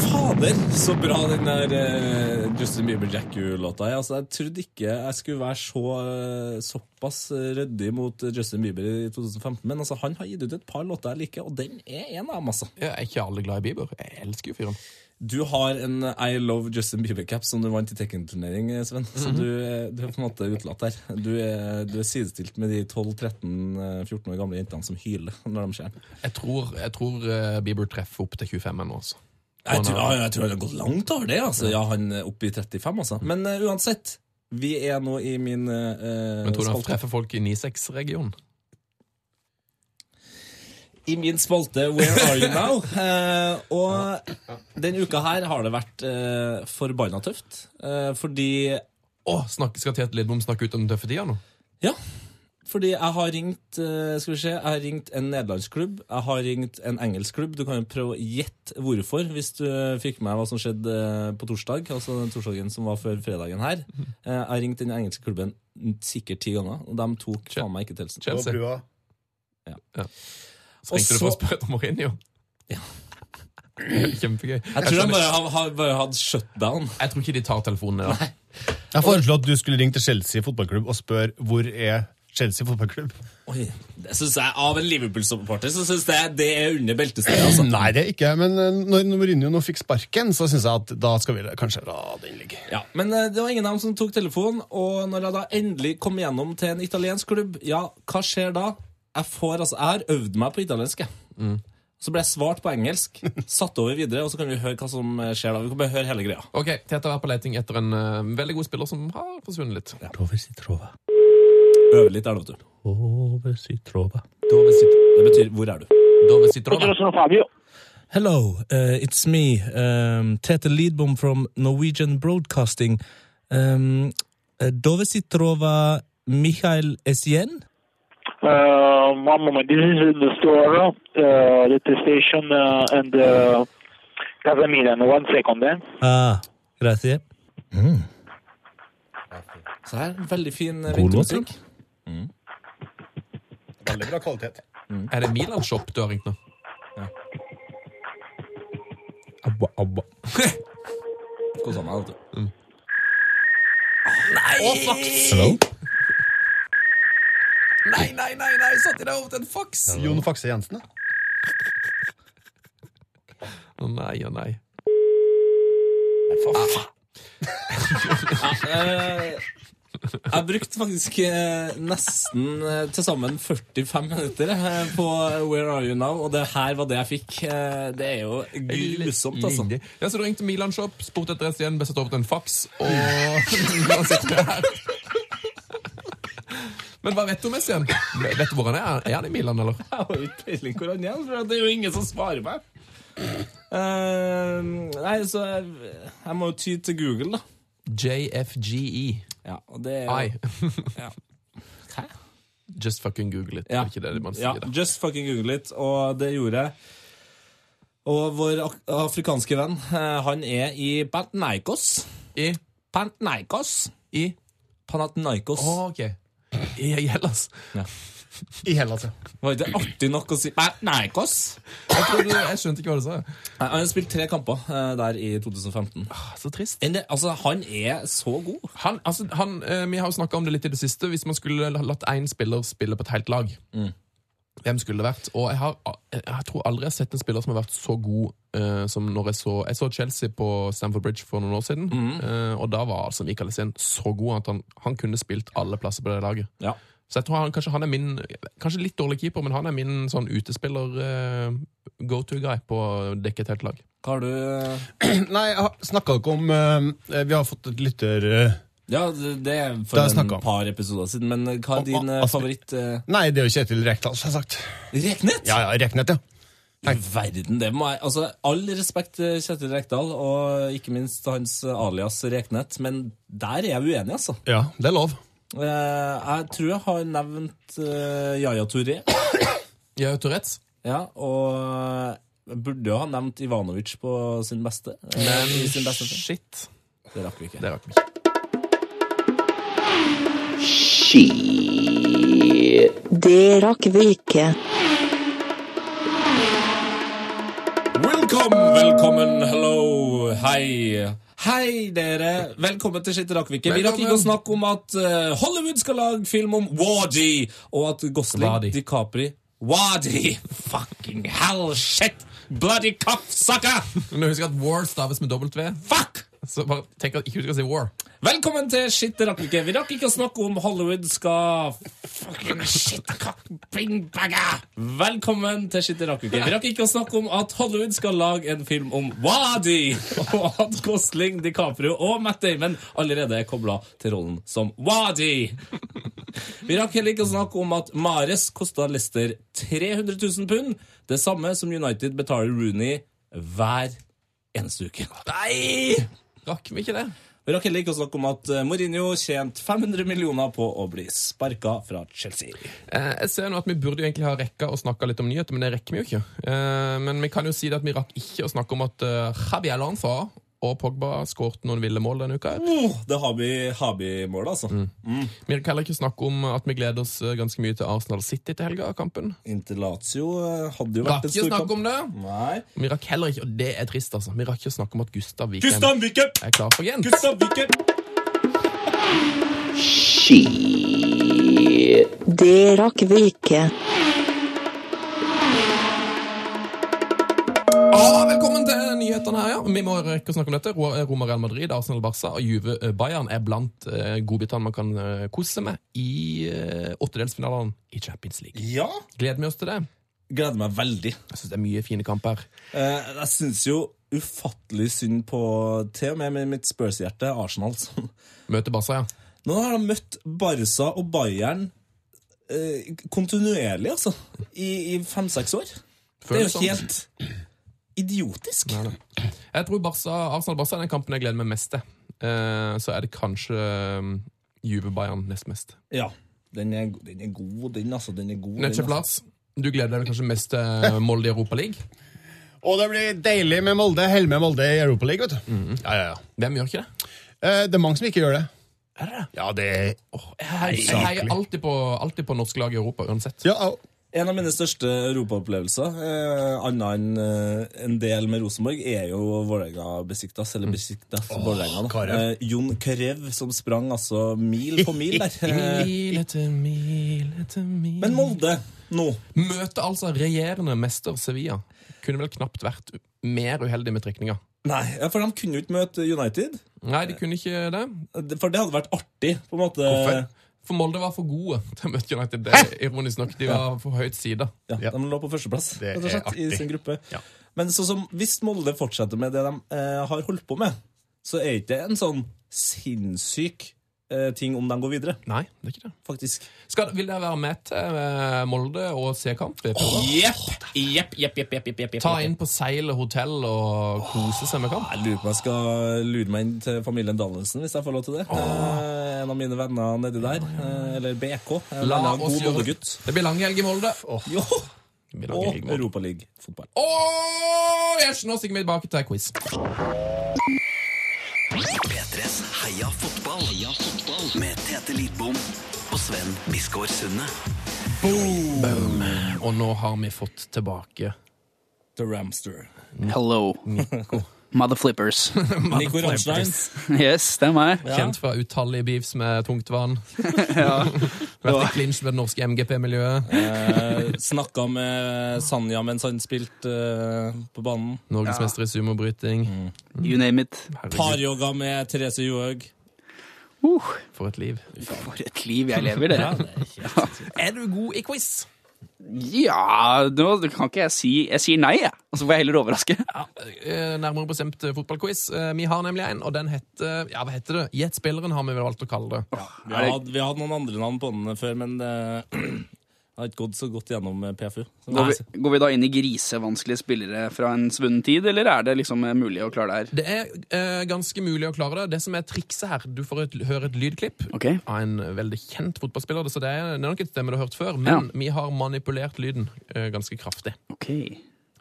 Speaker 3: Fader, så bra den der eh, Justin Bieber Jack You-låta er. Altså, jeg trodde ikke jeg skulle være så, eh, såpass ryddig mot Justin Bieber i 2015, men altså, han har gitt ut et par låter jeg liker, og den er en av dem, altså.
Speaker 4: Jeg er ikke alle glad i Bieber. Jeg elsker jo fyren.
Speaker 3: Du har en I Love Justin Bieber-cap som du vant i Tekken-turnering, eh, Sven. Så du, eh, du er på en måte utelatt her. Du er, du er sidestilt med de 12-13-14 år gamle jentene som hyler når de ser den.
Speaker 4: Jeg tror, jeg tror eh, Bieber treffer opp til 25 ennå. Altså.
Speaker 3: Jeg
Speaker 4: Han
Speaker 3: tror,
Speaker 4: har-
Speaker 3: ja, jeg tror han har gått langt over det. Altså. Ja, han er oppe i 35, altså. Men eh, uansett. Vi er nå i min eh,
Speaker 4: Men tror du han
Speaker 3: spalte.
Speaker 4: treffer folk i 96-regionen?
Speaker 3: I min spalte Where are you now? Eh, og den uka her har det vært eh, forbanna tøft. Eh, fordi
Speaker 4: Å, snakke, skal Tete Lidbom snakke ut om den tøffe tida nå?
Speaker 3: Ja. Fordi jeg har ringt eh, Skal vi se, jeg har ringt en nederlandsk klubb, jeg har ringt en engelsk klubb. Du kan jo prøve å gjette hvorfor, hvis du fikk med hva som skjedde eh, på torsdag. Altså den torsdagen som var før fredagen her. Eh, Jeg har ringt den engelske klubben sikkert ti ganger, og de tok faen meg ikke telsen.
Speaker 7: Og
Speaker 4: Chelsea.
Speaker 7: brua.
Speaker 4: Så ringte
Speaker 3: Og
Speaker 4: du for å
Speaker 3: så-
Speaker 4: spørre om Mourinho. [LAUGHS] Kjempegøy. Jeg,
Speaker 3: Jeg tror de
Speaker 4: skjønner-
Speaker 3: bare har, har bare hatt shutdown.
Speaker 4: jeg tror ikke de tar telefonen. Ja.
Speaker 7: Jeg foreslo at du skulle ringe til Chelsea fotballklubb og spørre hvor er Chelsea fotballklubb.
Speaker 3: Oi, det synes jeg, Av en Liverpool-supporter så syns jeg det er under beltestedet. Altså.
Speaker 7: Nei, det er ikke Men eh, når Mourinho nå fikk sparken, så syns jeg at da skal vi kanskje la den ligge.
Speaker 3: Ja, Men eh, det var ingen av dem som tok telefonen. Og når jeg da endelig kom gjennom til en italiensk klubb, ja, hva skjer da? Jeg får, altså, jeg har øvd meg på italiensk. jeg.
Speaker 10: Mm.
Speaker 3: Så ble jeg svart på engelsk, [LAUGHS] satt over videre, og så kan vi høre hva som eh, skjer da. Vi kan bare høre hele greia.
Speaker 4: Ok, Tete har vært på leting etter en eh, veldig god spiller som har forsvunnet litt.
Speaker 3: Øve litt der, vet du. Dove sitt- Det betyr 'hvor er du'?
Speaker 4: Dove Citrola.
Speaker 11: sono Fabio.
Speaker 10: Hello, uh, it's me, um, Tete Lidbom from Norwegian Broadcasting. Um, uh, dove si trova Michael Essien?
Speaker 11: Uh, one moment, this is the store, uh, the station, uh, and uh, Casa Milan. One second, eh?
Speaker 10: Ah, grazie.
Speaker 3: Så her, en veldig fin eh,
Speaker 10: Mm. God låt,
Speaker 3: vintermusikk.
Speaker 7: Veldig bra kvalitet.
Speaker 4: Er det Milan Shop du har ringt nå?
Speaker 10: Abba, abba.
Speaker 3: Kosa meg, vet du.
Speaker 10: Mm. Hello?
Speaker 4: Nei, nei, nei! nei, Satt de deg over til en faks? Å
Speaker 7: Jon Fakse Jensen, da.
Speaker 4: nei, å nei.
Speaker 3: Eh, Jeg brukte faktisk eh, nesten eh, til sammen 45 minutter eh, på Where Are You Now, og det her var det jeg fikk. Eh, Det er jo grusomt, altså.
Speaker 4: Linje. Ja, så du ringte Milan Shop, spurte etter et igjen, ble satt over til en faks, og [LAUGHS] nå sitter vi her. Men hva vet du om Essien? Vet du hvor han er? Er han i Milan, eller?
Speaker 3: Jeg har jo ikke peiling hvor han er, for det er jo ingen som svarer meg. Eh, nei, så jeg, jeg må jo ty til Google, da.
Speaker 4: JFGE.
Speaker 3: Ja, og det er
Speaker 4: E I.
Speaker 3: jo
Speaker 4: [LAUGHS]
Speaker 3: ja. Hæ?
Speaker 4: Just fucking google it.
Speaker 3: Ja.
Speaker 4: Er det ikke det man
Speaker 3: Ja,
Speaker 4: sier? da?
Speaker 3: just fucking google it, og det gjorde jeg. Og vår ak- afrikanske venn, eh, han er i Pantnaikos.
Speaker 4: I?
Speaker 3: Pantnaikos.
Speaker 4: I?
Speaker 3: Panathinaikos.
Speaker 4: Å, ok. I Hellas.
Speaker 7: I Hellas, ja.
Speaker 3: Var ikke det artig nok å si Panathinaikos?
Speaker 4: Jeg, trodde, jeg skjønte ikke hva du sa.
Speaker 3: Nei, Han har spilt tre kamper eh, der i 2015.
Speaker 4: Ah, Så trist.
Speaker 3: Men det- altså, han er så god.
Speaker 4: Han, altså, han, eh, vi har jo snakka om det litt i det siste. Hvis man skulle la- latt én spiller spille på et helt lag, hvem skulle det vært? Og jeg, har, jeg tror aldri jeg har sett en spiller som har vært så god eh, som når jeg så Jeg så Chelsea på Stamford Bridge for noen år siden, eh, og da var altså Michael Essien så god at han, han kunne spilt alle plasser på det laget.
Speaker 3: Ja.
Speaker 4: Så jeg tror han, kanskje han er min Kanskje litt dårlig keeper, men han er min sånn utespiller eh, go to guy på å dekke et helt lag.
Speaker 3: Hva har du
Speaker 7: [CLEARS THROAT] Nei, jeg har- snakka dere om eh, Vi har fått et lytter... eh,
Speaker 3: Ja, det det er for
Speaker 7: Det har jeg
Speaker 3: en
Speaker 7: snakket om.
Speaker 3: par episoder siden, men hva er
Speaker 7: Om-
Speaker 3: din eh,
Speaker 7: Asp-
Speaker 3: favoritt eh,
Speaker 7: Nei, det er jo Kjetil Rekdal, selvsagt.
Speaker 3: Reknet?
Speaker 7: Ja, ja, Reknet, ja.
Speaker 3: I verden, det må jeg Altså, all respekt til Kjetil Rekdal, og ikke minst hans eh, alias Reknet, men der er jeg uenig, altså.
Speaker 7: Ja, det er lov.
Speaker 3: Eh, Jeg tror jeg har nevnt eh, Yahya Touré,
Speaker 4: Ja, Tourettes.
Speaker 3: ja, og jeg burde jo ha nevnt Ivanovic på sin beste. eh, i sin beste tid.
Speaker 4: Shit.
Speaker 3: Det rakk vi ikke.
Speaker 4: Det rakk vi ikke.
Speaker 9: Det rakk vi ikke.
Speaker 3: Welcome, velkommen, hello, hei. Hei, dere. Velkommen til Skitt Rakvike. Vi rakk ikke å
Speaker 4: Velkommen.
Speaker 3: snakke om at eh, Hollywood skal lage film om Wadi, og at Gosling,
Speaker 4: Wadi.
Speaker 3: DiCapri Wadi! Fucking hell, shit! Bloody cocksucker!
Speaker 4: Men husk at War staves med W.
Speaker 3: Fuck!
Speaker 4: Så bare tenk at ikke du skal si War.
Speaker 3: Velkommen til Skitt Rakvike. Vi rakk ikke å snakke om Hollywood skal Fucking shitcock-bingbagger! Velkommen til Skitt Rakvike. Vi rakk ikke å snakke om at Hollywood skal lage en film om Wadi, og at Gosling, DiCaprio og Matt Damon allerede er kobla til rollen som Wadi. Vi rakk heller ikke å snakke om at Mares kosta Leicester 300 000 pund, det samme som United betaler Rooney hver eneste uke. Nei!
Speaker 4: Rakk vi ikke det?
Speaker 3: Vi rakk heller ikke å snakke om at eh, Mourinho tjente 500 millioner på å bli sparka fra Chelsea.
Speaker 4: Eh, jeg ser nå at Vi burde jo egentlig ha rekka å snakke litt om nyheter, men det rekker vi jo ikke. Eh, men vi kan jo si det at vi rakk ikke å snakke om at eh, Javier Lanza og Pogba skåret noen ville mål denne uka.
Speaker 3: Oh, det har vi, har vi målet, altså.
Speaker 4: Vi kan heller ikke snakke om at vi gleder oss eh, ganske mye til Arsenal City til helga. kampen.
Speaker 3: Inntil Lazio eh, hadde jo
Speaker 4: Rakk
Speaker 3: vært en
Speaker 4: ikke å
Speaker 3: stor
Speaker 4: snakke
Speaker 3: kamp.
Speaker 4: om det.
Speaker 3: Nei.
Speaker 4: Vi rakk heller ikke, og det er trist, altså. Vi rakk ikke å snakke om at Gustav Vikheim
Speaker 3: Gustav Viken!
Speaker 4: er klar for Gent.
Speaker 3: Gustav Viken!
Speaker 12: Det rakk vi ikke.
Speaker 4: Ah, velkommen til nyhetene her, ja. Vi må rekke å snakke om dette. Ro- Roma Real Madrid, Arsenal Barca og Juve eh, Bayern er blant eh, godbitene man kan eh, kose med i eh, åttedelsfinalene i Champions League.
Speaker 3: Ja.
Speaker 4: Gleder vi oss til det?
Speaker 3: Gleder meg veldig.
Speaker 4: Jeg syns det er mye fine kamper.
Speaker 3: Eh, jeg syns jo ufattelig synd på til og med med mitt Spurs-hjerte, Arsenal. [LAUGHS] som-
Speaker 4: Møter Barca, ja.
Speaker 3: Nå har de møtt Barca og Bayern eh, kontinuerlig, altså, i, i fem-seks år. Det er
Speaker 4: Føles
Speaker 3: jo
Speaker 4: sånn.
Speaker 3: helt idiotisk.
Speaker 4: Nei, nei. Jeg tror Barca, Arsenal Barca er den kampen jeg gleder meg mest til. Eh, så er det kanskje eh, Juve Bayern nest mest.
Speaker 3: Ja. Den er, den er god, den, altså. Den er god. den,
Speaker 4: Netche
Speaker 3: altså.
Speaker 4: Plass, du gleder deg kanskje mest til Molde i Europa League?
Speaker 7: Og det blir deilig med Molde. Hell med Molde i Europa League, vet du. Ja, ja, ja.
Speaker 4: Hvem gjør ikke det?
Speaker 7: Eh, Det er mange som ikke gjør det.
Speaker 4: Er det?
Speaker 7: Ja, det er
Speaker 4: Jeg heier, jeg heier alltid på, alltid på norske lag i Europa, uansett.
Speaker 3: En av mine største europaopplevelser, eh, annet enn eh, en del med Rosenborg, er jo Vålerenga-Besiktas, eller Besiktas
Speaker 7: Åh,
Speaker 3: Vålerenga. da.
Speaker 7: Karev.
Speaker 3: Eh, Jon Carew som sprang altså mil på mil der. Eh,
Speaker 4: Mil etter mil etter mil
Speaker 3: Men Molde, nå
Speaker 4: Møter altså regjerende mester Sevilla. Kunne vel knapt vært mer uheldig med trekninga.
Speaker 3: Nei, ja, for de kunne jo ikke møte United.
Speaker 4: Nei, de kunne ikke det.
Speaker 3: For det hadde vært artig, på en måte.
Speaker 5: Eh.
Speaker 4: Hvorfor? For Molde var for gode til å møte United. Det er ironisk nok. De var for høyt side.
Speaker 3: Ja, De lå på førsteplass
Speaker 4: Det
Speaker 3: rett og
Speaker 4: er
Speaker 3: slett, i
Speaker 4: artig.
Speaker 3: sin gruppe. Men sånn som, hvis Molde fortsetter med det de eh, har holdt på med, så er ikke det en sånn sinnssyk eh, ting om de går videre.
Speaker 4: Nei, det er ikke det.
Speaker 3: Faktisk.
Speaker 4: Skal, vil dere være med til eh, Molde og se kamp?
Speaker 5: Jepp, jepp, jepp, jepp, jepp, jepp, jepp.
Speaker 4: Ta inn på Seil hotell og kose seg med kamp?
Speaker 3: Jeg lurer på om jeg skal lure meg inn til familien Danielsen, hvis jeg får lov til det. Eh, en av mine venner nedi der. Eh, eller BK. En
Speaker 4: La
Speaker 3: annen
Speaker 4: oss
Speaker 3: god
Speaker 4: gjøre-
Speaker 3: Molde-gutt.
Speaker 4: Det blir lang helg i Molde.
Speaker 3: Jo!
Speaker 4: Det blir lang
Speaker 3: Og
Speaker 4: helg i Molde.
Speaker 3: Europaliga-fotball.
Speaker 4: Åh, yes, nå stikker vi tilbake til quiz.
Speaker 2: P3s Heia fotball. Heia fotball. Med Tete Lidbom og Sven Biskår Sunde.
Speaker 4: Boom. Og nå har vi fått tilbake
Speaker 3: The
Speaker 4: [LAUGHS]
Speaker 3: Ramster.
Speaker 5: Hello, motherflippers.
Speaker 3: Nico Ramstein.
Speaker 5: [LAUGHS] Yes, det er meg.
Speaker 4: Kjent fra utallige beefs med tungt vann.
Speaker 5: [LAUGHS] Ja.
Speaker 4: [LAUGHS] Vært i clinch med det norske MGP-miljøet.
Speaker 3: Eh, Snakka med Sanja mens han spilte eh, på banen.
Speaker 4: Norgesmester i sumobryting.
Speaker 5: Mm. You name it.
Speaker 3: Paryoga med Therese Johaug.
Speaker 5: Uh,
Speaker 4: For et liv.
Speaker 5: for et liv jeg lever, dere.
Speaker 4: Er du god i quiz?
Speaker 5: Ja, nå kan ikke jeg si Jeg sier nei, jeg. Og så får jeg heller overraske.
Speaker 4: Eh, Nærmere bestemt eh, fotballquiz. Eh, Vi har nemlig en, og den heter Ja, hva heter det? Gjett spilleren, har vi vel valgt å kalle det.
Speaker 3: Vi har, hatt, vi har hatt noen andre navn på den før, men eh, [CLEARS THROAT] det har ikke gått så godt gjennom eh, PFU. Så
Speaker 5: Går
Speaker 3: Nei,
Speaker 5: vi, går vi da inn i grisevanskelige spillere fra en svunnen tid, eller er det liksom eh, mulig å klare det her?
Speaker 4: Det er eh, ganske mulig å klare det. Det som er trikset her, Du får et, høre et lydklipp
Speaker 5: Ok,
Speaker 4: av en veldig kjent fotballspiller. Så det er, det er nok et stemme du har hørt før, men vi har manipulert lyden eh, ganske kraftig.
Speaker 5: ok.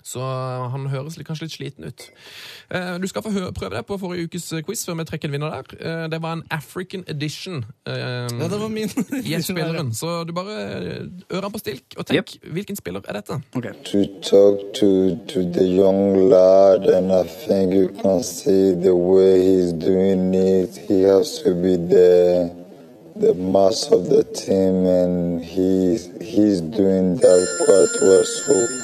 Speaker 4: Så han høres litt, kanskje litt sliten ut. Eh, Du skal få hø- prøve deg på forrige ukes eh, quiz før vi trekker en vinner der. Eh, Det var en African edition.
Speaker 3: Ja, det var min. [LAUGHS]
Speaker 4: Gjett spilleren. Så du bare eh, ørene på stilk og tenk hvilken spiller er dette?
Speaker 5: ok.
Speaker 13: to talk to to the young lad and I think you can see the way he's doing it. He has to be the the mass of the team and he's he's doing that quite well so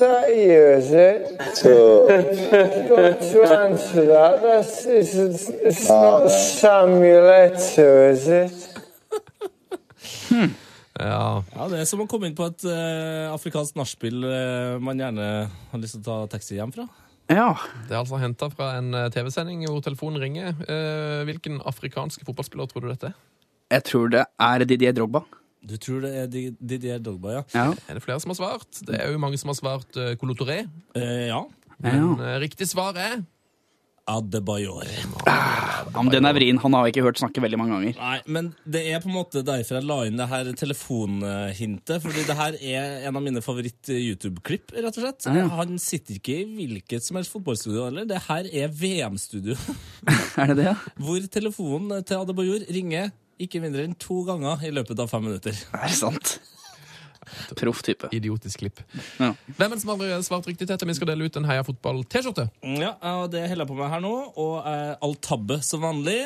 Speaker 14: Seriøse? [LAUGHS]
Speaker 13: so
Speaker 14: Don't eh? you answer that. That's, it's, it's, it's
Speaker 13: Ah.
Speaker 14: not Samuel Eto'o, is it?
Speaker 4: Ja.
Speaker 3: Ja, Det er som å komme inn på et eh, afrikansk nachspiel eh, man gjerne har lyst til å ta taxi hjem fra.
Speaker 5: Ja.
Speaker 4: Det er altså henta fra en eh, TV-sending hvor telefonen ringer. Eh, Hvilken afrikanske fotballspiller tror du dette er?
Speaker 5: Jeg tror det er Didier Drogba.
Speaker 3: Du tror det er Di- Didier Dogba, ja?
Speaker 5: Ja.
Speaker 4: Er det flere som har svart? Det er jo mange som har svart uh, Colotoré.
Speaker 3: Eh, ja.
Speaker 5: Ja.
Speaker 4: Men eh, riktig svar er
Speaker 3: Adebayor.
Speaker 5: ja, men den er vrien. Han har jeg ikke hørt snakke veldig mange ganger.
Speaker 3: Nei, men det er på en måte derfor jeg la inn det her telefonhintet. Fordi det her er en av mine favoritt-YouTube-klipp, rett og slett.
Speaker 5: Ja.
Speaker 3: Han sitter ikke i hvilket som helst fotballstudio heller. Det her er VM-studio,
Speaker 5: Er det det? ja?
Speaker 3: hvor telefonen til Adebayor ringer ikke mindre enn to ganger i løpet av fem minutter.
Speaker 5: Er det sant? Proff type.
Speaker 4: idiotisk klipp.
Speaker 5: Ja.
Speaker 4: Hvem er det som har svart riktig til Vi skal dele ut en
Speaker 3: Mm,
Speaker 4: Heia Fotball-T-skjorte.
Speaker 3: Ja, og det holder jeg på med her nå. Og eh, all tabbe som vanlig.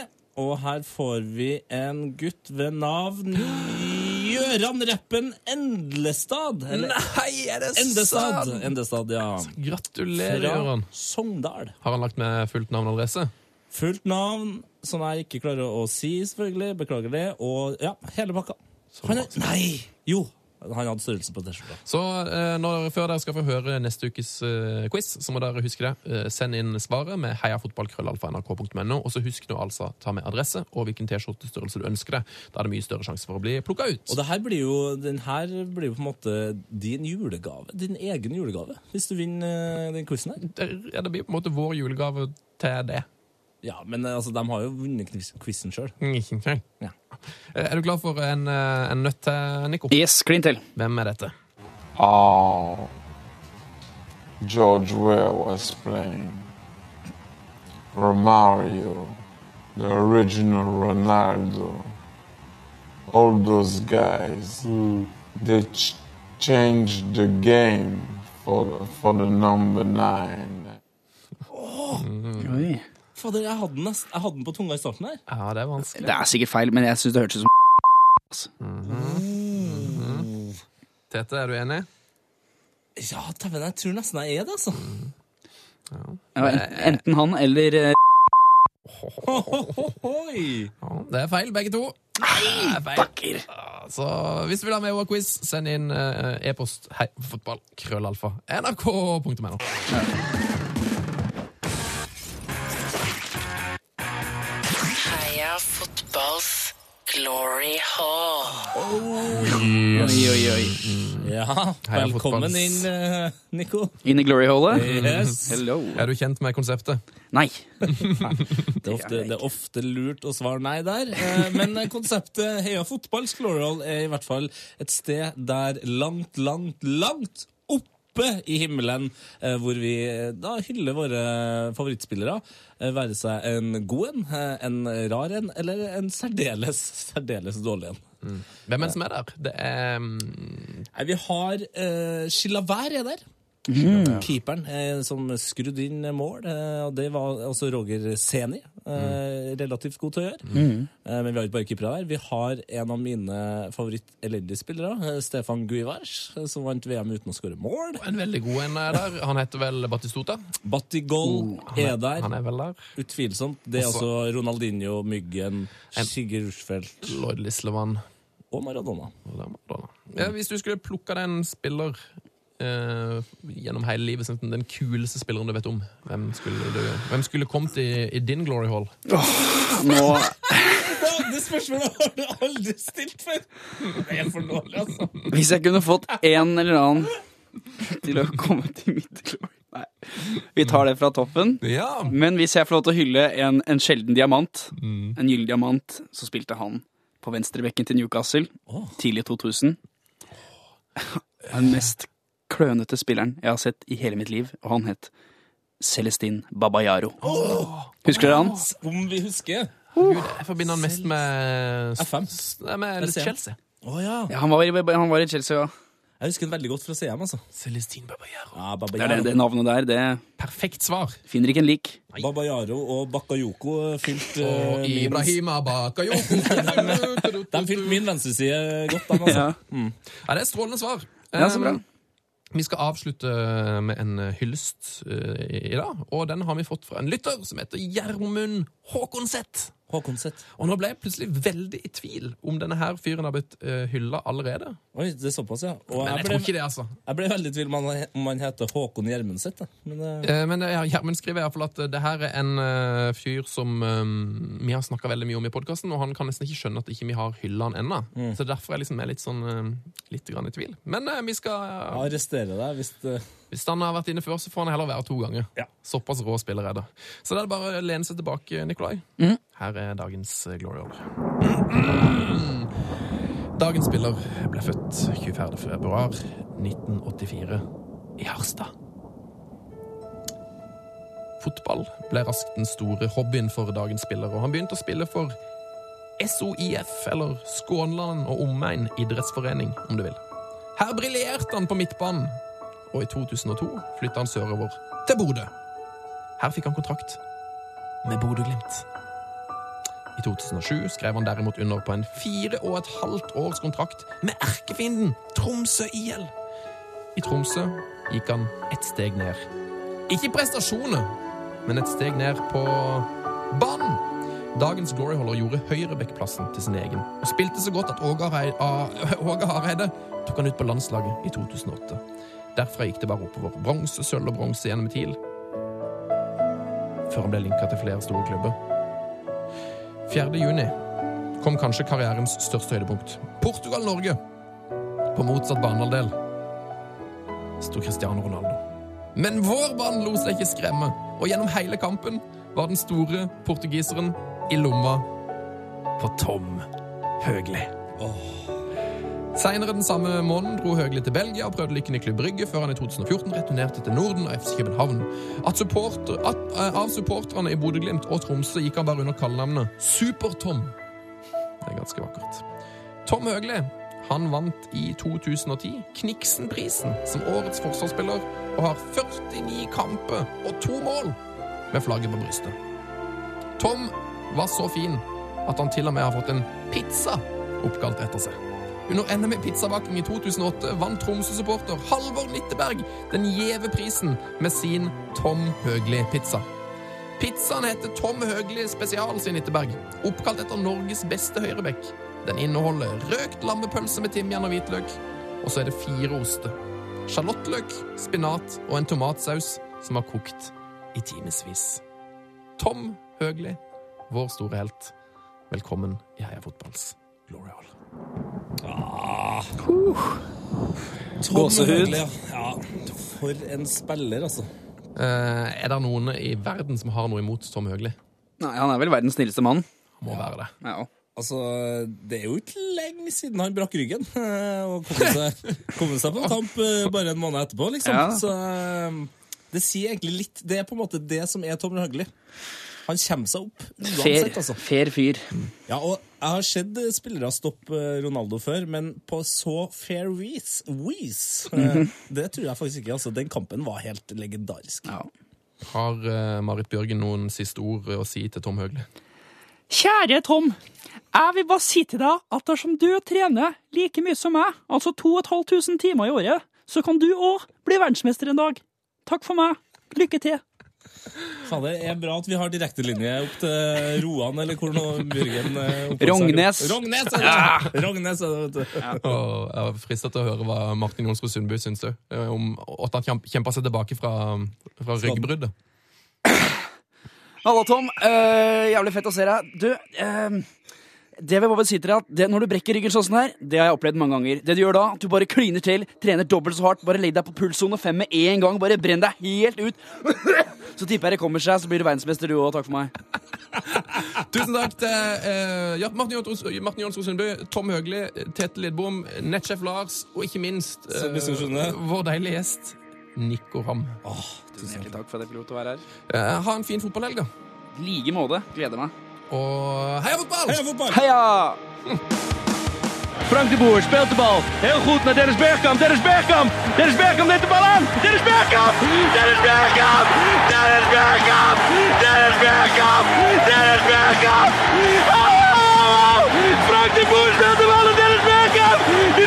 Speaker 3: Og her får vi en gutt ved navn [GASPS] Gjøran Reppen Endlestad.
Speaker 4: Nei, er det
Speaker 3: Endestad.
Speaker 4: sant?
Speaker 3: Endestad, ja.
Speaker 4: Gratulerer,
Speaker 3: Fra
Speaker 4: Jørgen.
Speaker 3: Sogndal.
Speaker 4: Har han lagt med fullt navn og adresse?
Speaker 3: Fullt navn, som jeg ikke klarer å si, selvfølgelig. Beklager det. Og ja, hele pakka. Han er, nei! Jo. Han hadde størrelsen på T-skjorta.
Speaker 4: Så eh, når, før dere skal få høre neste ukes eh, quiz, så må dere huske det. Eh, send inn svaret med heiafotballkrøllalfa.nrk.no, og så husk nå altså ta med adresse og hvilken T-skjortestørrelse du ønsker deg. Da er det mye større sjanse for å bli plukka ut.
Speaker 3: Og det her blir jo, den her blir jo på en måte din julegave. Din egen julegave, hvis du vinner eh, den quizen her.
Speaker 4: Det, ja, det blir på en måte vår julegave til det.
Speaker 3: Ja, men eh, altså, de har jo vunnet knis- quizen sjøl.
Speaker 4: Ja. Eh, Er du klar for en, eh, en nøtt til, Nico?
Speaker 5: Yes, klin til.
Speaker 4: Hvem er dette?
Speaker 8: Oh. George Weah was playing. Romario, the original Ronaldo. All those guys. They ch- changed the game for the, for the number nine.
Speaker 5: Oi.
Speaker 3: Fader, jeg hadde, den nest, jeg hadde den på tunga i starten her.
Speaker 4: Ja, det er vanskelig.
Speaker 5: Det er sikkert feil, men jeg syns det hørtes ut som altså.
Speaker 4: Tete, er du enig?
Speaker 3: Ja, dæven, jeg tror nesten jeg er det, altså.
Speaker 5: Ja, en- Enten han eller eh,
Speaker 3: Oi!
Speaker 4: Ja, det er feil, begge to. Nei, fucker! Så hvis du vil ha med vår quiz, send inn eh, e-post hei, fotball, krøllalfa, nrk.no.
Speaker 15: Heia fotballs glory hall.
Speaker 5: Oi, oi, oi.
Speaker 3: Ja,
Speaker 4: Heia
Speaker 3: velkommen
Speaker 4: fotballs.
Speaker 3: inn, eh, Nico.
Speaker 5: Inn i glory-hullet?
Speaker 3: Yes.
Speaker 5: Hello.
Speaker 4: Er du kjent med konseptet?
Speaker 5: [LAUGHS] Nei.
Speaker 3: Det er, ofte, det er ofte lurt å svare nei der, eh, men konseptet Heia fotballs Gloral er i hvert fall et sted der langt, langt, langt oppe i himmelen, eh, hvor vi eh, da hyller våre favorittspillere, eh, være seg en god en, eh, en rar en, eller en særdeles, særdeles dårlig en.
Speaker 4: Hvem er det som er der? Det er mm,
Speaker 3: Nei, vi har eh, Chilavert er der. Keeperen eh, som skrudde inn mål, eh, og det var altså Roger Seni. Eh, relativt god til å gjøre.
Speaker 5: Mhm.
Speaker 3: Eh, men vi har ikke bare keepere her. Vi har en av mine favoritt-elendige spillere, eh, Stefan Guivers, eh, som vant VM uten å skåre mål.
Speaker 4: en veldig god en er der. Han heter vel Batistota?
Speaker 3: Battigol er der.
Speaker 4: Han er vel der.
Speaker 3: Utvilsomt. Det er
Speaker 4: Også-
Speaker 3: altså Ronaldinho, Myggen, Sigurd Rushfeldt
Speaker 4: Lloyd Lislevan.
Speaker 3: og Maradona.
Speaker 4: Ja, hvis du skulle plukka deg en spiller eh, gjennom hele livet, som den kuleste spilleren du vet om, hvem skulle, du, hvem skulle kommet i, i din glory hall?
Speaker 5: Nå
Speaker 3: [LAUGHS] Det spørsmålet har du aldri stilt før! Det er for dårlig, altså.
Speaker 5: Hvis jeg kunne fått en eller annen til å komme til mitt glory Nei. Vi tar det fra toppen.
Speaker 4: Ja.
Speaker 5: Men hvis jeg får lov til å hylle en, en sjelden diamant,
Speaker 3: Mm.
Speaker 5: en gyllen diamant, så spilte han på venstrebekken til Newcastle tidlig 2000. Den mest klønete spilleren jeg har sett i hele mitt liv, og han het Celestin Babayaro. Husker dere han?
Speaker 3: Om vi husker.
Speaker 4: Gud, jeg forbinder han mest med
Speaker 3: FM.
Speaker 4: s- Nei, med
Speaker 3: SCM.
Speaker 4: Chelsea.
Speaker 3: Å ja.
Speaker 5: Ja, han, var i, han var i Chelsea, ja.
Speaker 3: Jeg husker den veldig godt fra CM, altså.
Speaker 4: Celestin Babayaro.
Speaker 3: Ja,
Speaker 5: Det, er det,
Speaker 3: Babayaro.
Speaker 5: det navnet der, det
Speaker 4: Perfekt svar.
Speaker 5: finner ikke en lik.
Speaker 3: Babayaro og Bakayoko fylte eh,
Speaker 4: Og
Speaker 3: min,
Speaker 4: Ibrahima [LAUGHS] Bakayoko.
Speaker 3: de fylte min venstreside godt, de, altså.
Speaker 5: [LAUGHS] Ja.
Speaker 4: Ja, det er strålende svar.
Speaker 5: Ja, så bra.
Speaker 4: Um, Vi skal avslutte med en hyllest eh, i dag, og den har vi fått fra en lytter som heter Gjermund Håkonseth.
Speaker 3: Håkonseth.
Speaker 4: Og nå ble jeg plutselig veldig i tvil om denne her fyren har blitt uh, hylla allerede.
Speaker 3: Oi, det er såpass, ja. Og
Speaker 4: Men
Speaker 3: jeg
Speaker 4: jeg
Speaker 3: ble,
Speaker 4: tror ikke det, altså.
Speaker 3: jeg ble veldig i tvil om han- om han heter Håkon Gjermundset. da. Men eh,
Speaker 4: Eh, Men eh, Gjermund skriver i hvert fall at eh, det her er en eh, fyr som eh, vi har snakka veldig mye om i podkasten, og han kan nesten ikke skjønne at ikke vi har hylla han ennå. Så derfor er jeg liksom er litt sånn eh, litt grann i tvil. Men eh, vi skal
Speaker 3: jeg arresterer deg hvis det
Speaker 4: Hvis han har vært inne før, så får han heller være to ganger. Såpass rå spiller er det. Så da er det bare å lene seg tilbake, Nikolai. Her er dagens eh, Glory Hall. Dagens spiller ble født 24. februar 1984 i Harstad. Fotball ble raskt den store hobbyen for dagens spiller, og han begynte å spille for SOIF, eller Skånland og Omegn idrettsforening, om du vil. Her briljerte han på midtbanen, og i 2002 flytta han sørover til Bodø. Her fikk han kontrakt med Bodø-Glimt. I 2007 skrev han derimot under på en fire og et halvt års kontrakt med erkefienden Tromsø IL. I Tromsø gikk han et steg ned. Ikke i prestasjoner, men et steg ned på banen. Dagens Gloryholder gjorde høyrebekkplassen til sin egen og spilte så godt at Åge Harei- A- Åge Hareide tok han ut på landslaget i 2008. Derfra gikk det bare oppover. Bronse, sølv og bronse gjennom TIL. Før han ble linka til flere store klubber. 4. juni kom kanskje karrierens største høydepunkt. Portugal-Norge. På motsatt banehalvdel sto Cristiano Ronaldo. Men vår mann lot seg ikke skremme, og gjennom hele kampen var den store portugiseren i lomma på Tom Høgli. Senere den samme måneden dro Høgli til Belgia og prøvde lykken i Klubb Brygge, før han i 2014 returnerte til Norden og FC København. At supporter, at, eh, av supporterne i Bodø-Glimt og Tromsø gikk han bare under kallenavnet Super-Tom. Det er ganske vakkert. Tom Høgli han vant i 2010 Kniksen-prisen som årets forsvarsspiller og har 49 kamper og to mål med flagget på brystet. Tom var så fin at han til og med har fått en pizza oppkalt etter seg. Under NM i pizzabaking i 2008 vant Tromsø-supporter Halvor Nitteberg den gjeve prisen med sin Tom Høgli-pizza. Pizzaen heter Tom Høgli spesial, sier Nitteberg, oppkalt etter Norges beste høyrebekk. Den inneholder røkt lammepølse med timian og hvitløk, og så er det fire oster. Sjalottløk, spinat og en tomatsaus som har kokt i timevis. Tom Høgli, vår store helt. Velkommen i Heia Fotballs Glory Hall.
Speaker 3: Tom Høgli, ja. ja. For en spiller, altså.
Speaker 4: Eh, er det noen i verden som har noe imot Tom Høgli?
Speaker 5: Nei, han er vel verdens snilleste mann.
Speaker 4: Må være det.
Speaker 3: Altså, det er jo ikke lenge siden han brakk ryggen eh, og kom
Speaker 5: [LAUGHS]
Speaker 3: seg, kom seg på en kamp eh, bare en måned etterpå, liksom.
Speaker 5: Ja.
Speaker 3: Så eh, det sier egentlig litt Det er på en måte det som er Tom Høgli. Han kommer seg opp
Speaker 5: Fair,
Speaker 3: uansett, altså.
Speaker 5: fair fyr.
Speaker 3: Ja, og jeg har sett eh, spillere stoppe eh, Ronaldo før, men på så fair vis, vis eh,
Speaker 4: Mhm.
Speaker 3: Det tror jeg faktisk ikke. altså. Den kampen var helt legendarisk.
Speaker 4: Har eh, Marit Bjørgen noen siste ord å si til Tom Høgli?
Speaker 16: Kjære Tom, jeg vil bare si til deg at dersom du trener like mye som meg, altså 2500 timer i året, så kan du òg bli verdensmester en dag. Takk for meg. Lykke til.
Speaker 3: Fader, det er bra at vi har direktelinje opp til Roan, eller hvor nå Bjørgen eh, oppholder seg.
Speaker 4: Rognes.
Speaker 3: Rognes, er det!
Speaker 4: Ja.
Speaker 3: Rognes, er det, vet du.
Speaker 4: [LAUGHS] Og jeg var fristet til å høre hva Martin Jonsrud Sundby syns du, eh, om at han kjemp- kjempa seg tilbake fra, fra ryggbruddet.
Speaker 5: Halla, Tom. Eh, jævlig fett å se deg. Du, eh, det vil jeg bare si til deg at det, når du brekker ryggen sånn som her, det har jeg opplevd mange ganger. Det du gjør da, at du bare kliner til, trener dobbelt så hardt, bare legg deg på pulssone fem med én gang, bare brenn deg helt ut. Så tipper jeg det kommer seg, så blir du verdensmester du òg. Takk for meg.
Speaker 4: Tusen takk til eh, ja, Martin Jonsrud Martin Jonsrud Sundby, Tom Høgli, Tete Lidbom, nettsjef Lars og ikke minst eh,
Speaker 3: Sundby Storsjøne.
Speaker 4: vår deilige gjest Nico Ram.
Speaker 5: Tusen hjertelig takk for at jeg fikk lov til å være her.
Speaker 4: Eh, ha en fin fotballhelg, da.
Speaker 5: I like måte. Gleder meg.
Speaker 4: Og heia fotball!
Speaker 3: Heia fotball!
Speaker 5: Heia!
Speaker 1: Frank de Boer speelt de bal. Heel goed naar Dennis Bergkamp. Dennis Bergkamp. Dennis Bergkamp neemt de bal aan. Dennis Bergkamp. Dennis Bergkamp. Dennis Bergkamp. Dennis Bergkamp. Dennis Bergkamp. Oh! Frank de Boer speelt de bal aan Dennis Bergkamp. Die